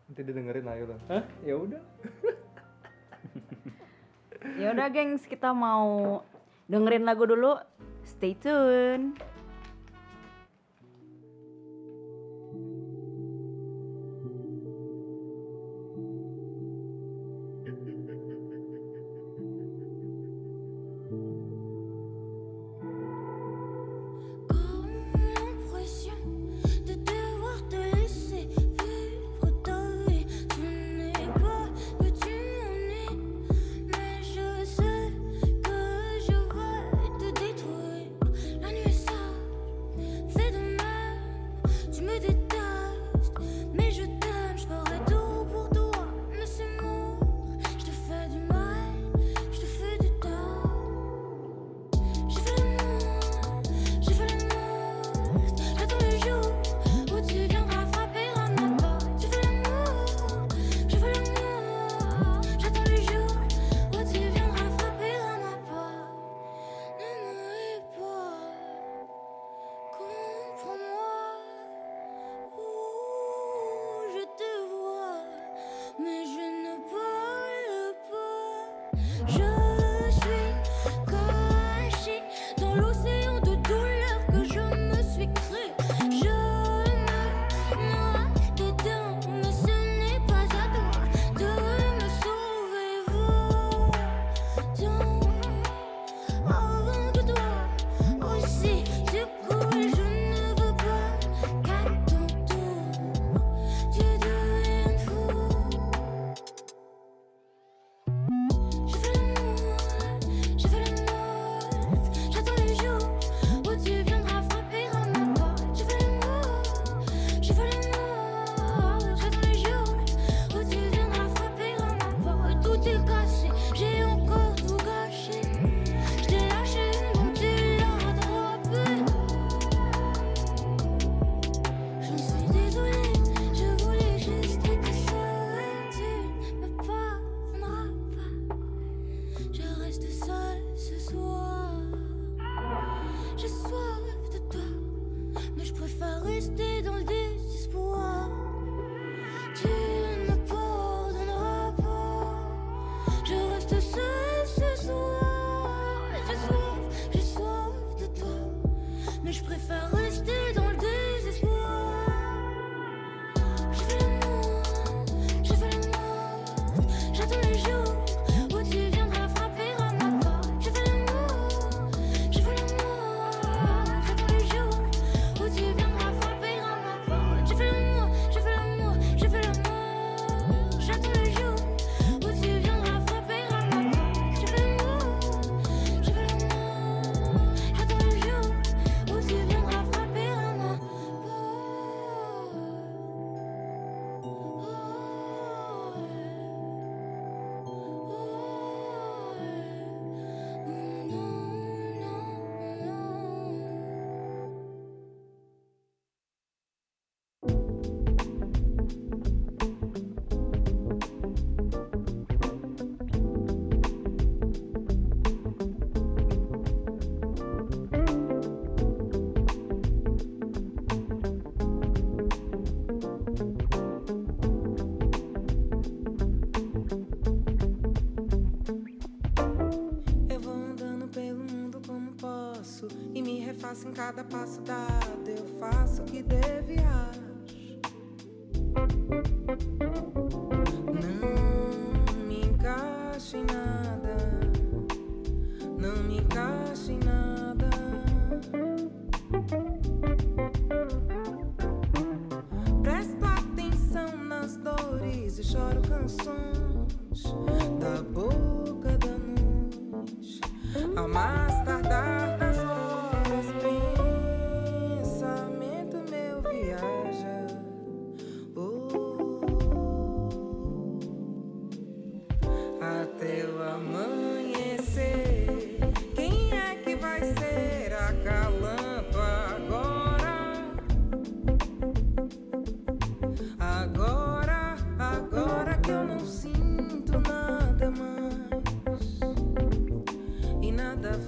S2: Nanti didengerin ayo lah.
S10: Hah? Ya udah.
S1: Ya udah gengs, kita mau dengerin lagu dulu. Stay tune.
S9: Comme l'impression de devoir te laisser vivre ta vie. Tu n'es pas que tu m'ennuies, mais je sais que je vais te détruire. La nuit sale fait de même. Tu me détestes, mais je t'aime. Je ferai tout pour toi, mais c'est mort. Je te fais du mal, je te fais du tort. Je fais le mal. J'ai fait le mort, j'attends le jour où tu viendras frapper à ma porte. J'ai fait le mort, j'ai fait le mort, j'attends le jour où tu viendras frapper à ma porte. Ne me hais pas, comprends-moi. Ouh, je te vois, mais je ne parle pas. Je suis cachée dans l'océan de douleur que je me suis créée. Je me noie dedans, mais ce n'est pas à toi de me sauver. Vous, avant que toi aussi tu coules, je ne veux pas qu'à ton tour tu deviennes fou. Je fais le mort, je fais le mort, j'attends le jour où tu viendras frapper à ma porte. Je fais le mort, je fais le mort, j'attends le jour où tu viendras frapper à ma porte. Tout est cassé, j'ai encore tout gâché. Je t'ai lâché, donc tu l'as rattrapé. Je suis désolée, je voulais juste que tu saurais. Tu ne me pardonneras pas. Je reste seule ce soir. J'ai soif de toi, mais je préfère rester dans le désespoir. Tu ne me pardonneras pas. Je reste seule ce soir. J'ai soif, j'ai soif de toi, mais je préfère rester dans le désespoir. Je fais le mort, je fais le mort, j'attends le jour où tu viendras frapper à ma porte. Je fais le mort, je fais le mort, j'attends le jour où tu viendras frapper à ma porte. Je fais le mort, je fais le mort, je fais le mort, j'attends le jour où tu viendras frapper à ma porte. Je fais le mort, je fais le mort, j'attends le jour où tu viendras frapper à ma porte.
S12: Eu vou andando pelo mundo como posso e me refaço em cada passo dado. Eu faço o que devo e acho. Não me encaixo em nada. Não me encaixo em nada. Presto atenção nas dores e choro canções da boca da noite. Ao mais tardar das horas, pensamento meu viaja. Oh, até o amanhecer. Quem é que vai ser a calampa agora? Agora.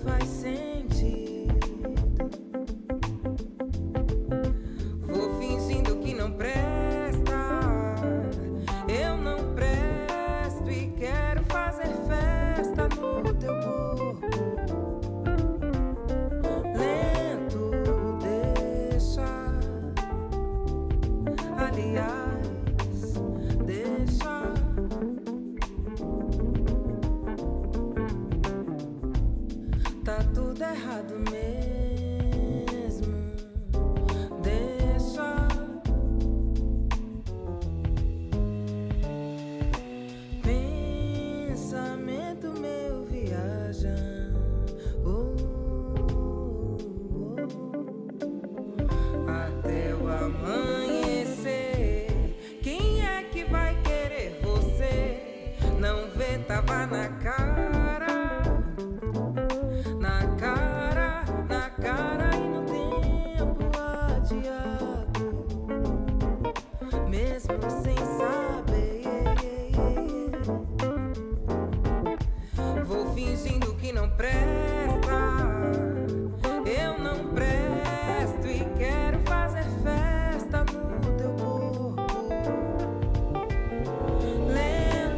S12: my same jeito. Vou fingindo que não presta. Eu não presto e quero fazer festa no teu corpo. Lento, deixa. Aliás, deixa. Tá tudo errado mesmo. Deixa. Pensamento meu viaja. Oh, oh, oh. Até o amanhecer. Quem é que vai querer você? Não vê, tava na cara. Na cara, na cara e no tempo adiado, mesmo sem saber. Vou fingindo que não presta, eu não presto e quero fazer festa no teu corpo. Lento.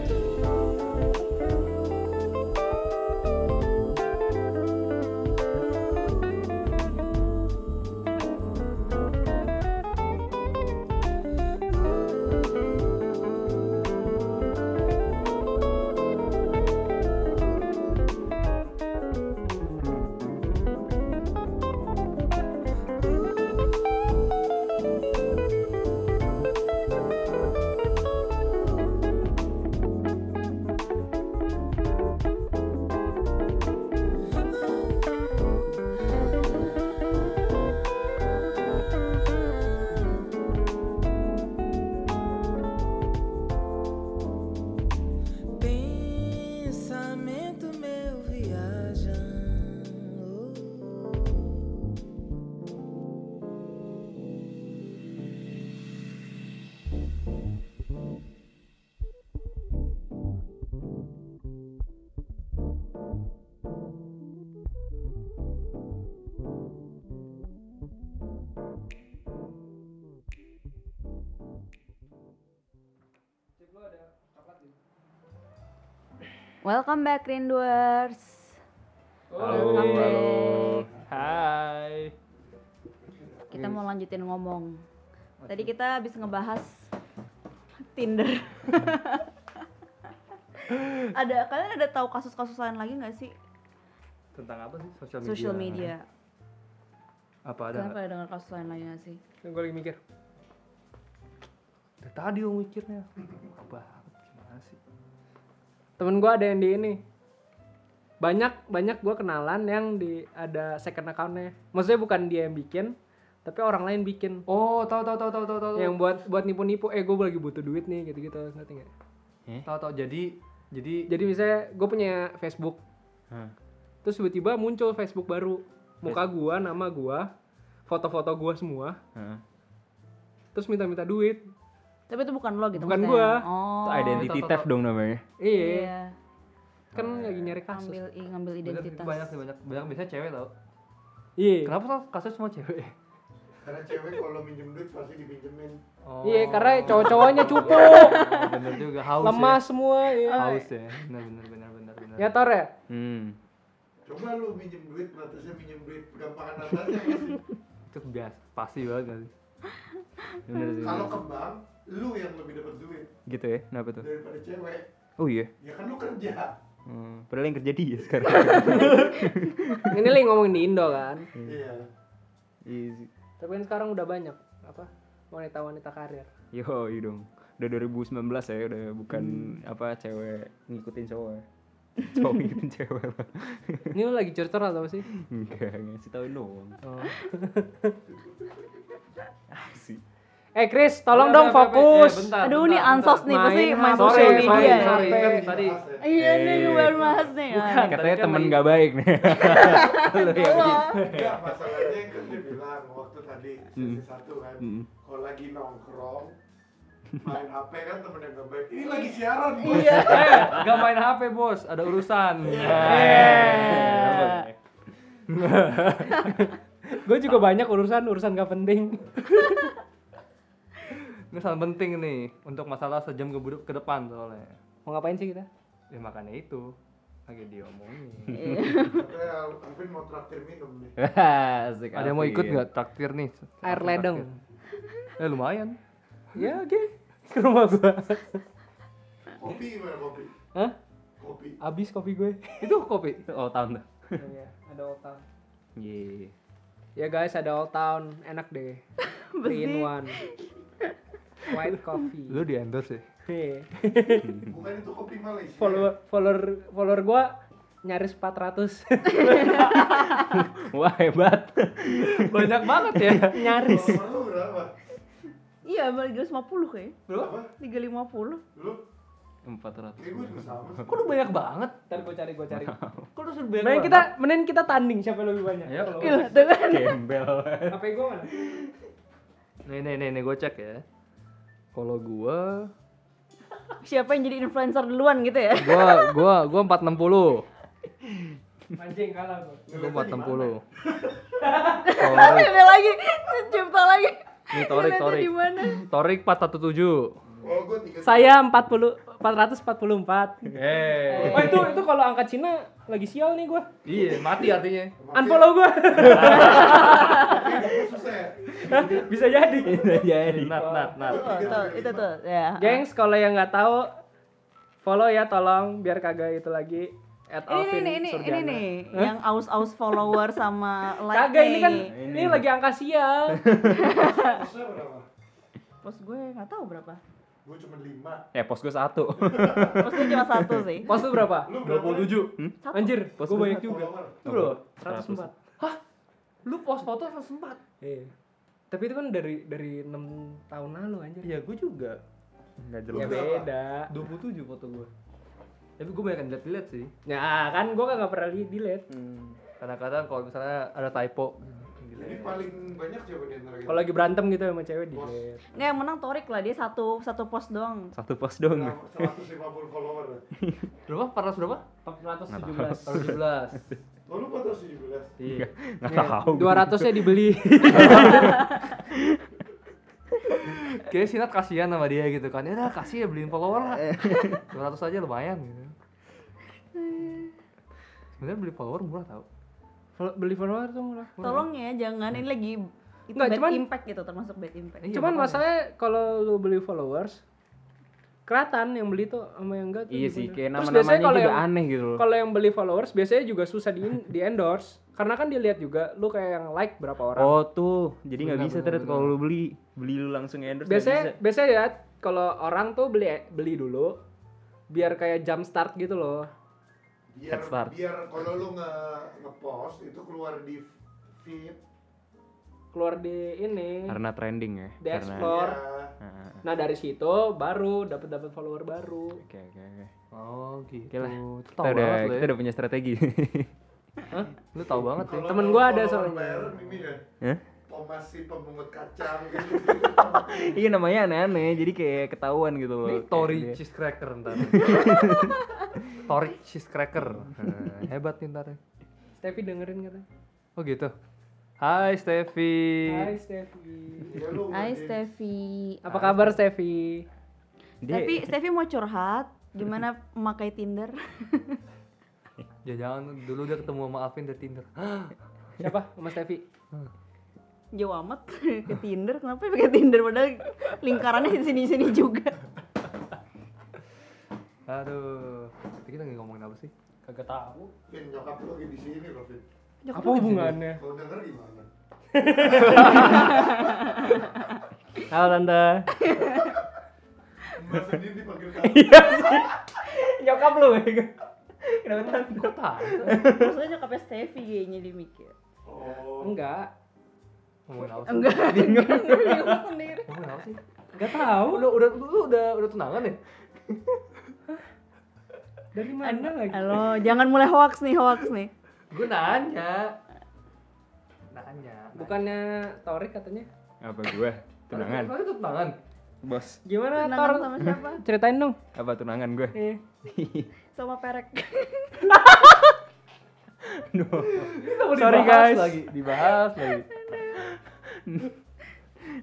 S12: Pensamento meu viaja.
S1: Welcome back Rinduers.
S3: Halo,
S1: Welcome back.
S3: halo.
S10: Hai.
S1: Kita
S2: Hmm.
S1: mau lanjutin ngomong. Tadi kita habis ngebahas Tinder. ada kalian ada tahu kasus-kasus lain lagi nggak sih
S13: Tentang apa sih? Social media.
S1: social media?
S13: Apa ada?
S1: Kalian pada dengar kasus lain lagi nggak sih?
S10: Gue lagi mikir.
S13: Dari tadi om mikirnya. Apa? Gimana sih?
S10: Temen gue ada yang di ini. Banyak banyak gue kenalan yang di ada second accountnya. Maksudnya bukan dia yang bikin, tapi orang lain bikin.
S2: Oh, tahu tahu tahu tahu tahu tahu.
S10: Yang buat buat nipu-nipu, eh gue lagi butuh duit nih gitu-gitu ngerti nggak?
S3: Eh?
S2: tahu tahu. Jadi jadi
S10: Jadi misalnya gue punya Facebook,
S3: Hah.
S10: terus tiba-tiba muncul Facebook baru, muka gue, nama gue, foto-foto gue semua,
S3: Hah.
S10: terus minta-minta duit.
S1: Tapi itu bukan lo gitu
S10: Bukan
S1: maksudnya.
S10: gua.
S1: Oh.
S3: Itu identity
S2: Tau, tau,
S3: theft dong namanya.
S10: Iya,
S1: Iya.
S10: kan
S2: Nah.
S10: lagi nyari kasus.
S1: Ngambil i- ngambil
S2: Bener,
S1: identitas.
S2: banyak sih banyak banyak biasanya cewek tau.
S10: Iya.
S2: Kenapa tau kasus semua cewek?
S4: Karena cewek kalau minjem duit pasti dipinjemin.
S2: Oh.
S10: *laughs* Iya, karena
S3: *laughs*
S10: cowok-cowoknya cupu,
S2: *laughs*
S3: Iya.
S2: bener juga haus
S10: lemas semua. Iya.
S2: ya. Haus ya. Bener bener bener bener
S3: Nah.
S2: bener.
S10: Ya tor ya.
S3: Hmm.
S4: Coba lu minjem duit, batasnya minjem duit, gampangan atasnya ya sih.
S2: Itu biasa pasti banget gak
S1: *laughs*
S2: sih?
S3: *laughs* Bener sih.
S4: Kalau ke bank, lu yang lebih dapat duit
S3: Gitu ya, kenapa tuh?
S4: daripada cewek.
S3: Oh iya.
S4: Ya kan
S3: *laughs*
S4: lu
S2: Iya.
S4: kerja.
S3: Hmm. Padahal yang kerja dia sekarang.
S10: Ini lagi ngomongin di Indo kan.
S4: Iya.
S3: Iya sih.
S10: Tapi kan sekarang udah banyak apa wanita-wanita karir.
S3: Yo, iya dong. Udah 2019 ya, udah bukan
S10: Hmm.
S3: apa cewek ngikutin cowok.
S10: *laughs*
S3: ya. Cowok ngikutin cewek lah.
S10: Ini lu lagi curcol atau apa sih? Oh.
S3: Enggak, ngasih tauin doang. *laughs* Ah, sih.
S10: Eh Chris, tolong
S2: Udah,
S10: dong
S2: udah, udah,
S10: fokus.
S2: udah, bentar,
S1: Aduh
S2: bentar,
S1: nih ansos nih
S10: Main
S1: pasti main
S10: HP,
S1: social
S10: main HP.
S1: media. ya.
S2: sorry,
S10: Sampai-
S2: sorry. Tadi
S1: Iya nih
S3: Eh.
S1: baru bahas nih.
S2: Bukan.
S3: Katanya
S2: Tadi kan
S3: temen
S2: lagi-
S3: gak baik
S10: *laughs*
S3: nih.
S4: *laughs* Enggak, masalahnya kan dia bilang waktu tadi sesi satu kan,
S3: Hmm.
S4: kalau lagi nongkrong, main HP kan temen yang gak baik. Ini lagi siaran,
S3: Oh,
S4: bos. *laughs*
S3: Eh,
S1: Iya.
S2: Eh, Gak main HP bos, ada urusan.
S1: Iya.
S10: gue juga banyak urusan urusan gak penting
S2: Ini sangat penting nih untuk masalah sejam ke, ke depan soalnya.
S10: mau ngapain sih kita
S2: Ya makanya itu lagi diomongin.
S10: Iya.
S4: *laughs* Katanya Alvin mau traktir minum
S3: *laughs*
S4: nih.
S7: Asik,
S2: Ada yang mau
S7: asik.
S2: ikut nggak traktir nih?
S10: air
S2: Traktir.
S10: ledeng
S2: Eh lumayan.
S10: ya
S2: *laughs*
S10: oke ke rumah gue
S4: Kopi gimana kopi?
S10: Hah?
S4: Kopi.
S10: abis kopi gue
S2: Itu kopi. Oh tahun dah.
S10: iya, ada old town
S7: Yeay.
S2: Iya.
S10: ya guys ada old town enak
S1: *laughs*
S10: deh three in one white coffee
S2: Lu di endorse ya?
S10: Iya.
S4: Bukan itu kopi Malaysia.
S10: follower follower follower gue nyaris 400
S7: Wah hebat.
S10: banyak banget ya nyaris
S4: Follower lu berapa?
S1: *laughs* Iya, malah 350 kayaknya.
S4: Berapa?
S1: 350.
S4: Lu?
S2: 400.
S4: Kayak gue juga sama.
S9: Kok lu banyak banget?
S10: ntar gue cari gue cari
S9: Kok lu sudah banyak
S10: Mending
S9: banget?
S10: kita mending kita tanding siapa yang lebih banyak.
S2: Ayo.
S4: Iya,
S1: Gila, tuh kan.
S7: Gembel.
S10: HP gue mana?
S2: Nih nih nih nih gue cek ya. Kalau gua
S1: Siapa yang jadi influencer duluan gitu ya?
S2: gua
S1: *laughs*
S2: gua gua 460.
S10: Anjing kalah gue.
S2: Gua 460.
S1: Tapi ada lagi, cipta lagi.
S2: Ini Torik,
S1: Ngeliatnya
S2: Torik.
S1: Di mana?
S2: Torik 417.
S4: Oh gue tiga.
S10: Saya 40 444.
S2: Eh,
S10: Oh itu itu kalau angka
S3: *laughs*
S10: Cina lagi sial nih gue.
S2: iya mati artinya.
S10: Unfollow gue.
S4: Susah ya?
S10: Bisa jadi.
S2: Nat, nat, nat.
S1: Oh, tuh, itu tuh, ya.
S10: Gengs kalau yang nggak tahu follow ya tolong biar kagak itu lagi at
S1: Ini
S10: Alvin
S1: nih, ini, ini, ini
S10: Surjana.
S1: nih, yang aus-aus follower
S10: *laughs*
S1: sama like
S10: Kagak ini
S1: nih.
S10: kan ini lagi angka
S1: *laughs*
S10: sial.
S4: Susah berapa?
S1: Post gue nggak tahu berapa.
S4: Gue cuma lima.
S7: Eh pos gue
S1: *laughs*
S7: satu.
S1: Post gue cuma satu sih.
S10: Post lu berapa?
S4: Lu berapa?
S2: 27.
S1: Satu.
S10: Anjir, post gue banyak juga.
S4: Follower.
S10: Itu
S7: 100.
S10: berapa? 104.
S9: Lu post foto harus sempat.
S10: Iya. Tapi itu kan dari dari 6 tahun lalu anjir.
S2: Iya, gua juga.
S7: Enggak
S10: Ya
S7: jelas.
S10: beda.
S2: 27 foto gua. Tapi gua banyak yang lihat-lihat sih. Hmm.
S10: Ya kan gue kagak pernah li- delete.
S2: Kadang-kadang kalau misalnya ada typo.
S4: Jadi paling banyak siapa di antara kita?
S10: Kalau lagi berantem gitu sama cewek delete.
S1: Nggak yang menang Torik lah, dia satu satu post doang.
S7: Satu pos ya? dong.
S4: 150 follower.
S2: *laughs* Berapa? 400 berapa?
S10: 417.
S2: 117.
S4: Oh lu 417?
S2: Iya.
S7: Nggak tahu.
S10: 200-nya dibeli.
S2: *laughs* Kayaknya Sinat kasihan sama dia gitu kan. Ya udah kasih ya beliin follower *laughs* lah. 200 aja lumayan gitu.
S1: Hmm,
S2: Sebenarnya beli follower murah tau.
S10: Fol- Beli follower tuh murah.
S1: Tolong ya, jangan ini lagi itu
S10: Nggak,
S1: bad
S10: cuman-
S1: impact gitu, termasuk bad impact.
S2: Iya,
S10: Cuman
S2: makanya.
S10: masalahnya kalau lu beli followers kelihatan yang beli tuh sama yang enggak tuh
S7: Iya
S10: gimana.
S7: sih, kayak
S10: Terus
S7: nama-namanya
S10: biasanya kalau
S7: juga
S10: yang-
S7: aneh gitu loh.
S10: Kalau yang beli followers biasanya juga susah di, di endorse karena kan dilihat juga lu kayak yang like berapa orang.
S7: Oh tuh, jadi nggak
S2: Benar,
S7: bisa
S2: benar,
S7: terus kalau lu beli, beli lu langsung endorse nggak
S10: biasanya
S7: bisa.
S10: biasanya ya kalau orang tuh beli beli dulu biar kayak jump start gitu loh
S4: biar
S7: Head start.
S4: biar kalau lu nge ngepost itu keluar di feed
S10: keluar di ini
S7: Karena trending ya.
S10: di
S7: Karena.
S10: explore
S2: Iya.
S4: ya
S7: Ah,
S10: nah dari situ baru dapat dapat follower baru
S7: Oke oke oke.
S2: Oh gitu.
S7: Oke lah.
S2: Lu
S7: Kita
S2: Tahu
S7: udah
S2: banget lu
S7: kita
S2: ya.
S7: udah punya strategi.
S2: Lu tahu banget ya.
S4: Kalau
S10: Temen gua ada
S4: follower
S10: soalnya.
S4: baru ini ya
S7: Hah?
S4: pomasi pemungut kacang gitu
S7: *laughs* Iya namanya aneh-aneh, jadi kayak ketahuan gitu loh.
S2: Ini
S7: Kayak
S2: Tori
S7: dia.
S2: cheese cracker
S7: *laughs*
S2: ntar. Tori cheese cracker. Eh, Hebat nih ntar.
S10: Steffi dengerin katanya
S2: Oh gitu. Hai Steffi.
S10: Hai Steffi
S4: ya lu
S1: Hai
S4: ngerti.
S1: Steffi.
S10: apa kabar Steffi
S7: Dia-
S1: Steffi, Steffi mau curhat. Gimana memakai Tinder?
S2: Ya jangan dulu dia ketemu sama Alvin dari Tinder.
S10: siapa Mas Steffi
S2: Hmm.
S1: Jauh amat *laughs* ke Tinder. Kenapa pakai Tinder padahal lingkarannya di sini-sini juga.
S2: Aduh. Tapi kita nggak ngomongin apa sih?
S10: kagak tahu
S4: Vin nyokap lu lagi di sini loh Vin
S10: apa hubungannya
S4: kalau *laughs* denger gimana
S10: *laughs* halo tante
S4: Mbak sendiri dipanggil kakak
S2: Iya
S10: nyokap lu ya?
S2: Kenapa tante? Kok tante?
S1: Maksudnya nyokapnya Steffi kayaknya dia mikir.
S4: oh
S10: enggak
S2: Ngomongin apa sih?
S1: Enggak, bingung. bingung sendiri.
S2: Ngomongin apa sih?
S10: enggak tahu
S2: Udah, udah, lu udah, udah tunangan ya?
S10: dari mana lagi
S1: Halo, jangan mulai hoax nih, hoax nih.
S2: Gue nanya. Nanya.
S10: bukannya Torik katanya
S7: apa gua? Tunangan.
S2: Tapi itu tunangan.
S7: Bos.
S10: gimana
S1: Tunangan
S10: Tor
S1: sama siapa?
S10: ceritain dong
S7: *laughs*
S10: *laughs*
S7: Apa tunangan gue?
S10: eh.
S1: Sama Perek.
S3: Aduh.
S7: *laughs*
S2: Kenapa
S3: Sorry,
S2: dibahas
S3: guys.
S2: lagi dibahas lagi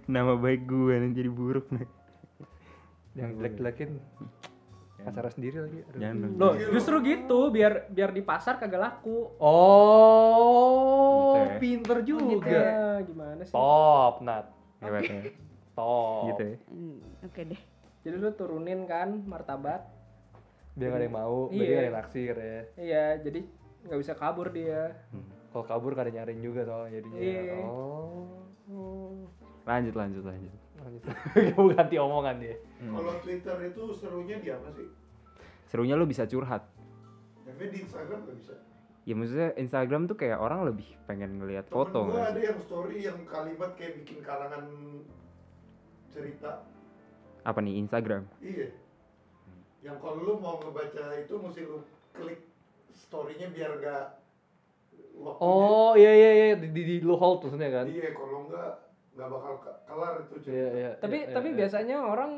S3: Nama baik gue yang jadi buruk nih.
S2: yang jelek-jelekin acara sendiri lagi aduh.
S3: Jangan. dong.
S10: Loh,
S2: Iya.
S10: justru gitu biar biar di pasar kagak laku.
S2: oh
S3: Gitu ya.
S2: pinter juga
S10: Ya, gimana sih?
S2: top nat Gitu
S3: Hebat ya.
S2: top
S3: Gitu ya.
S1: Hmm, Oke deh.
S10: Jadi lu turunin kan martabat.
S2: biar gak ada yang mau biar
S10: Iya.
S2: gak ada yang naksir ya
S10: Iya, jadi nggak bisa kabur dia.
S3: Hmm.
S2: kalau kabur gak ada nyariin juga soalnya jadinya
S10: Iya.
S2: oh
S3: Lanjut lanjut lanjut.
S2: lanjut *laughs* kamu ganti omongan dia
S3: Hmm.
S4: Kalau Twitter itu serunya di apa sih?
S3: Serunya lu bisa curhat.
S4: Tapi di Instagram nggak bisa.
S3: Ya maksudnya Instagram tuh kayak orang lebih pengen ngelihat
S4: Temen
S3: foto. nggak
S4: gua
S3: sih?
S4: ada yang story yang kalimat kayak bikin karangan cerita.
S3: Apa nih Instagram?
S4: Iya. Yang kalau lu mau ngebaca itu mesti lu klik story-nya biar nggak ya. waktunya.
S2: oh iya iya iya di, di, di lu hold maksudnya kan
S4: Iya, kalau nggak nggak bakal ke- kelar itu
S2: iya
S4: cerita.
S2: iya
S10: Tapi
S2: iya,
S10: tapi
S2: iya.
S10: biasanya orang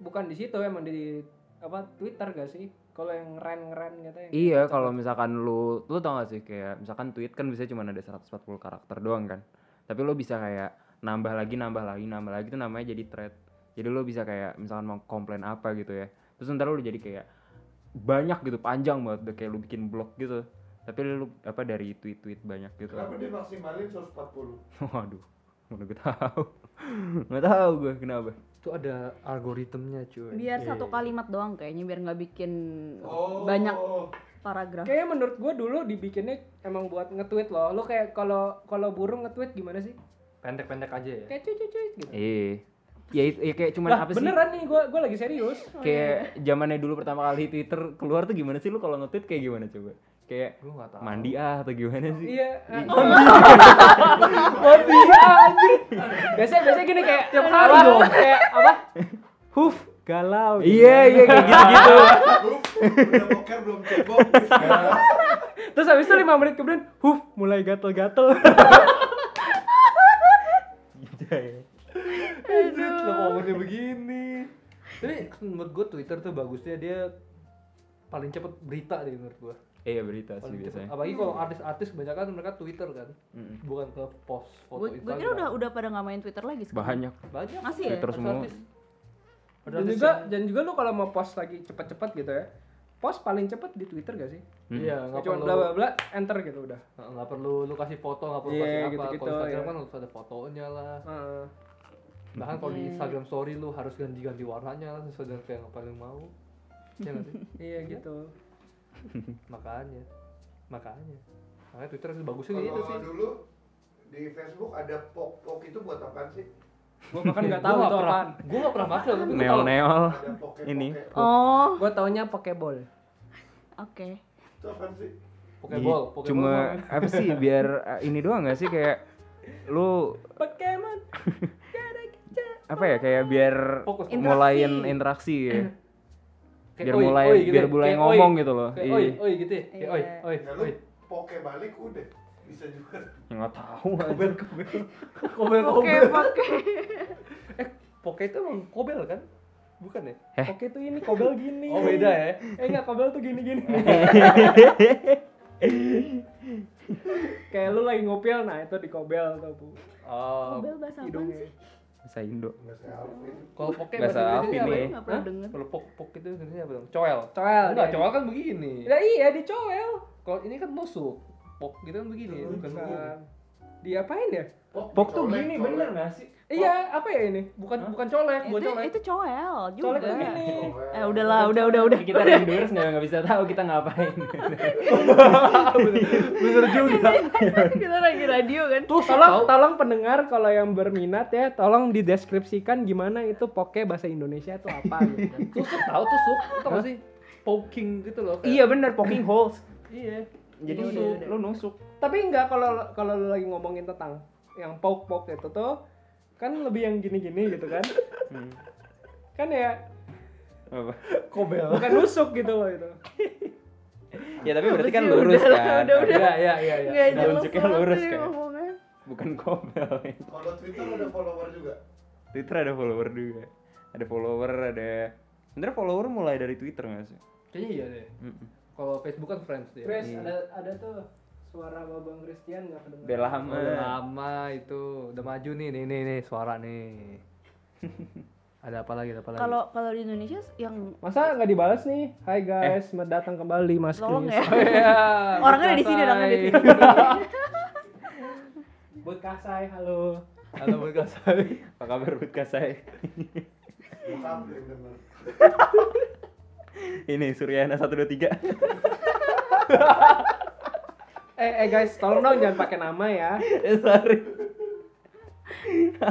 S10: bukan di situ emang di apa Twitter gak sih? Kalau yang ngeren-ngeren katanya.
S3: Iya,
S4: gitu,
S3: kalau misalkan lu lu tau gak sih kayak misalkan tweet kan bisa cuma ada 140 karakter doang kan. Tapi lu bisa kayak nambah lagi, nambah lagi, nambah lagi itu namanya jadi thread. Jadi lu bisa kayak misalkan mau komplain apa gitu ya. Terus ntar lu jadi kayak banyak gitu, panjang banget udah kayak lu bikin blog gitu. Tapi lu apa dari tweet-tweet banyak gitu.
S4: Kenapa dia maksimalin 140?
S3: *laughs* Waduh, mana gue tahu. Nggak tahu gue kenapa.
S2: itu ada algoritmnya cuy
S1: Biar
S2: Iya.
S1: satu kalimat doang kayaknya biar nggak bikin
S4: Oh.
S1: banyak paragraf.
S10: Kayaknya menurut gua dulu dibikinnya emang buat nge-tweet loh. Lu kayak kalau kalau burung nge-tweet gimana sih?
S2: pendek-pendek aja ya
S10: Kayak cuy cuy cuy gitu.
S3: Eh, ya itu ya kayak cuman
S10: Lah,
S3: apa sih?
S10: beneran nih gua gua lagi serius.
S3: *laughs* Kayak zamannya dulu pertama kali Twitter keluar tuh gimana sih lu kalau nge-tweet kayak gimana coba? Kayak
S2: gue gak tau
S3: mandi ah atau gimana sih?
S10: Iya. Mandi. Biasanya biasanya gini kayak tiap hari dong. Kayak apa? Huf, galau. gitu.
S3: Iya iya kayak
S10: *laughs*
S3: gitu-gitu.
S4: Hup, udah boker belum cebok
S10: Terus habis itu 5 menit kemudian, huf, mulai gatel-gatel.
S2: kenapa umurnya begini tapi menurut gue Twitter tuh bagusnya dia paling cepet berita deh menurut gue
S3: *laughs* Iya berita sih
S2: paling cepet
S3: biasanya.
S2: apalagi kalau artis-artis kebanyakan mereka Twitter kan
S3: Mm-mm.
S2: bukan ke post foto
S1: Gue gue kira udah udah pada nggak main Twitter lagi sekarang.
S3: Banyak.
S2: banyak
S1: Masih ya?
S3: Twitter semua.
S2: artis-artis. Ada
S10: Dan
S2: artis
S10: juga
S2: yang-
S10: dan juga lu kalau mau post lagi cepet-cepet gitu ya. Post paling cepet di Twitter gak sih?
S3: Hmm.
S2: iya nggak
S10: Cuma
S2: perlu
S10: bla bla bla enter gitu udah.
S2: nggak perlu lu kasih foto nggak perlu
S10: Iya,
S2: kasih apa
S10: gitu-gitu,
S2: kalau Instagram
S10: iya.
S2: kan harus ada fotonya lah
S10: Heeh.
S2: bahkan kalau di Instagram Story lu harus ganti-ganti warnanya lah sesuai dengan yang paling mau ya nggak sih
S10: *laughs* iya gitu.
S2: makanya makanya makanya Twitter itu bagusnya gitu sih
S4: Kalau dulu di Facebook ada pok-pok itu buat apaan sih?
S10: Gua bahkan
S1: *laughs*
S10: nggak tahu itu apaan.
S2: gue gak pernah pakai tapi gue tau
S3: Neol-neol.
S4: Ada poke-poke.
S3: Ini.
S1: Oh,
S10: Gua taunya Pokeball.
S1: oke.
S4: Itu apaan sih?
S2: Pokeball
S3: Di-
S2: Pokeball
S3: Cuma
S2: doang.
S3: apa sih biar eh, ini doang gak sih kayak lu
S10: Pokemon.
S3: apa ya kayak biar
S2: Fokus.
S3: mulaiin interaksi ya.
S2: *clears throat* Kayak
S3: Biar
S2: oi,
S3: mulai
S2: oi gitu
S3: biar
S2: ya,
S3: mulai
S2: kayak
S3: ngomong
S2: oi.
S3: gitu loh.
S2: Kayak oi,
S3: Iya. *laughs*
S2: oi gitu ya. Kayak oi,
S1: Iya.
S2: oi,
S4: Ya lu
S2: oi.
S4: poke balik udah bisa juga.
S3: Ya, nggak tahu. aja.
S10: *laughs*
S2: Kobel,
S1: Oke,
S2: kobel.
S1: oke.
S2: Eh, poke itu emang kobel kan? Bukan ya?
S10: Oke tuh ini kobel gini.
S2: Oh, beda ya.
S10: Eh enggak kobel tuh
S3: *laughs*
S10: gini-gini. Kayak lu lagi ngopil, nah itu di kobel tuh, Bu.
S2: Oh,
S1: Bel bahasa apaan
S10: Hidungnya.
S1: sih?
S3: Bahasa Indo.
S2: kalau poke
S3: Bahasa Alvin
S2: apa?
S3: ya.
S1: Nggak pernah
S10: Hah?
S1: denger.
S2: Kalau pok pok itu Indonesia apa dong? Coel.
S10: Coel.
S2: Enggak,
S10: dia.
S2: coel kan begini.
S10: Ya iya di coel.
S2: Kalau ini kan busuk. Pok gitu kan begini, bukan begini.
S10: Bukan. Diapain ya?
S3: Pok tuh
S4: colek,
S3: gini
S4: colek.
S3: bener gak sih?
S10: Iya, apa ya ini?
S2: Bukan bukan colek, bukan
S1: Itu
S2: colek.
S1: itu cowel juga.
S10: Colek begini.
S1: Eh udahlah, udah udah udah.
S3: Kita endurance nggak nggak bisa tahu kita
S1: *laughs*
S3: ngapain.
S2: Bener juga.
S1: Kita lagi radio kan.
S10: Tuh, tolong tolong pendengar kalau yang berminat ya, tolong dideskripsikan gimana itu poke bahasa Indonesia itu apa gitu.
S2: Tusuk tahu tusuk, itu apa sih? Poking gitu loh. kayak-
S3: iya bener poking holes.
S2: Iya.
S3: Jadi
S1: Iya,
S3: lu,
S1: udah,
S3: lu nusuk.
S10: Tapi enggak kalau kalau lu lagi ngomongin tentang yang poke-poke itu tuh kan lebih yang gini-gini gitu kan. Kan ya
S3: Apa?
S2: Kobel.
S10: bukan nusuk gitu loh itu.
S3: Ya tapi berarti kan
S1: sih?
S3: lurus
S1: Udah lah,
S3: kan.
S1: udah, udah.
S2: Iya, iya, iya, iya.
S1: Nggak
S3: Udah
S1: jelas
S3: unjuknya
S1: banget
S3: lurus kan?
S1: sih
S3: kayak.
S1: ngomongnya.
S3: Bukan kobel.
S4: Kalau Twitter ada follower juga.
S3: Twitter ada follower juga. Ada follower, ada Sebenernya follower mulai dari Twitter gak sih?
S2: Kayaknya iya deh.
S3: Mm-mm.
S2: Kalau Facebook kan friends dia.
S10: Chris ada ada tuh suara Babang Christian nggak kedengeran.
S3: Udah lama.
S9: Udah lama itu, udah maju nih nih nih, nih suara nih.
S3: *laughs*
S9: ada apa lagi? Ada apa lagi?
S1: Kalau kalau di Indonesia yang
S10: Masa nggak dibalas nih? Hai
S3: Eh.
S10: guys, selamat datang kembali Mas
S1: Tolong
S10: Chris. Oh, iya.
S1: ya.
S3: *laughs*
S1: Orangnya ada di sini, orangnya ada
S10: *laughs*
S1: di sini.
S10: Buat Kasai, halo.
S9: Halo Bud Kasai.
S3: Apa kabar Bud Kasai? *laughs*
S4: Bokap yang denger.
S3: Ini Suryana 123.
S10: Eh, eh guys, tolong dong jangan pakai nama ya.
S3: *laughs* Eh, Sorry.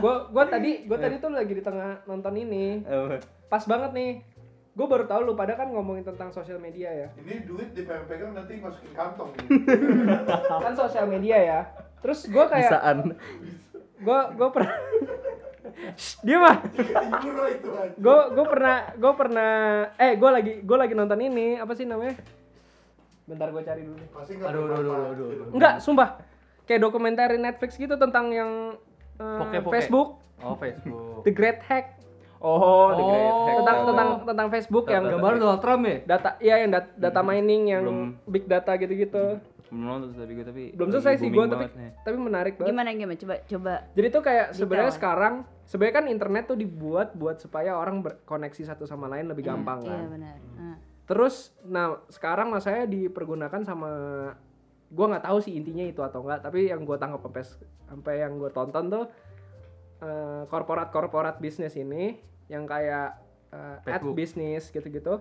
S10: Gue gua tadi gua tadi tuh lagi di tengah nonton ini.
S3: Eh, Apa?
S10: Pas banget nih. Gue baru tahu lu pada kan ngomongin tentang sosial media ya.
S4: Ini duit di pegang nanti masukin kantong. nih.
S10: *laughs* Kan sosial media ya. Terus gue kayak
S3: Bisaan.
S10: gue gue pernah Shh, dia mah
S4: Ini bro itu aja.
S10: gue gue pernah gue pernah eh gue lagi gue lagi nonton ini apa sih namanya bentar gue cari dulu
S4: Pasti nggak
S9: Aduh, aduh, aduh,
S4: bermanfaat.
S9: aduh, aduh.
S10: enggak sumpah kayak dokumenter Netflix gitu tentang yang eh,
S9: Poke-poke.
S10: Facebook
S9: Oh, Facebook.
S10: The Great Hack
S3: Oh, the great hack.
S10: tentang
S3: Tahu,
S10: tentang
S3: tahu.
S10: tentang Facebook yang
S9: Gambar Donald Trump ya?
S10: data iya yang dat- data mining yang
S3: Belum.
S10: big data gitu-gitu
S3: belum nonton tapi gue tapi
S10: belum
S3: lagi
S10: selesai sih
S3: booming
S10: gue tapi
S3: banget nih.
S10: tapi menarik banget
S1: gimana gimana coba coba
S10: Jadi tuh kayak
S1: Detail
S10: sebenarnya
S1: ya?
S10: sekarang sebenarnya kan internet tuh dibuat buat supaya orang berkoneksi satu sama lain lebih
S5: Hmm.
S10: gampang kan.
S1: iya benar. Nah,
S10: Terus nah sekarang saya dipergunakan sama gua nggak tahu sih intinya itu atau enggak, tapi yang gua tangkap sampai sampai yang gua tonton tuh eh, korporat-korporat bisnis ini yang kayak eh, ad
S9: Facebook.
S10: bisnis gitu-gitu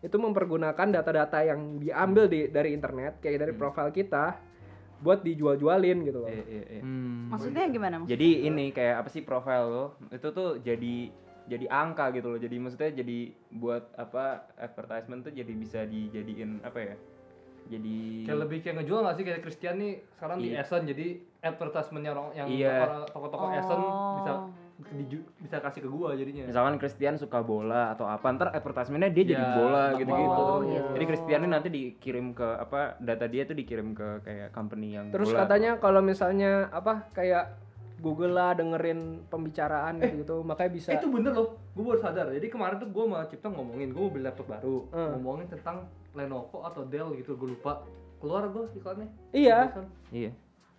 S10: itu mempergunakan data-data yang diambil di, dari internet kayak dari profil kita buat dijual-jualin gitu loh.
S3: Iya, iya, iya.
S9: Hmm.
S1: maksudnya gimana maksudnya?
S3: Jadi ini kayak apa sih profil lo? Itu tuh jadi jadi angka gitu loh. Jadi maksudnya jadi buat apa advertisement tuh jadi bisa dijadiin apa ya? Jadi
S9: Kayak lebih kayak ngejual gak sih kayak Christian nih sekarang di
S3: Iya.
S9: Esen jadi advertisementnya orang yang
S3: Iya.
S9: orang toko-toko Esen bisa
S10: Oh.
S9: diju- bisa kasih ke gua jadinya.
S3: misalkan Christian suka bola atau apa ntar advertisementnya dia jadi
S9: Ya,
S3: bola
S9: tentang
S3: gitu-gitu
S9: bola. iya.
S3: tuh.
S1: gitu.
S3: jadi Christian ini nanti dikirim ke apa data dia tuh dikirim ke kayak company yang
S10: Terus
S3: bola.
S10: katanya kalau misalnya apa kayak Google lah dengerin pembicaraan gitu-gitu makanya bisa
S9: Eh, itu bener loh, gue baru sadar. Jadi kemarin tuh gue sama Cipta ngomongin, gue mau beli laptop baru,
S10: Hmm.
S9: ngomongin tentang Lenovo atau Dell gitu, gue lupa. Keluar gue iklannya.
S10: Iya.
S9: Barusan.
S3: iya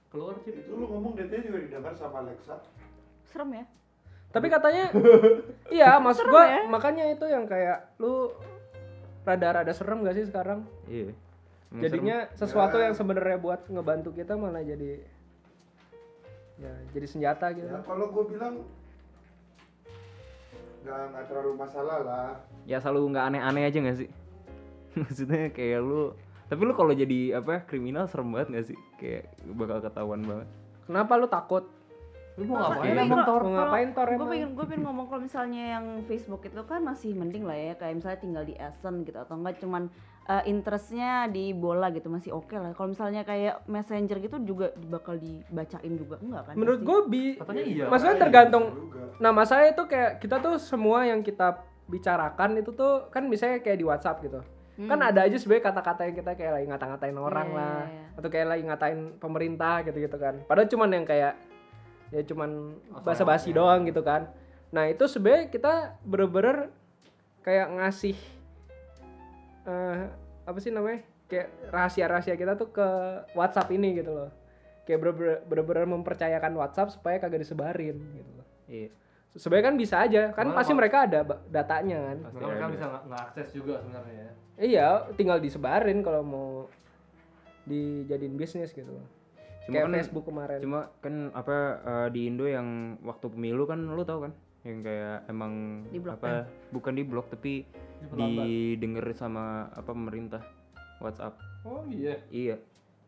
S9: Keluar Cip.
S4: Itu lu ngomong datanya juga didengar sama Alexa.
S1: serem ya
S10: Tapi
S9: *laughs*
S10: katanya iya maksud
S1: Serem
S10: gua
S1: ya.
S10: makanya itu yang kayak lu rada-rada serem gak sih sekarang?
S3: iya Emang Ya,
S10: Jadinya sesuatu
S9: Ya.
S10: yang sebenarnya buat ngebantu kita malah jadi ya jadi senjata gitu.
S4: Ya kalau gue bilang nggak nggak terlalu masalah lah.
S3: serem. ya selalu nggak aneh-aneh aja nggak sih *laughs* maksudnya kayak lu tapi lu kalau jadi apa kriminal serem banget nggak sih kayak bakal ketahuan banget
S10: Kenapa lu takut?
S9: Lu mau ngapain?
S1: Tapi
S10: emang
S1: kalau-
S10: Tor?
S1: kalau-
S10: Ngapain Tor
S1: gua
S10: emang?
S1: pengen gue pengen ngomong kalau misalnya yang Facebook itu kan masih mending lah ya kayak misalnya tinggal di Essen gitu atau enggak cuman eh, interestnya di bola gitu masih oke lah kalau misalnya kayak messenger gitu juga bakal dibacain juga enggak kan
S10: Menurut
S1: pasti?
S10: gua bi
S9: Katanya iya.
S10: maksudnya
S4: Makanya
S10: tergantung
S4: gitu juga.
S10: Nah, masalahnya itu kayak kita tuh semua yang kita bicarakan itu tuh kan misalnya kayak di WhatsApp gitu. Kan ada aja sebenarnya kata-kata yang kita kayak lagi ngata-ngatain orang
S1: Hmm. Iya,
S10: lah
S1: iya,
S10: atau kayak lagi ngatain pemerintah gitu-gitu kan. Padahal cuman yang kayak ya
S9: Oh,
S10: cuman
S9: ya.
S10: basa-basi doang gitu kan. Nah, itu sebenarnya kita bener-bener kayak ngasih eh apa sih namanya? Kayak rahasia-rahasia kita tuh ke WhatsApp ini gitu loh. Kayak bener-bener- bener-bener mempercayakan WhatsApp supaya kagak disebarin gitu loh.
S3: iya
S10: Sebenarnya kan bisa aja, kan
S9: Cuman
S10: pasti
S9: kalau-
S10: mereka ada ba- datanya kan.
S9: Mereka mereka bisa nggak nggak akses juga sebenarnya. ya.
S10: Iya, tinggal disebarin kalau mau dijadiin bisnis gitu.
S3: Cuma
S10: Kayak
S3: kan-
S10: Facebook kemarin.
S3: Cuma kan apa eh, di Indo yang waktu pemilu kan lu tahu kan yang kayak emang
S1: Di blok.
S3: apa bukan di blok tapi didengar sama apa pemerintah WhatsApp.
S9: Oh iya.
S3: Iya.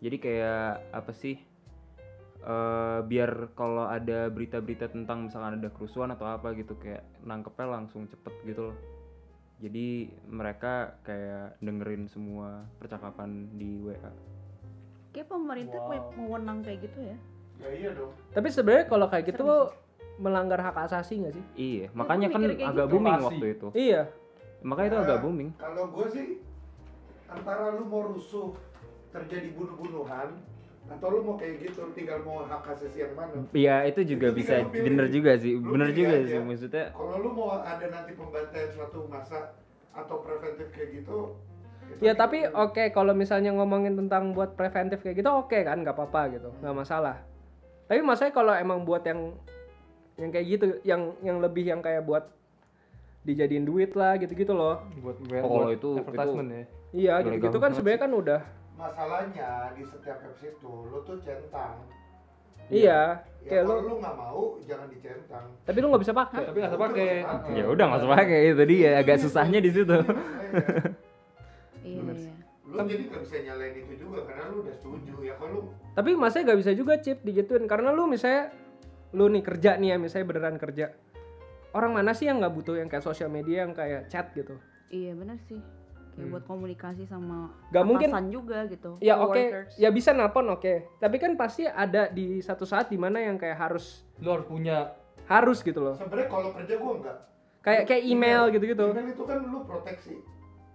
S3: Jadi kayak apa sih eh, biar kalau ada berita-berita tentang misalkan ada kerusuhan atau apa gitu kayak nangkepnya langsung cepet gitu loh. Jadi mereka kayak dengerin semua percakapan di WA.
S1: kayak pemerintah punya
S9: Wow.
S1: wewenang kayak gitu ya
S4: Ya iya dong.
S10: Tapi sebenarnya kalau kayak gitu
S1: Serem
S10: melanggar hak asasi nggak sih?
S3: Iya, makanya kan
S1: mikirnya kayak
S3: agak
S1: gitu.
S3: booming
S9: Privasi.
S3: waktu itu.
S10: Iya.
S3: Makanya itu
S4: Ya,
S3: agak booming.
S4: Kalau gue sih antara lu mau rusuh terjadi bunuh-bunuhan atau lu mau kayak gitu tinggal mau hak asasi yang mana?
S3: Iya itu juga
S4: Itu
S3: bisa
S4: tinggal lu pilih.
S3: bener juga sih,
S4: Lu
S3: bener
S4: pilih
S3: juga
S4: aja.
S3: sih maksudnya.
S4: Kalau lu mau ada nanti pembantaian suatu masa atau preventif kayak gitu,
S10: Ya tapi oke kalau misalnya ngomongin tentang buat preventif kayak gitu oke kan nggak apa-apa gitu nggak masalah. Tapi masalahnya kalau emang buat yang yang kayak gitu yang yang lebih yang kayak buat dijadiin duit lah gitu-gitu loh.
S2: buat buat,
S3: Oh, kalau
S2: buat
S3: itu- itu-
S2: advertisement ya
S10: Iya
S3: Ilegal
S10: gitu-gitu kan
S3: banget
S10: sebenarnya kan udah.
S4: Masalahnya di setiap apps itu lo tuh centang.
S10: Iya.
S4: Ya
S10: Kayak
S4: kalau
S10: lu-
S4: lu nggak mau jangan dicentang.
S10: Tapi lu nggak bisa pakai.
S9: tapi nggak usah pakai
S4: Oh.
S3: ya udah nggak usah pakai itu dia agak susahnya di situ
S4: Iya.
S1: Iya, iya.
S4: Lu jadi nggak bisa nyalain itu juga karena lu udah setuju ya kalau lu
S10: Tapi masnya gak bisa juga chip digituin karena lu misalnya lu nih kerja nih ya misalnya beneran kerja. Orang mana sih yang nggak butuh yang kayak sosial media yang kayak chat gitu?
S1: Iya, benar sih. Kayak buat komunikasi sama
S10: Gak Hmm. mungkin.
S1: atasan juga gitu.
S10: Ya oke,
S1: coworkers.
S10: ya bisa nelpon oke. Tapi kan pasti ada di satu saat di mana yang kayak harus
S9: lu harus punya
S10: harus gitu loh.
S4: sebenarnya kalau kerja gua enggak.
S10: Kayak kayak email gitu-gitu.
S4: Email itu kan lu proteksi.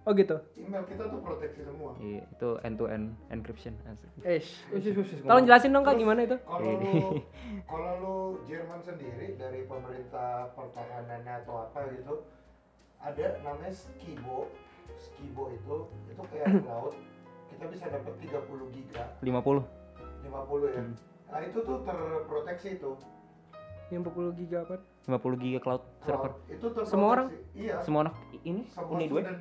S10: Oh gitu.
S4: Email kita tuh proteksi semua.
S3: *laughs* Iya, itu end to end encryption asik.
S10: Eh.
S9: usus usus
S10: Tolong jelasin dong Kak
S4: Terus,
S10: gimana itu?
S4: Kalau lu
S10: *laughs*
S4: kalau lu Jerman sendiri dari pemerintah pertahanannya atau apa gitu ada namanya skibo. Skibo itu itu kayak laut kita bisa dapat 30 giga,
S3: 50
S4: 50 ya.
S3: Hmm.
S4: Nah, itu tuh terproteksi itu.
S10: Yang 40 giga apa?
S3: 50 giga cloud server
S4: Cloud. Itu terproteksi.
S10: Semua orang?
S4: Iya.
S3: semua anak i- ini
S4: Semua
S3: ini dua ya?
S4: student.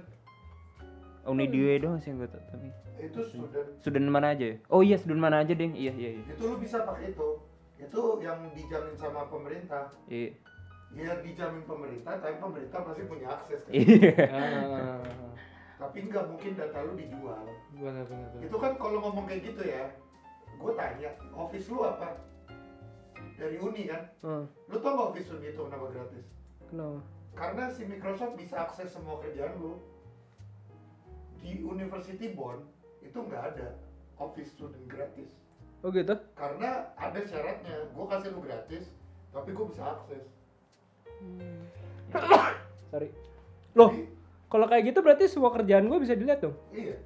S3: oh
S4: Iya.
S3: ini dua doang sih yang gue tahu, tapi
S4: Itu student.
S3: Sudan mana aja ya? Oh iya Sudan mana aja deh iya iya iya
S4: Itu lu bisa pakai itu. Itu yang dijamin sama pemerintah.
S3: iya
S4: Ya dijamin pemerintah, tapi pemerintah pasti punya akses kan.
S3: Iya.
S4: *laughs*
S9: Ah,
S4: Tapi nggak mungkin data lu dijual.
S9: benar benar benar
S4: Itu kan kalau ngomong kayak gitu ya, gue tanya, office lu apa? Dari Uni kan?
S10: Hmm,
S4: Lu tau nggak office Uni itu kenapa gratis?
S10: kenapa?
S4: Karena si Microsoft bisa akses semua kerjaan lu. Di University Bonn itu nggak ada office student gratis.
S10: Oh gitu.
S4: Karena ada syaratnya, gue kasih lu gratis, tapi gue bisa akses.
S1: Hmm.
S10: Sorry. Loh, kalau kayak gitu berarti semua kerjaan gue bisa dilihat dong.
S4: Iya.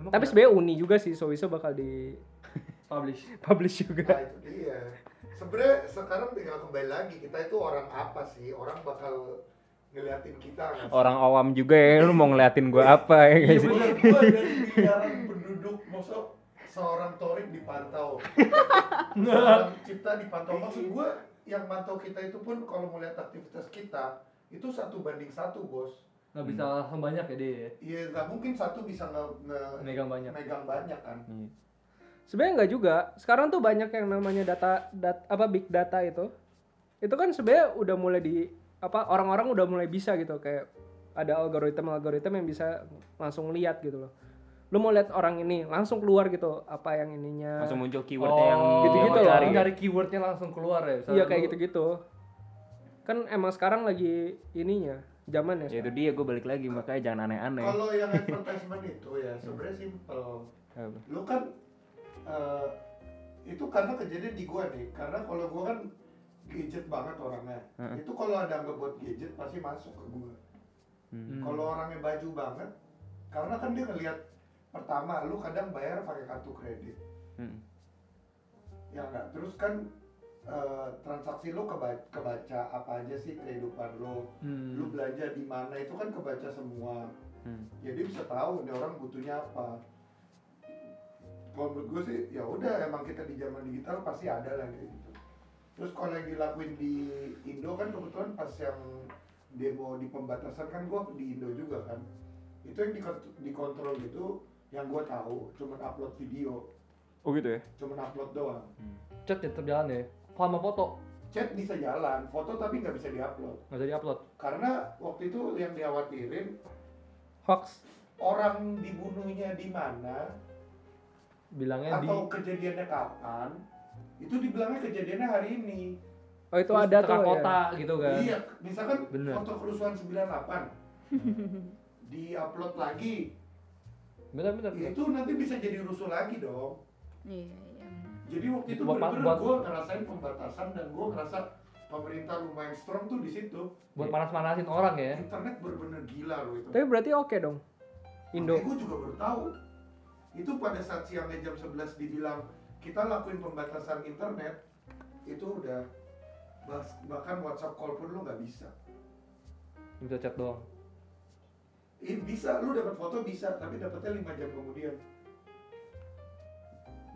S9: Emang
S10: Tapi sebenarnya Uni juga sih sowieso bakal di
S9: publish
S10: *laughs* publish juga.
S4: Nah itu dia. Sebenarnya sekarang tinggal kembali lagi kita itu orang apa sih? Orang bakal ngeliatin kita nggak sih?
S3: orang awam juga ya lu mau ngeliatin gue apa ya
S4: Iya
S3: guys
S4: bener, gua dari
S3: *laughs*
S4: miliaran penduduk masa seorang torik dipantau. seorang cipta dipantau. Maksud gue yang mantau kita itu pun kalau melihat aktivitas kita itu satu banding satu bos.
S9: nggak bisa
S3: Hmm.
S9: langsung banyak ya dia ya.
S4: Iya nggak mungkin satu bisa nge, nge-
S9: megang banyak Hmm.
S4: megang banyak kan.
S10: Sebenarnya nggak juga. Sekarang tuh banyak yang namanya data dat, apa big data itu. Itu kan sebenarnya udah mulai di apa orang-orang udah mulai bisa gitu kayak ada algoritma-algoritma yang bisa langsung lihat gitu loh. Lu mau lihat orang ini langsung keluar gitu apa yang ininya. Oh.
S3: langsung muncul keywordnya yang
S10: gitu-gitu
S3: dia mau
S10: loh.
S3: cari
S9: cari keywordnya langsung keluar ya
S10: Iya kayak gitu-gitu. Kan emang sekarang lagi ininya zaman ya.
S3: ya itu dia gue balik lagi makanya jangan aneh-aneh
S4: Kalau yang advertisement itu ya sebenarnya simple.
S3: Apa?
S4: lu kan eh, itu karena kejadian di gua nih karena kalau gua kan gadget banget orangnya
S3: Heeh.
S4: itu kalau ada angka buat gadget pasti masuk ke gua
S3: Hmm.
S4: kalau orangnya baju banget karena kan dia ngelihat pertama lu kadang bayar pakai kartu kredit
S3: Hmm.
S4: ya enggak terus kan eh, transaksi lu keba- kebaca apa aja sih kehidupan lu lu belanja di mana itu kan kebaca semua
S3: Hmm.
S4: jadi bisa tahu nih orang butuhnya apa kalau menurut gue sih ya udah emang kita di zaman digital pasti ada lah kayak gitu terus kalau yang dilakuin di Indo kan kebetulan pas yang demo di pembatasan kan gue di Indo juga kan itu yang dikont- dikontrol gitu yang gue tahu cuman upload video
S3: oh gitu ya
S4: cuman upload doang
S9: chat ya tetap jalan ya sama foto
S4: chat bisa jalan foto tapi nggak bisa diupload
S9: nggak jadi upload
S4: karena waktu itu yang dikhawatirin
S10: Hoax
S4: orang dibunuhnya di mana
S9: bilangnya di
S4: atau kejadiannya kapan itu dibilangnya kejadiannya hari ini
S10: Oh itu
S9: terus
S10: ada tuh.
S9: tengah
S10: ya.
S9: kota gitu kan
S4: iya misalkan
S9: Bener.
S4: foto kerusuhan 98 diupload lagi
S9: benar benar
S4: ya itu nanti bisa jadi rusuh lagi dong
S1: Iya, iya.
S4: jadi waktu itu
S9: Buat-
S4: bener-bener
S9: buat-
S4: gue ngerasain pembatasan dan gue ngerasa pemerintah lumayan strong tuh di situ
S9: buat panas-panasin orang ya
S4: internet bener-bener gila loh itu
S10: Tapi berarti oke dong. Indo.
S4: gue juga baru tahu itu pada saat siangnya jam 11 dibilang kita lakuin pembatasan internet itu udah bas- bahkan WhatsApp call pun lu nggak bisa
S9: bisa chat doang
S4: Ini bisa, lu dapat foto bisa, tapi dapatnya lima jam kemudian.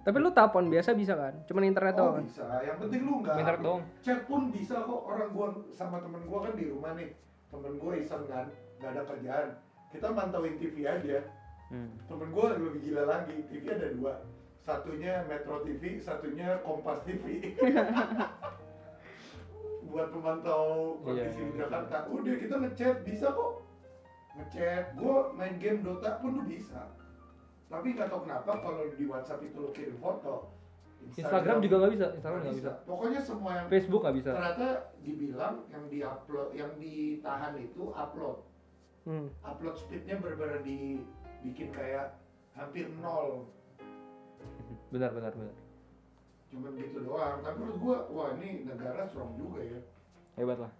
S10: Tapi lu telepon biasa bisa kan? Cuman internet
S4: Oh
S10: doang kan?
S4: bisa, yang penting lu nggak.
S2: Bentar dong.
S4: Chat pun bisa kok orang gua sama temen gua kan di rumah nih. Temen gua iseng kan, nggak ada kerjaan. Kita mantauin TV aja. Temen gua lebih gila lagi, TV ada dua. Satunya Metro TV, satunya Kompas TV. *laughs* Buat pemantau kondisi
S2: Iya,
S4: di
S2: iya,
S4: Jakarta. Udah kita ngechat bisa kok. Ngechat, gua main game Dota pun lu bisa. Tapi nggak tau kenapa kalau di WhatsApp itu lu kirim foto.
S2: Instagram juga nggak bisa, Instagram
S4: Nggak
S2: nggak
S4: bisa.
S2: bisa.
S4: Pokoknya semua yang
S2: Facebook nggak bisa.
S4: ternyata dibilang yang diupload yang ditahan itu upload.
S10: Hmm.
S4: Upload speednya benar-benar dibikin kayak hampir nol.
S2: Benar, benar, benar.
S4: Cuma gitu doang. Tapi menurut gua, wah ini negara strong juga ya.
S3: hebat lah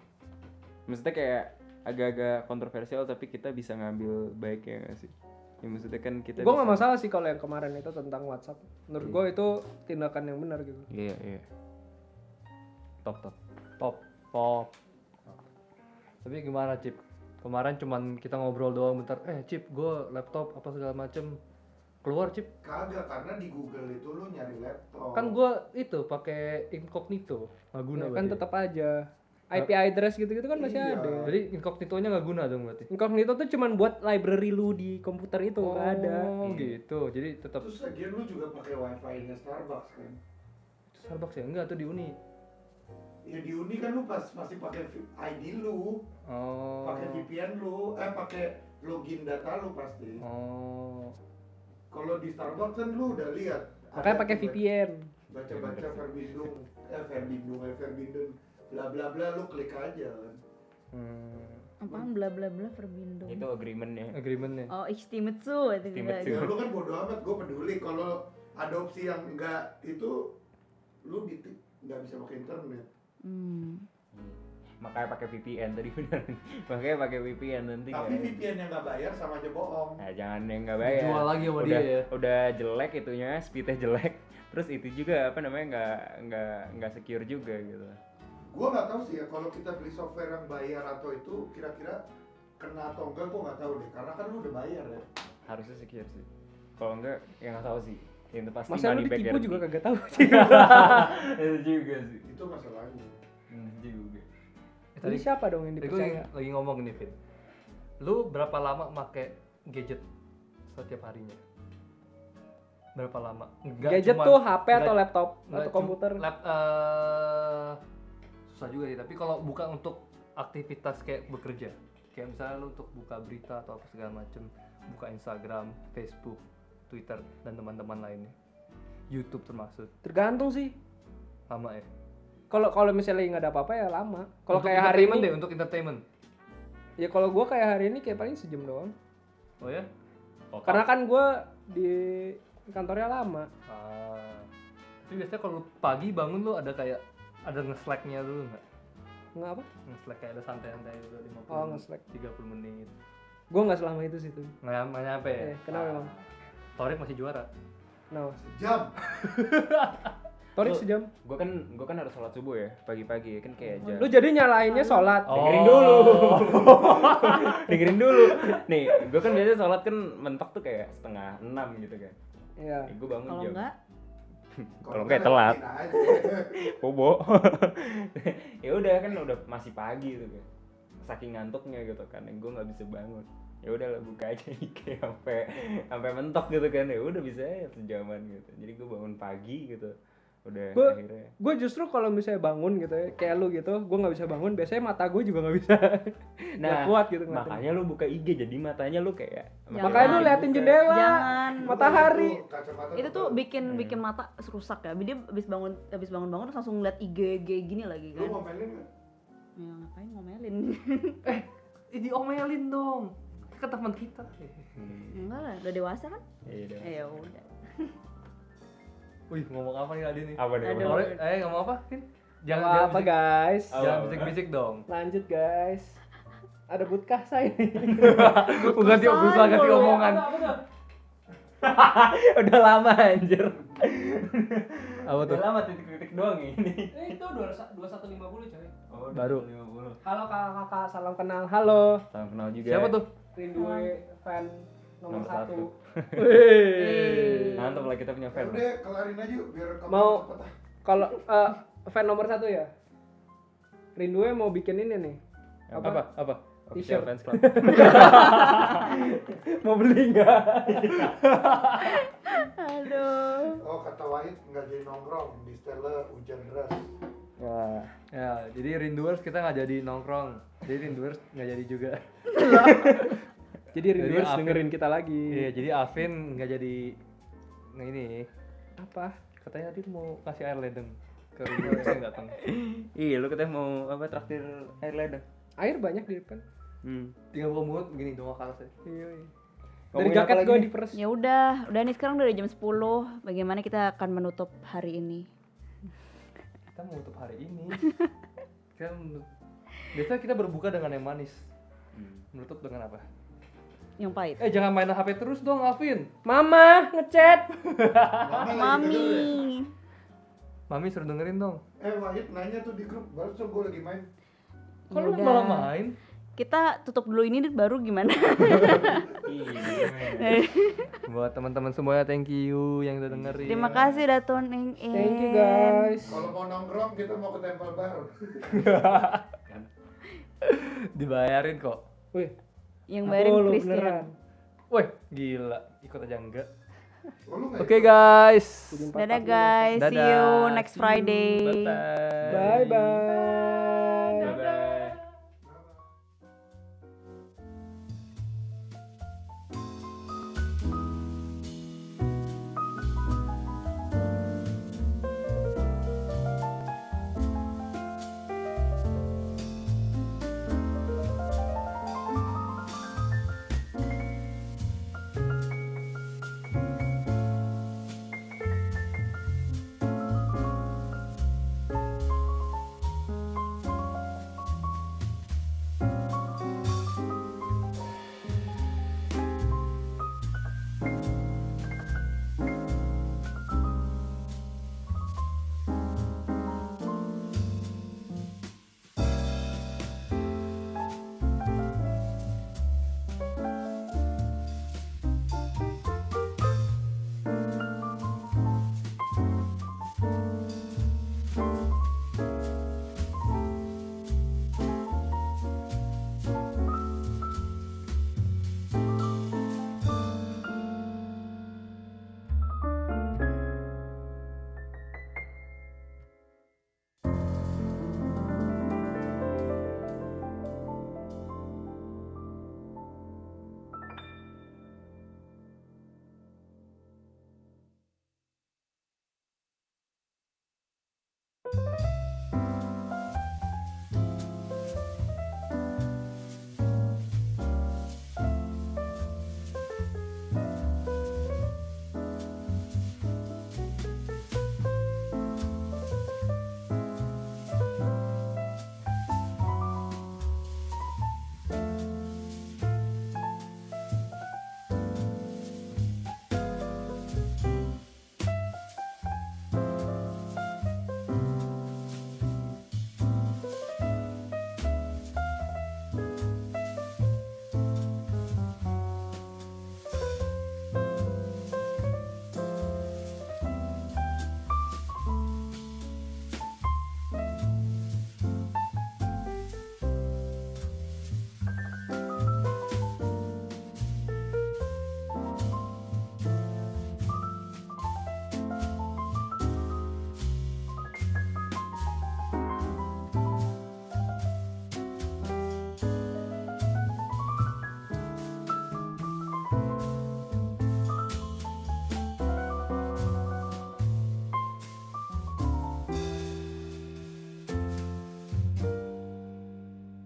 S3: maksudnya kayak agak-agak kontroversial tapi kita bisa ngambil baiknya nggak sih ya maksudnya kan kita
S10: Gue nggak
S3: bisa-
S10: masalah sih kalau yang kemarin itu tentang WhatsApp. Menurut
S2: Hmm.
S10: gue itu tindakan yang benar gitu.
S3: iya iya top top
S2: Top, top. Tapi gimana, Cip? Kemarin cuman kita ngobrol doang bentar. Eh, Cip, gue laptop apa segala macem keluar, Cip.
S4: Kagak karena di Google itu lu nyari laptop.
S2: Kan gue itu pakai incognito, nggak guna
S10: Ya, kan
S2: berarti.
S10: tetap aja
S2: Nah,
S10: IP address gitu-gitu kan masih
S4: Iya.
S10: ada.
S2: Jadi incognito-nya nggak guna dong berarti.
S10: Incognito tuh cuman buat library lu di komputer itu nggak ada.
S2: Oh, gitu. Jadi tetap
S4: Terus lagian lu juga pakai wifi-nya Starbucks kan.
S2: Starbucks ya enggak tuh di Uni.
S4: Ya di Uni kan lu pas masih pakai V- ID lu,
S2: Oh.
S4: pakai VPN lu, eh pakai login data lu pasti.
S2: Oh.
S4: Kalau di Starbucks kan lu udah lihat.
S10: Makanya
S4: ada
S10: pakai
S4: tuh
S10: VPN.
S4: baca-baca Verbindung, eh Verbindung, eh Verbindung, bla bla bla lu klik aja kan.
S2: Hmm.
S1: Apaan bla bla bla verbindung.
S3: itu ya. agreementnya
S2: Agreementnya.
S1: Oh, ichtimetsu itu
S10: Iya,
S1: gitu.
S3: Ichtimetsu.
S4: Ya lu kan bodo amat, gue peduli kalau ada opsi yang enggak itu lu di nggak bisa pakai internet.
S1: Hmm.
S3: makanya pakai VPN tadi *laughs* benar makanya pakai VPN nanti
S4: Tapi
S3: kan.
S4: VPN yang nggak bayar sama aja bohong.
S3: Nah, jangan yang nggak bayar
S2: Dijual lagi sama
S3: udah,
S2: dia ya.
S3: udah jelek itunya speednya jelek terus itu juga apa namanya nggak nggak nggak secure juga gitu
S4: Gue nggak tahu sih ya kalau kita beli software yang bayar atau itu kira-kira kena atau enggak gue nggak tahu deh karena kan lu udah bayar ya.
S3: harusnya secure sih kalau enggak ya nggak tahu sih yang pasti
S10: Masa lu
S3: money back *laughs*
S10: ditipu
S3: guarantee.
S10: juga kan? kagak tahu.
S3: itu juga sih
S4: Itu masalahnya.
S3: Hmm,
S2: Eh,
S3: juga
S10: Jadi
S2: tadi
S10: siapa dong yang
S2: tadi gue
S10: dipercaya?
S2: lagi ngomong nih, Fit. Lu berapa lama make gadget setiap harinya? Berapa lama? Enggak
S10: Gadget
S2: cuman-
S10: tuh HP atau
S2: enggak-
S10: laptop
S2: enggak
S10: atau
S2: cum-
S10: komputer.
S2: Lap, eh, susah juga sih, tapi kalau bukan untuk aktivitas kayak bekerja. Kayak misalnya lu untuk buka berita atau apa segala macem, buka Instagram, Facebook, Twitter dan teman-teman lainnya. YouTube termasuk.
S10: Tergantung sih.
S2: Lama ya.
S10: Kalau kalau misalnya nggak ada apa-apa ya lama. Kalau
S2: Untuk
S10: kayak hari
S2: entertainment
S10: ini,
S2: deh, untuk entertainment.
S10: ya kalau gue kayak hari ini kayak paling sejam doang.
S2: Oh ya?
S10: Karena kan gue di kantornya lama.
S2: Ah. Tapi biasanya kalau pagi bangun lu ada kayak ada nge-slacknya dulu nggak?
S10: Nggak apa?
S2: Nge-slack kayak ada santai-santai gitu 50
S10: Oh, nge-slack.
S2: 30 menit.
S10: Gue nggak selama itu sih tuh.
S2: Nggak nggak nyampe ya?
S10: Eh, kenapa emang?
S2: Torik masih juara.
S10: Nah,
S4: Jam.
S10: Torik
S3: Lu-
S10: sejam.
S3: gue kan gue kan harus sholat subuh ya pagi-pagi kan kayak jam
S10: Lu Oh. jadi nyalainnya sholat.
S2: Oh.
S3: dengerin *laughs* dulu dengerin dulu nih gue kan biasanya sholat kan mentok tuh kayak setengah enam gitu kan
S10: Iya.
S3: gue bangun
S1: Kalau
S3: jam
S1: enggak
S3: *laughs* Kalau nggak ya telat.
S4: bikin aja.
S3: bobo ya udah kan udah masih pagi gitu kan saking ngantuknya gitu kan gue nggak bisa bangun ya udahlah buka aja *laughs* IG sampai sampai mentok gitu kan ya udah bisa ya sejaman gitu jadi gue bangun pagi gitu udah
S10: Gua-
S3: akhirnya
S10: gue justru kalau misalnya bangun gitu ya kayak lu gitu gue nggak bisa bangun biasanya mata gue juga nggak bisa nggak
S3: *laughs* Nah,
S10: kuat gitu ngeliatin.
S3: makanya lu buka IG jadi matanya lu kayak
S1: Jangan.
S10: makanya lu liatin
S3: dibuka.
S10: jendela
S1: jangan
S10: matahari
S4: Itu kacamata
S1: gitu. itu tuh
S4: tebal.
S1: bikin bikin mata rusak ya. Dia habis bangun habis bangun-bangun terus langsung ngeliat IG gini lagi
S4: lu
S1: kan.
S4: ngomelin nggak?
S1: Ya ngapain
S2: *laughs*
S1: ngomelin?
S2: Ih, diomelin Eh, dong. Ke teman kita.
S1: Enggak lah, udah dewasa kan?
S3: Iya, udah.
S1: Eh, Ya udah.
S2: Wih, ngomong apa nih tadi nih?
S3: apa nih
S1: Aduh.
S3: kemarin?
S2: Torik, eh ngomong apa? Vin? Jangan
S10: Wah,
S2: jangan
S10: apa
S2: bisik-
S10: guys
S2: Jangan
S3: Apa?
S2: bisik-bisik dong.
S10: lanjut guys ada butkah
S2: *laughs*
S10: saya ini
S2: Gue ganti, gue ganti omongan.
S10: udah lama anjir Apa tuh?
S3: Udah lama titik-titik doang ya ini.
S9: Eh, itu dua dua satu lima puluh coy.
S3: Oh,
S10: Baru.
S3: 250.
S10: Halo kakak, salam kenal. Halo.
S3: Salam kenal juga. ya.
S10: Siapa tuh? Ridwe fan nomor,
S3: Nomor
S10: satu.
S3: satu. Mantap lah kita punya
S4: Ya
S3: fan.
S4: Udah kelarin aja yuk, biar kamu
S10: Mau- *laughs*
S4: cepet ah.
S10: Kalau eh, fan nomor satu ya. Rinduwe mau bikin ini nih. Apa?
S2: apa apa
S3: Official
S10: T-shirt.
S3: fans club.
S10: *laughs* Mau beli nggak?
S1: Aduh.
S4: Oh kata Wahid nggak jadi nongkrong di Stella hujan deras.
S2: *laughs* ya jadi rinduers kita nggak jadi nongkrong jadi rinduers nggak jadi juga
S10: Jadi Rindu
S2: Jadi apa?
S10: dengerin kita lagi.
S2: iya jadi Alvin nggak jadi nah ini
S10: Apa?
S2: katanya tadi mau kasih air ledeng ke rinduers yang datang
S3: Ih, lu katanya mau apa traktir air ledeng.
S10: *laughs* Air banyak di depan.
S3: Hmm.
S2: tinggal buka mulut begini doang kalah sih
S10: Iya. iya. Dari
S3: Ngomongin apa
S10: jaket
S3: lagi
S10: gue
S3: nih?
S10: diperes.
S1: Ya udah, udah nih sekarang udah jam 10. Bagaimana kita akan menutup hari ini?
S2: kita mau tutup hari ini *laughs* kita men- biasanya kita berbuka dengan yang manis menutup dengan apa
S1: Yang pahit.
S2: eh jangan main HP terus dong Alvin
S10: Mama ngechat.
S1: Mami.
S2: mami suruh dengerin dong
S4: Eh Wahid nanya tuh di grup, baru gue lagi main.
S2: kok
S10: Iya.
S2: lu
S1: Yaudah.
S2: malah main
S1: Ya Kita tutup dulu ini baru gimana?
S2: Iya.
S1: Eh.
S2: *laughs* buat teman-teman semuanya thank you yang udah dengerin
S1: *laughs* Terima kasih udah tuning in.
S10: Thank you guys.
S4: Kalau mau nongkrong kita mau ke Temple Bar.
S2: *laughs* dibayarin kok
S10: Wih,
S1: Yang
S10: aku
S1: bayarin
S10: lu
S1: Christian.
S10: beneran.
S2: woi gila ikut aja enggak
S4: Oh, lu nggak
S2: oke guys
S1: Dadah guys, see you next
S2: See you.
S1: Friday.
S2: Bye-bye.
S10: Bye bye.